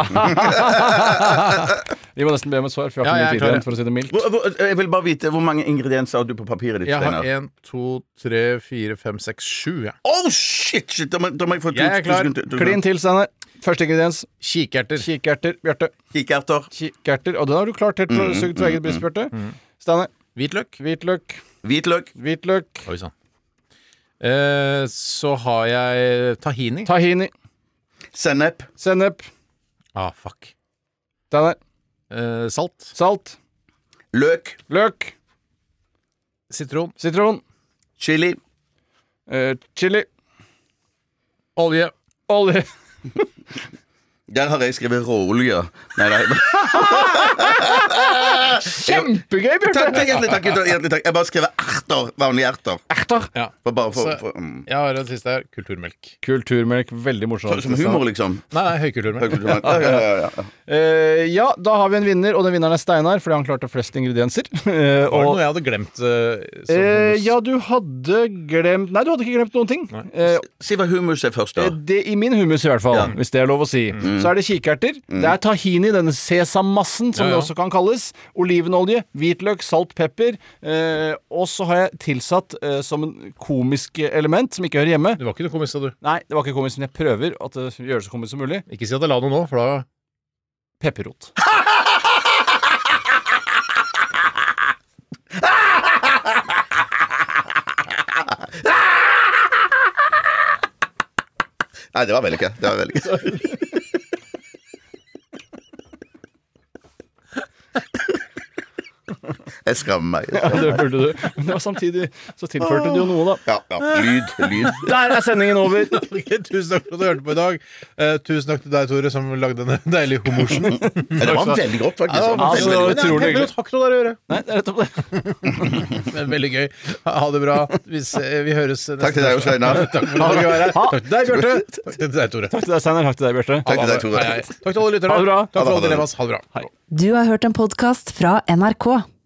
Vi må nesten be om et svar, for jeg Ja, har jeg ikke mye er tid klar, igjen, for å si det mildt. Hvor, hvor, jeg vil bare vite hvor mange ingredienser har du på papiret ditt, Jeg har Steinar? én, to, tre, fire, fem, seks, sju. Ja. Oh, shit, shit! Da må, da må jeg få to, Jeg er klar. to sekunder. Klin til, Steinar. Første ingrediens Kikerter. kikerter. Bjarte. Kikerter, Kikerter. Og den har du klart helt fra sugd fra eget bryst, Bjarte. Steinar. Hvitløk. Hvitløk. hvitløk, Hvitløk. Oi sann. Eh, så har jeg tahini. Tahini. sennep, Sennep. ah, fuck. Steinar. Eh, salt. Salt. løk, Løk. Sitron. Sitron. chili, Eh, chili. Olje. Olje. Der har jeg skrevet råolje. Nei, nei. Kjempegøy, Takk, takk, Bjarte! hjertelig takk. gutter, Hjertelig takk. Jeg bare skrevet erter. Vanlige erter. Erter. Ja. For bare for, Så- for, mm. Jeg har en siste her. Kulturmelk. Kulturmelk. Veldig morsomt. Som humor, liksom. Nei, nei høykulturmelk. Ja, ja, ja, ja. Eh, ja, da har vi en vinner, og den vinneren er Steinar, fordi han klarte flest ingredienser. Eh, Var det og, noe jeg hadde glemt? eh, som- eh, ja, du hadde glemt Nei, du hadde ikke glemt noen ting. Eh, Si hva hummus er først, da. eh, det, I min hummus, i hvert fall, hvis det er lov å si. Så er det kikerter. Det er tahini, denne sesammassen, som Ja, ja. det også kan kalles. Olivenolje, hvitløk, salt, pepper. Eh, og så har jeg tilsatt eh, som en komisk element, som ikke hører hjemme Det var ikke noe komisk, sa du. Nei, det var ikke komisk, men jeg prøver at det gjøres så komisk som mulig. Ikke si at jeg la noe nå, for da pepperrot. Nei, det var vellykka. Det var vellykka. Jeg skammer meg. Ja, det burde du. Men det var samtidig så tilførte du jo noe, da. Ja, ja. Lyd. Lyd. Der er sendingen over. tusen takk for at du hørte på i dag. Eh, tusen takk til deg, Tore, som lagde denne deilige humorsen. Ja, det var veldig godt, faktisk. Det var Altså, veldig, veldig godt. utrolig hyggelig. Har ikke noe der å gjøre. Nei, det er nettopp det. Men veldig gøy. Ha det bra. Vi, se- vi høres neste Takk til deg, Steinar. Takk for at du var her. Takk til deg, Bjarte. Takk til deg, Tore. Takk til deg, Steinar. Takk til deg, Bjarte. Takk til deg, Hei, Tore. hei. Takk til alle lytterne. Ha det bra. Takk for Ha alle det, ha det. dilemmas. Ha det bra. Du har hørt en podkast fra NRK.